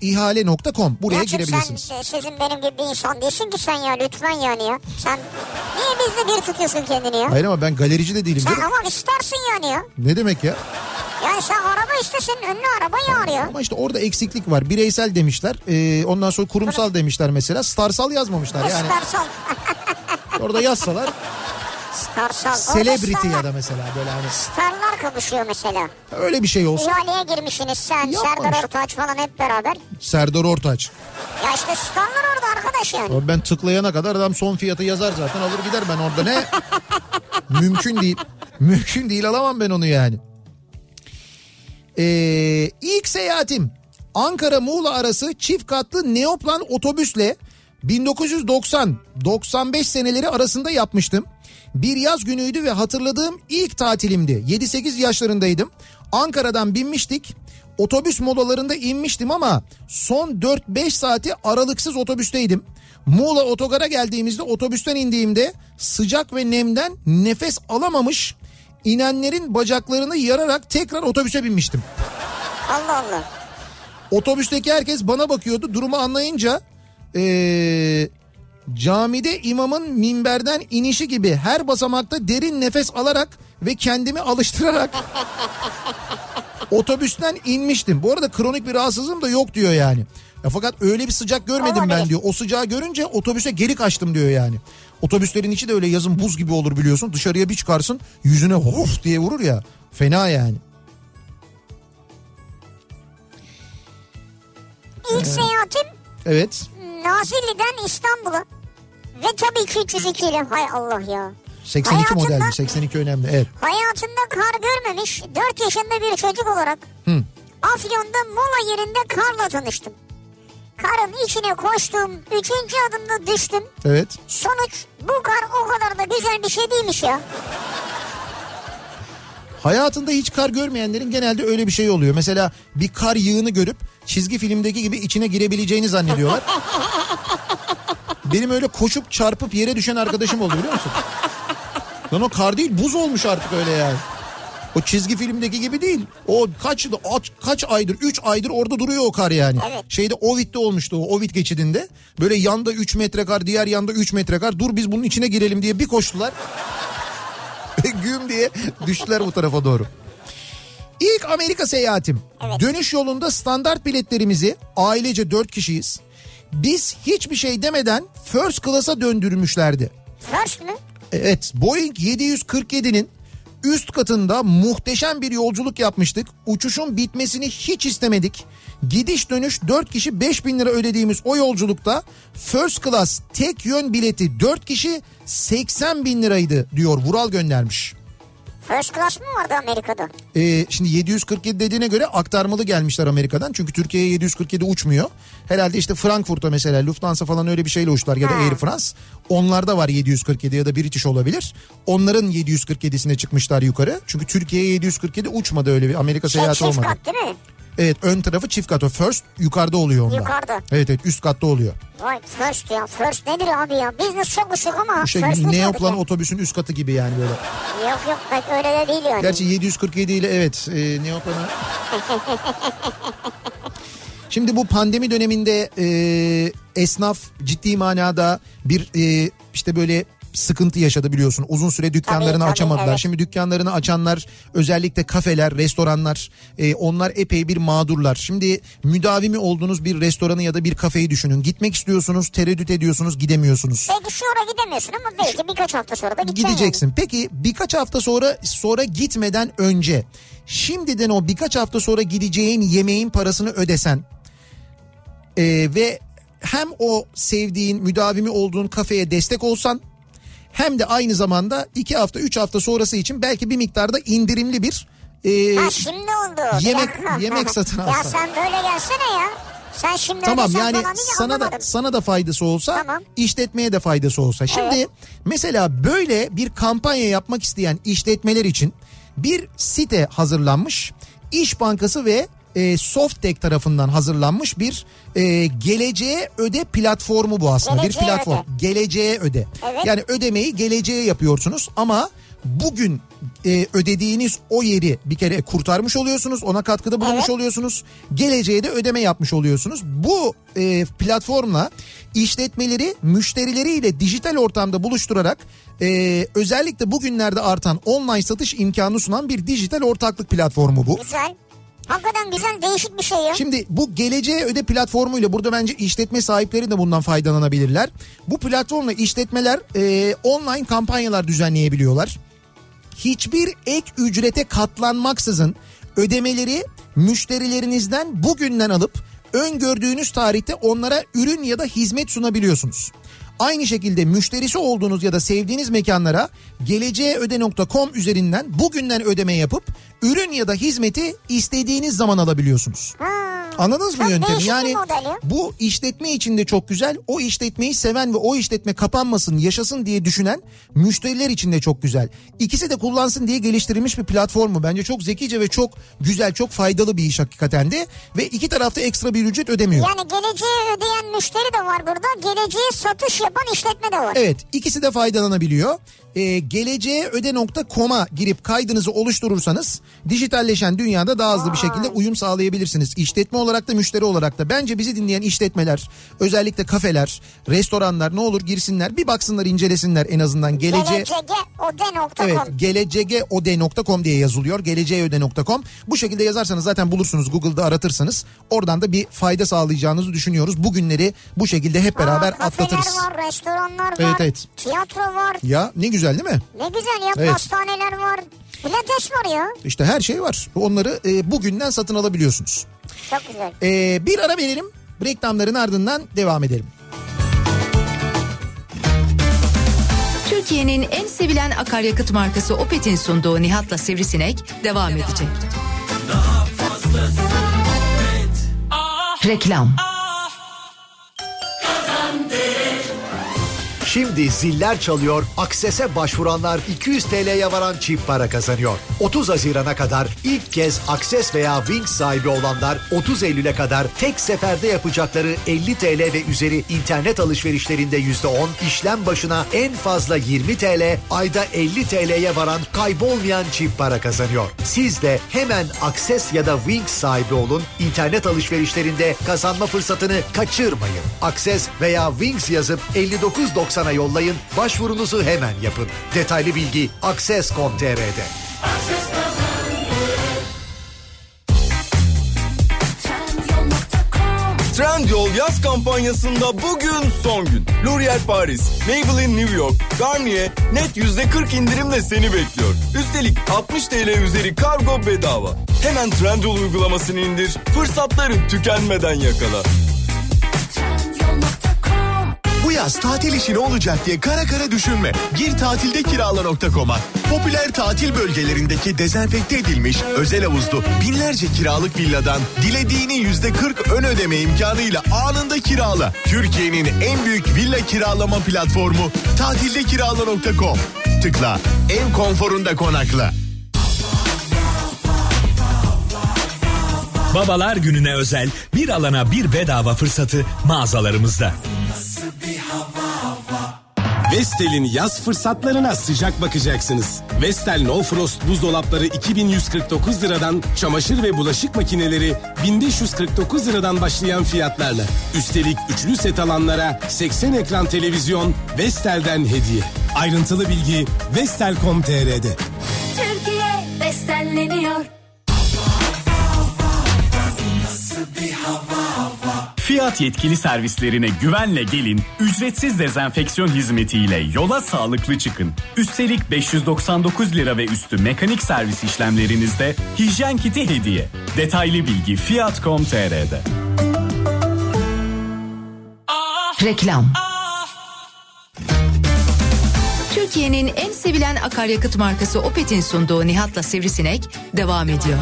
D: otokoçihale.com buraya
A: Ya çünkü
D: girebilirsiniz.
A: Sen, e, sizin benim gibi bir insan değilsin ki sen ya lütfen yani ya. Sen niye bizde bir tutuyorsun kendini ya?
D: Hayır ama ben galerici de değilim.
A: Sen
D: canım.
A: ama istersin yani ya.
D: Ne demek ya?
A: Yani sen araba işte senin önüne araba yağar ya.
D: Ama işte orada eksiklik var. Bireysel demişler. Ee, ondan sonra kurumsal demişler mesela. Starsal yazmamışlar.
A: E,
D: Yani
A: Starsal.
D: orada yazsalar
A: Starsal. Orada
D: celebrity
A: starlar-
D: ya da mesela böyle hani
A: Starlar kapışıyor mesela.
D: öyle bir şey olsa.
A: İhaleye girmişsiniz sen,
D: Yapmamış.
A: Serdar Ortaç falan hep beraber.
D: Serdar Ortaç.
A: Ya işte starlar orada arkadaş yani.
D: Ama Ben tıklayana kadar adam son fiyatı yazar zaten alır gider ben orada
A: [LAUGHS]
D: ne? Mümkün değil. Mümkün değil alamam ben onu yani. Ee, ilk seyahatim Ankara Muğla arası çift katlı Neoplan otobüsle 1990-95 seneleri arasında yapmıştım. Bir yaz günüydü ve hatırladığım ilk tatilimdi. 7-8 yaşlarındaydım. Ankara'dan binmiştik. Otobüs molalarında inmiştim ama son 4-5 saati aralıksız otobüsteydim. Muğla otogara geldiğimizde otobüsten indiğimde sıcak ve nemden nefes alamamış inenlerin bacaklarını yararak tekrar otobüse binmiştim.
A: Allah Allah.
D: Otobüsteki herkes bana bakıyordu. Durumu anlayınca eee, camide imamın minberden inişi gibi her basamakta derin nefes alarak ve kendimi alıştırarak otobüsten inmiştim. Bu arada kronik bir rahatsızlığım da yok diyor yani. Ya fakat öyle bir sıcak görmedim ben
A: Olabilir.
D: diyor. O sıcağı görünce otobüse geri kaçtım diyor yani. Otobüslerin içi de öyle yazın buz gibi olur biliyorsun. Dışarıya bir çıkarsın yüzüne huf diye vurur ya. Fena yani.
A: İlk seyahatim
D: Evet.
A: Nazilli'den İstanbul'a. Ve tabii ki 302 ile hay Allah ya.
D: 82
A: Hayatımda-
D: modelli. 82 önemli. Evet.
A: Hayatında kar görmemiş 4 yaşında bir çocuk olarak
D: Hı.
A: Afyon'da mola yerinde karla tanıştım. Karın içine koştum. Üçüncü adımda düştüm.
D: Evet.
A: Sonuç bu kar o kadar da güzel bir şey değilmiş ya.
D: Hayatında hiç kar görmeyenlerin genelde öyle bir şey oluyor. Mesela bir kar yığını görüp çizgi filmdeki gibi içine girebileceğini zannediyorlar. Benim öyle koşup çarpıp yere düşen arkadaşım oldu biliyor musun? Lan o kar değil buz olmuş artık öyle yani. O çizgi filmdeki gibi değil. O kaç, aç- kaç aydır 3 aydır orada duruyor o kar yani.
A: Evet.
D: Şeyde Ovid'de olmuştu o Ovid geçidinde. Böyle yanda 3 metre kar diğer yanda 3 metre kar. Dur biz bunun içine girelim diye bir koştular. [LAUGHS] Güm diye düştüler bu tarafa doğru. İlk Amerika seyahatim. Dönüş yolunda standart biletlerimizi ailece 4 kişiyiz. Biz hiçbir şey demeden first class'a döndürmüşlerdi.
A: First mü?
D: Evet Boeing 747'nin üst katında muhteşem bir yolculuk yapmıştık. Uçuşun bitmesini hiç istemedik. Gidiş dönüş 4 kişi 5000 lira ödediğimiz o yolculukta first class tek yön bileti 4 kişi 80 bin liraydı diyor Vural göndermiş.
A: First class mı vardı Amerika'da?
D: Ee, şimdi 747 dediğine göre aktarmalı gelmişler Amerika'dan. Çünkü Türkiye'ye 747 uçmuyor. Herhalde işte Frankfurt'a mesela Lufthansa falan öyle bir şeyle uçtular ya da Air France. Onlarda var 747 ya da British olabilir. Onların 747'sine çıkmışlar yukarı. Çünkü Türkiye'ye 747 uçmadı öyle bir Amerika
A: Şey,
D: seyahati
A: çift
D: olmadı.
A: kat değil mi?
D: Evet ön tarafı çift kat. O first yukarıda oluyor onda.
A: Yukarıda.
D: Evet evet üst katta oluyor.
A: Vay first ya. First nedir abi ya? Business çok ışık ama
D: Bu şey
A: first
D: gibi
A: ne
D: Neoplan otobüsün üst katı gibi yani böyle.
A: Yok yok bak öyle de değil yani.
D: Gerçi 747 ile evet
A: [LAUGHS]
D: e, Neoplan'a... Şimdi bu pandemi döneminde e, esnaf ciddi manada bir e, işte böyle sıkıntı yaşadı biliyorsun. Uzun süre dükkanlarını
A: Tabii, tabii,
D: açamadılar.
A: evet.
D: Şimdi dükkanlarını açanlar özellikle kafeler, restoranlar e, onlar epey bir mağdurlar. Şimdi müdavimi olduğunuz bir restoranı ya da bir kafeyi düşünün. Gitmek istiyorsunuz, tereddüt ediyorsunuz, gidemiyorsunuz.
A: Belki şu ara şey gidemiyorsun ama belki birkaç hafta sonra da gideceksin.
D: Gideceksin. Peki birkaç hafta sonra sonra gitmeden önce şimdiden o birkaç hafta sonra gideceğin yemeğin parasını ödesen e, ve hem o sevdiğin müdavimi olduğun kafeye destek olsan hem de aynı zamanda iki hafta üç hafta sonrası için belki bir miktarda indirimli bir e,
A: Yani. Ha şimdi oldu. Bir
D: yemek-
A: dakika.
D: yemek satın
A: Ya
D: alsana.
A: sen böyle gelsene ya. Sen şimdi
D: Tamam
A: öyle sen
D: yani
A: falan deyince
D: sana da
A: anlamadım.
D: sana da faydası olsa
A: Tamam.
D: işletmeye de faydası olsa. Şimdi mesela böyle bir kampanya yapmak isteyen işletmeler için bir site hazırlanmış. İş Bankası ve e, Softtech tarafından hazırlanmış bir e, geleceğe öde platformu bu aslında. bir
A: Geleceğe
D: platform.
A: öde.
D: Geleceğe öde.
A: Evet.
D: Yani ödemeyi geleceğe yapıyorsunuz ama bugün e, ödediğiniz o yeri bir kere kurtarmış oluyorsunuz. Ona katkıda bulunmuş
A: Evet.
D: oluyorsunuz. Geleceğe de ödeme yapmış oluyorsunuz. Bu e, platformla işletmeleri müşterileriyle dijital ortamda buluşturarak e, özellikle bugünlerde artan online satış imkanı sunan bir dijital ortaklık platformu bu.
A: Güzel. Hakikaten güzel değişik bir şey ya.
D: Şimdi bu geleceğe öde platformuyla burada bence işletme sahipleri de bundan faydalanabilirler. Bu platformla işletmeler e, online kampanyalar düzenleyebiliyorlar. Hiçbir ek ücrete katlanmaksızın ödemeleri müşterilerinizden bugünden alıp öngördüğünüz tarihte onlara ürün ya da hizmet sunabiliyorsunuz. Aynı şekilde müşterisi olduğunuz ya da sevdiğiniz mekanlara geleceğeöde.com üzerinden bugünden ödeme yapıp ürün ya da hizmeti istediğiniz zaman alabiliyorsunuz. Anladınız mı
A: Çok
D: yöntemi?
A: değişik bir
D: Yani
A: model ya.
D: bu işletme için de çok güzel. O işletmeyi seven ve o işletme kapanmasın, yaşasın diye düşünen müşteriler için de çok güzel. İkisi de kullansın diye geliştirilmiş bir platformu. Bence çok zekice ve çok güzel, çok faydalı bir iş hakikaten de. Ve iki tarafta ekstra bir ücret ödemiyor.
A: Yani geleceğe ödeyen müşteri de var burada. Geleceğe satış yapan işletme de var.
D: Evet ikisi de faydalanabiliyor. Ee, geleceğe öde.com'a girip kaydınızı oluşturursanız dijitalleşen dünyada daha hızlı bir şekilde uyum sağlayabilirsiniz. İşletme olarak da müşteri olarak da bence bizi dinleyen işletmeler özellikle kafeler, restoranlar ne olur girsinler bir baksınlar incelesinler en azından geleceğe...
A: Geleceğe öde.com.
D: Evet gelecegeode.com diye yazılıyor. Geleceğeode.com. Bu şekilde yazarsanız zaten bulursunuz Google'da aratırsanız. Oradan da bir fayda sağlayacağınızı düşünüyoruz. Bugünleri bu şekilde hep beraber
A: Aa, kafeler
D: atlatırız.
A: var, restoranlar var.
D: Evet, evet.
A: Tiyatro var.
D: Ya ne güzel değil mi?
A: Ne güzel ya
D: Evet.
A: pastaneler var. Pilates var ya.
D: İşte her şey var. Onları e, bugünden satın alabiliyorsunuz.
A: Çok güzel.
B: Ee,
D: E, bir ara verelim. Reklamların ardından devam edelim.
E: Türkiye'nin en sevilen akaryakıt markası Opet'in sunduğu Nihat'la Sivrisinek devam edecek. Reklam.
F: Şimdi ziller çalıyor, Akses'e başvuranlar 200 TL'ye varan çift para kazanıyor. 30 Haziran'a kadar ilk kez Akses veya Wings sahibi olanlar 30 Eylül'e kadar tek seferde yapacakları 50 TL ve üzeri internet alışverişlerinde %10, işlem başına en fazla 20 TL, ayda 50 TL'ye varan kaybolmayan çift para kazanıyor. Siz de hemen Akses ya da Wings sahibi olun, internet alışverişlerinde kazanma fırsatını kaçırmayın. Akses veya Wings yazıp 59.90'a yollayın, başvurunuzu hemen yapın. Detaylı bilgi akses.com.tr'de.
G: Trendyol yaz kampanyasında bugün son gün. L'Oreal Paris, Maybelline New York, Garnier net %40 indirimle seni bekliyor. Üstelik 60 TL üzeri kargo bedava. Hemen Trendyol uygulamasını indir, fırsatları tükenmeden yakala.
H: Bu yaz tatil işi ne olacak diye kara kara düşünme. Gir tatildekirala.com'a. Popüler tatil bölgelerindeki dezenfekte edilmiş özel havuzlu binlerce kiralık villadan dilediğini yüzde 40 ön ödeme imkanıyla anında kirala. Türkiye'nin en büyük villa kiralama platformu tatildekirala.com. Tıkla ev konforunda konakla.
I: Babalar gününe özel bir alana bir bedava fırsatı mağazalarımızda.
J: Vestel'in yaz fırsatlarına sıcak bakacaksınız. Vestel No Frost buzdolapları 2149 liradan, çamaşır ve bulaşık makineleri 1549 liradan başlayan fiyatlarla. Üstelik üçlü set alanlara 80 ekran televizyon Vestel'den hediye. Ayrıntılı bilgi vestel.com.tr'de.
K: Türkiye besleniyor.
L: Fiyat yetkili servislerine güvenle gelin, ücretsiz dezenfeksiyon hizmetiyle yola sağlıklı çıkın. Üstelik 599 lira ve üstü mekanik servis işlemlerinizde hijyen kiti hediye. Detaylı bilgi fiyat.com.tr'de.
E: Reklam. Türkiye'nin en sevilen akaryakıt markası Opet'in sunduğu Nihat'la Sivrisinek devam ediyor.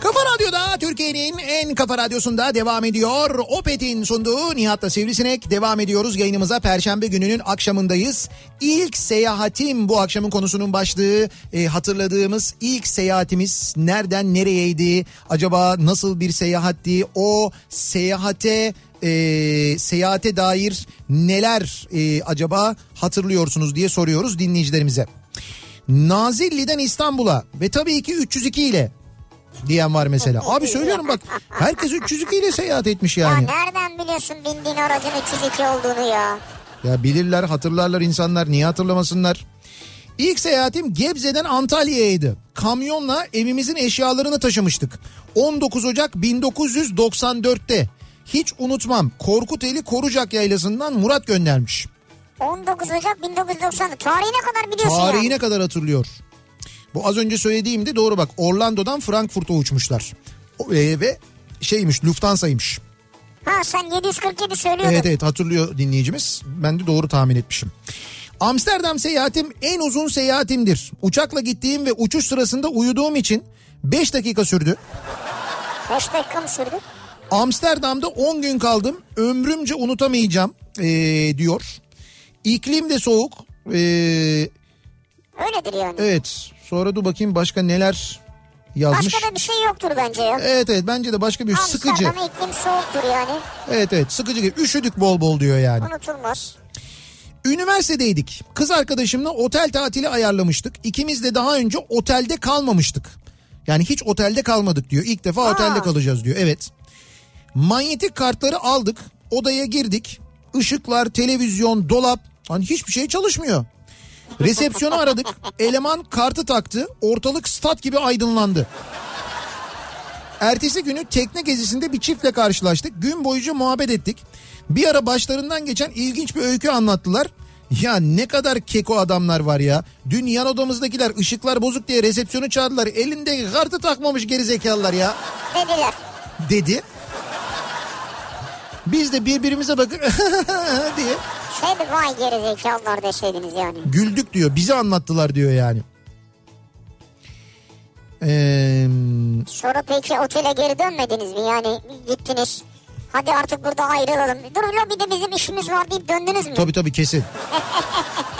D: Kafa Radyo'da Türkiye'nin en kafa
B: Radyosu'nda devam ediyor. Opet'in sunduğu Nihat'la Sivrisinek devam ediyoruz. Yayınımıza Perşembe gününün akşamındayız. İlk seyahatim bu akşamın konusunun başlığı. E, hatırladığımız ilk seyahatimiz nereden nereyeydi? Acaba nasıl bir seyahatti? O seyahate e, seyahate dair neler e, acaba hatırlıyorsunuz diye soruyoruz dinleyicilerimize. Nazilli'den İstanbul'a ve tabii ki 302 ile diyen var mesela. Abi söylüyorum bak herkes 302 ile seyahat etmiş
A: Ya
B: yani.
A: nereden biliyorsun bindiğin aracın 302 olduğunu ya?
B: Ya bilirler hatırlarlar insanlar niye hatırlamasınlar. İlk seyahatim Gebze'den Antalya'yaydı. Kamyonla evimizin eşyalarını taşımıştık. 19 Ocak 1994'te. Hiç unutmam Korkuteli Korucak Yaylası'ndan Murat göndermiş.
A: 19 Ocak 1990. Tarihi ne kadar biliyorsun ya?
B: Tarihine kadar hatırlıyor. Bu az önce söylediğimde doğru bak Orlando'dan Frankfurt'a uçmuşlar. O- e, ve şeymiş Lufthansa'ymış.
A: Ha sen 747 söylüyordun.
B: Evet evet hatırlıyor dinleyicimiz. Ben de doğru tahmin etmişim. Amsterdam seyahatim en uzun seyahatimdir. Uçakla gittiğim ve uçuş sırasında uyuduğum için 5 dakika sürdü.
A: 5 dakika mı sürdü?
B: Amsterdam'da 10 gün kaldım. Ömrümce unutamayacağım ee, diyor. İklim de soğuk. Ee,
A: Öyledir yani.
B: evet sonra dur bakayım başka neler yazmış.
A: Başka da bir şey yoktur bence ya.
B: Evet evet bence de başka bir sıkıcı.
A: Amsterdam iklim soğuktur yani.
B: Evet evet sıkıcı. gibi. Üşüdük bol bol diyor yani.
A: Unutulmaz.
B: Üniversitedeydik. Kız arkadaşımla otel tatili ayarlamıştık. İkimiz de daha önce otelde kalmamıştık. Yani hiç otelde kalmadık diyor. İlk defa otelde kalacağız diyor. Evet. Manyetik kartları aldık. Odaya girdik. Işıklar, televizyon, dolap. Hani hiçbir şey çalışmıyor. Resepsiyonu aradık. Eleman kartı taktı. Ortalık stat gibi aydınlandı. Ertesi günü tekne gezisinde bir çiftle karşılaştık. Gün boyunca muhabbet ettik. Bir ara başlarından geçen ilginç bir öykü anlattılar. Ya ne kadar keko adamlar var ya. Dün yan odamızdakiler ışıklar bozuk diye resepsiyonu çağırdılar. Elinde kartı takmamış gerizekalılar ya
A: Dediler.
B: dedi. Biz de birbirimize bakıp [LAUGHS] diye
A: Şeydi Şey vay gerizekalılar deseydiniz yani.
B: güldük diyor. Bize anlattılar diyor yani. Eee...
A: Sonra peki otele geri dönmediniz mi? Yani gittiniz. Hadi artık burada ayrılalım. Dur ulan bir de bizim işimiz var deyip döndünüz mü?
B: Tabii tabii kesin.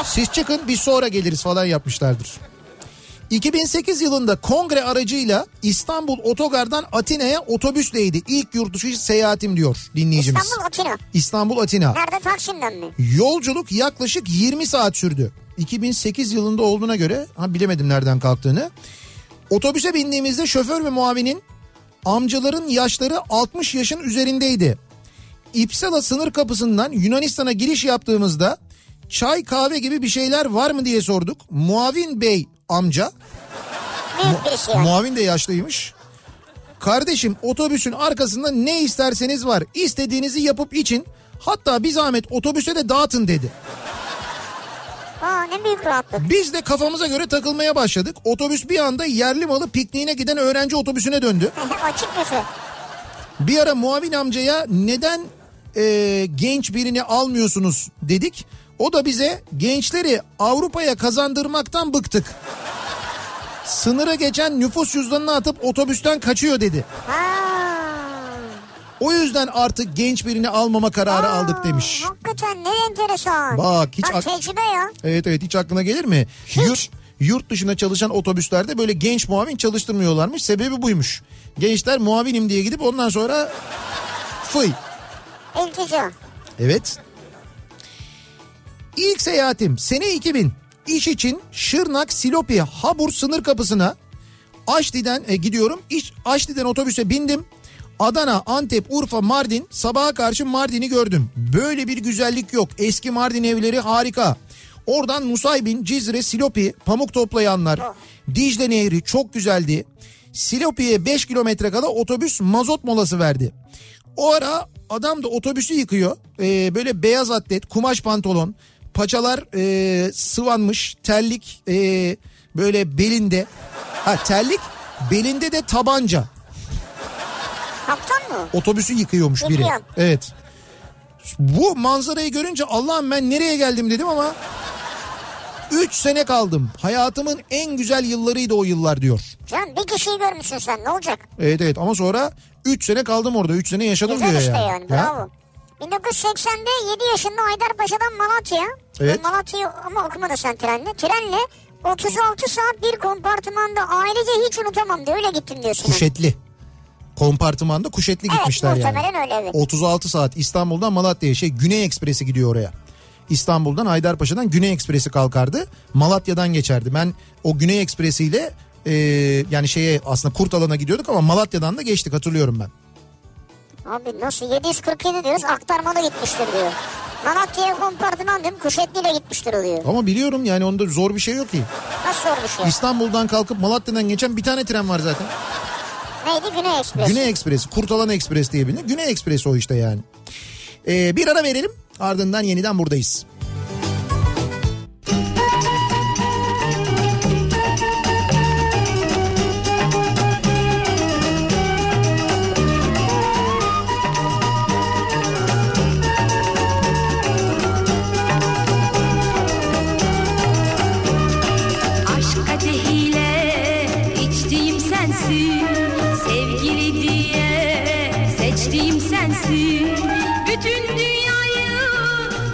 B: Siz çıkın biz sonra geliriz falan yapmışlardır. 2008 yılında kongre aracıyla İstanbul Otogar'dan Atina'ya otobüsleydi. İlk yurt dışı seyahatim diyor dinleyicimiz.
A: İstanbul Atina.
B: İstanbul Atina.
A: Nerede Taksim'den mi?
B: Yolculuk yaklaşık 20 saat sürdü. 2008 yılında olduğuna göre ha bilemedim nereden kalktığını. Otobüse bindiğimizde şoför ve muavinin amcaların yaşları 60 yaşın üzerindeydi. İpsala sınır kapısından Yunanistan'a giriş yaptığımızda çay kahve gibi bir şeyler var mı diye sorduk. Muavin Bey amca
A: Büyük birisi yani.
B: Muavin de yaşlıymış. Kardeşim otobüsün arkasında ne isterseniz var. İstediğinizi yapıp için hatta bir zahmet otobüse de dağıtın dedi.
A: Aa ne büyük rahatlık. [LAUGHS]
B: Biz de kafamıza göre takılmaya başladık. Otobüs bir anda yerli malı pikniğine giden öğrenci otobüsüne döndü.
A: Açık büfe.
B: Bir ara muavin amcaya neden e, genç birini almıyorsunuz dedik. O da bize gençleri Avrupa'ya kazandırmaktan bıktık. Sınıra geçen nüfus cüzdanını atıp otobüsten kaçıyor dedi.
A: Ha.
B: O yüzden artık genç birini almama kararı aldık demiş.
A: Aa, Hakikaten ne enteresan.
B: Bak, hiç
A: Bak
B: ak-
A: tecrübe ya.
B: Evet evet hiç aklına gelir mi? Yurt, yurt dışına çalışan otobüslerde böyle genç muavin çalıştırmıyorlarmış. Sebebi buymuş. Gençler muavinim diye gidip ondan sonra fıy.
A: İltica.
B: Evet. İlk seyahatim sene 2000. İş için Şırnak Silopi Habur sınır kapısına Aşti'den e, gidiyorum. İş, Aşti'den otobüse bindim. Adana, Antep, Urfa, Mardin. Sabaha karşı Mardin'i gördüm. Böyle bir güzellik yok. Eski Mardin evleri harika. Oradan Nusaybin, Cizre, Silopi, pamuk toplayanlar. Dicle Nehri çok güzeldi. Silopi'ye 5 kilometre kala otobüs mazot molası verdi. O ara adam da otobüsü yıkıyor. Ee, böyle beyaz atlet, kumaş pantolon, paçalar ee, sıvanmış, terlik ee, böyle belinde. Ha terlik, belinde de tabanca.
A: Kaptan mı?
B: Otobüsü yıkıyormuş biri.
A: Yıkıyor.
B: Evet. Bu manzarayı görünce Allah'ım ben nereye geldim dedim ama
D: 3 sene kaldım. Hayatımın en güzel yıllarıydı o yıllar diyor.
A: Can bir kişiyi görmüşsün sen ne olacak?
D: Evet evet ama sonra 3 sene kaldım orada. 3 sene yaşadım
A: Güzel
D: diyor
A: işte
D: yani.
A: yani
D: Ya.
A: bravo. 1980'de 7 yaşında Haydarpaşa'dan Malatya'ya.
D: Evet.
A: Malatya'yı ama okumadın sen trenle. Trenle 36 saat bir kompartımanda ailece hiç unutamam diye öyle gittim diyorsun.
D: Kuşetli. Kompartımanda Kuşetli
A: Evet,
D: şey gitmişler yani.
A: muhtemelen öyle, evet.
D: 36 saat İstanbul'dan Malatya'ya şey Güney Ekspresi gidiyor oraya. İstanbul'dan Haydarpaşa'dan Güney Ekspresi kalkardı. Malatya'dan geçerdi. Ben o Güney Ekspresi ile e, yani şeye aslında Kurtalan'a gidiyorduk ama Malatya'dan da geçtik hatırlıyorum ben.
A: Abi nasıl 747 diyoruz aktarmalı gitmiştir diyor. Malatya'ya kompartıman diyorum Kuşetli'yle gitmiştir o diyor.
D: Ama biliyorum yani onda zor bir şey yok ki.
A: Nasıl olmuş ya?
D: İstanbul'dan kalkıp Malatya'dan geçen bir tane tren var zaten.
A: Neydi Güney Ekspresi?
D: Güney Ekspresi, Kurtalan Ekspresi diye bilinir. Güney Ekspresi o işte yani. Ee, bir ara verelim ardından yeniden buradayız.
K: Aşk kadehiyle içtiğim sensin Sevgili diye seçtiğim sensin Bütün dünyayı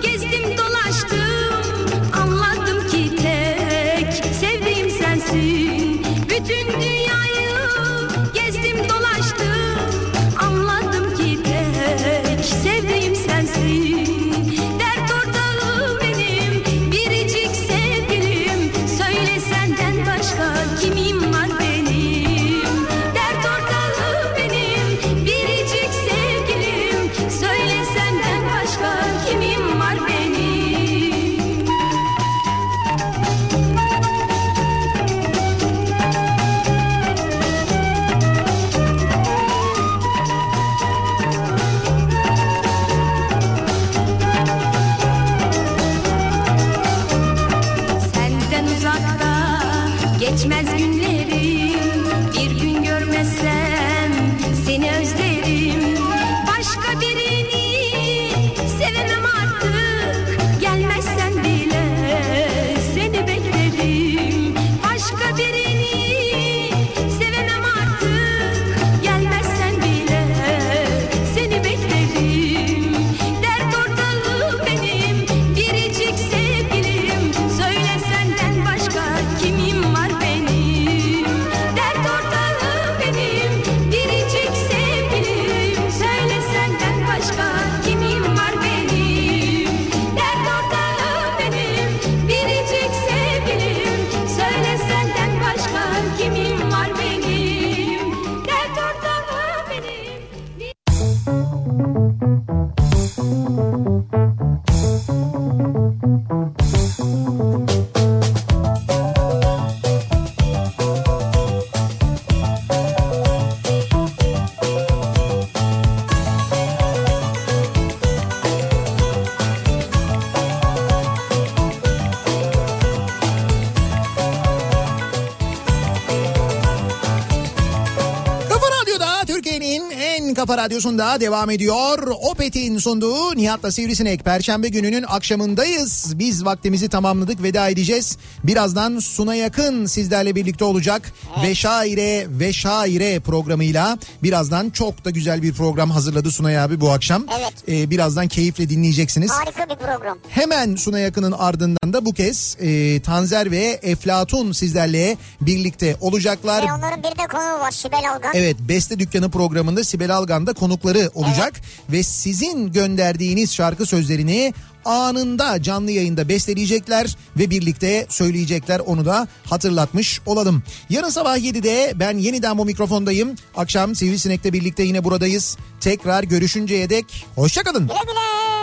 K: gezdim dolaştım Anladım ki tek sevdiğim sensin Bütün dünyayı gezdim dolaştım Anladım ki tek sevdiğim sensin Dert ortağım benim biricik sevgilim Söyle senden başka kimim var benim Dert ortağı benim biricik sevgilim Söyle senden başka kimim var benim Senden uzakta geçmez günlerim Bir gün görmezsem seni özlerim Başka birini sevemem artık Gelmezsen bile seni beklerim Başka birini sevemem artık Gelmezsen bile seni beklerim Dert ortalığı benim biricik sevgilim Söyle senden başka kimim var benim Dert ortalığı benim biricik sevgilim Söyle senden başka kimim var benim Dert ortalığı benim biricik sevgilim Söyle senden başka kimim var benim Dert ortalığı benim
D: Kafa Radyo'da Türkiye'nin en kafa radyosunda devam ediyor. Opet'in sunduğu Nihat'la Sivrisinek. Perşembe gününün akşamındayız. Biz vaktimizi tamamladık veda edeceğiz. Birazdan Suna Yakın sizlerle birlikte olacak. Ve Şaire ve Şaire programıyla birazdan çok da güzel bir program hazırladı Sunay abi bu akşam.
A: Evet.
D: Ee, birazdan keyifle dinleyeceksiniz.
A: Harika bir program.
D: Hemen Suna Yakın'ın ardından da bu kez e, Tanzer ve Eflatun sizlerle birlikte olacaklar.
A: Ve onların bir de konuğu var Sibel Algan.
D: Evet Beste Dükkanı programında Sibel Algan'da konukları olacak ve sizin gönderdiğiniz şarkı sözlerini anında canlı yayında besteleyecekler ve birlikte söyleyecekler onu da hatırlatmış olalım. Yarın sabah 7'de ben yeniden bu mikrofondayım. Akşam Sivrisinek'le birlikte yine buradayız. Tekrar görüşünceye dek hoşçakalın.
A: Güle güle.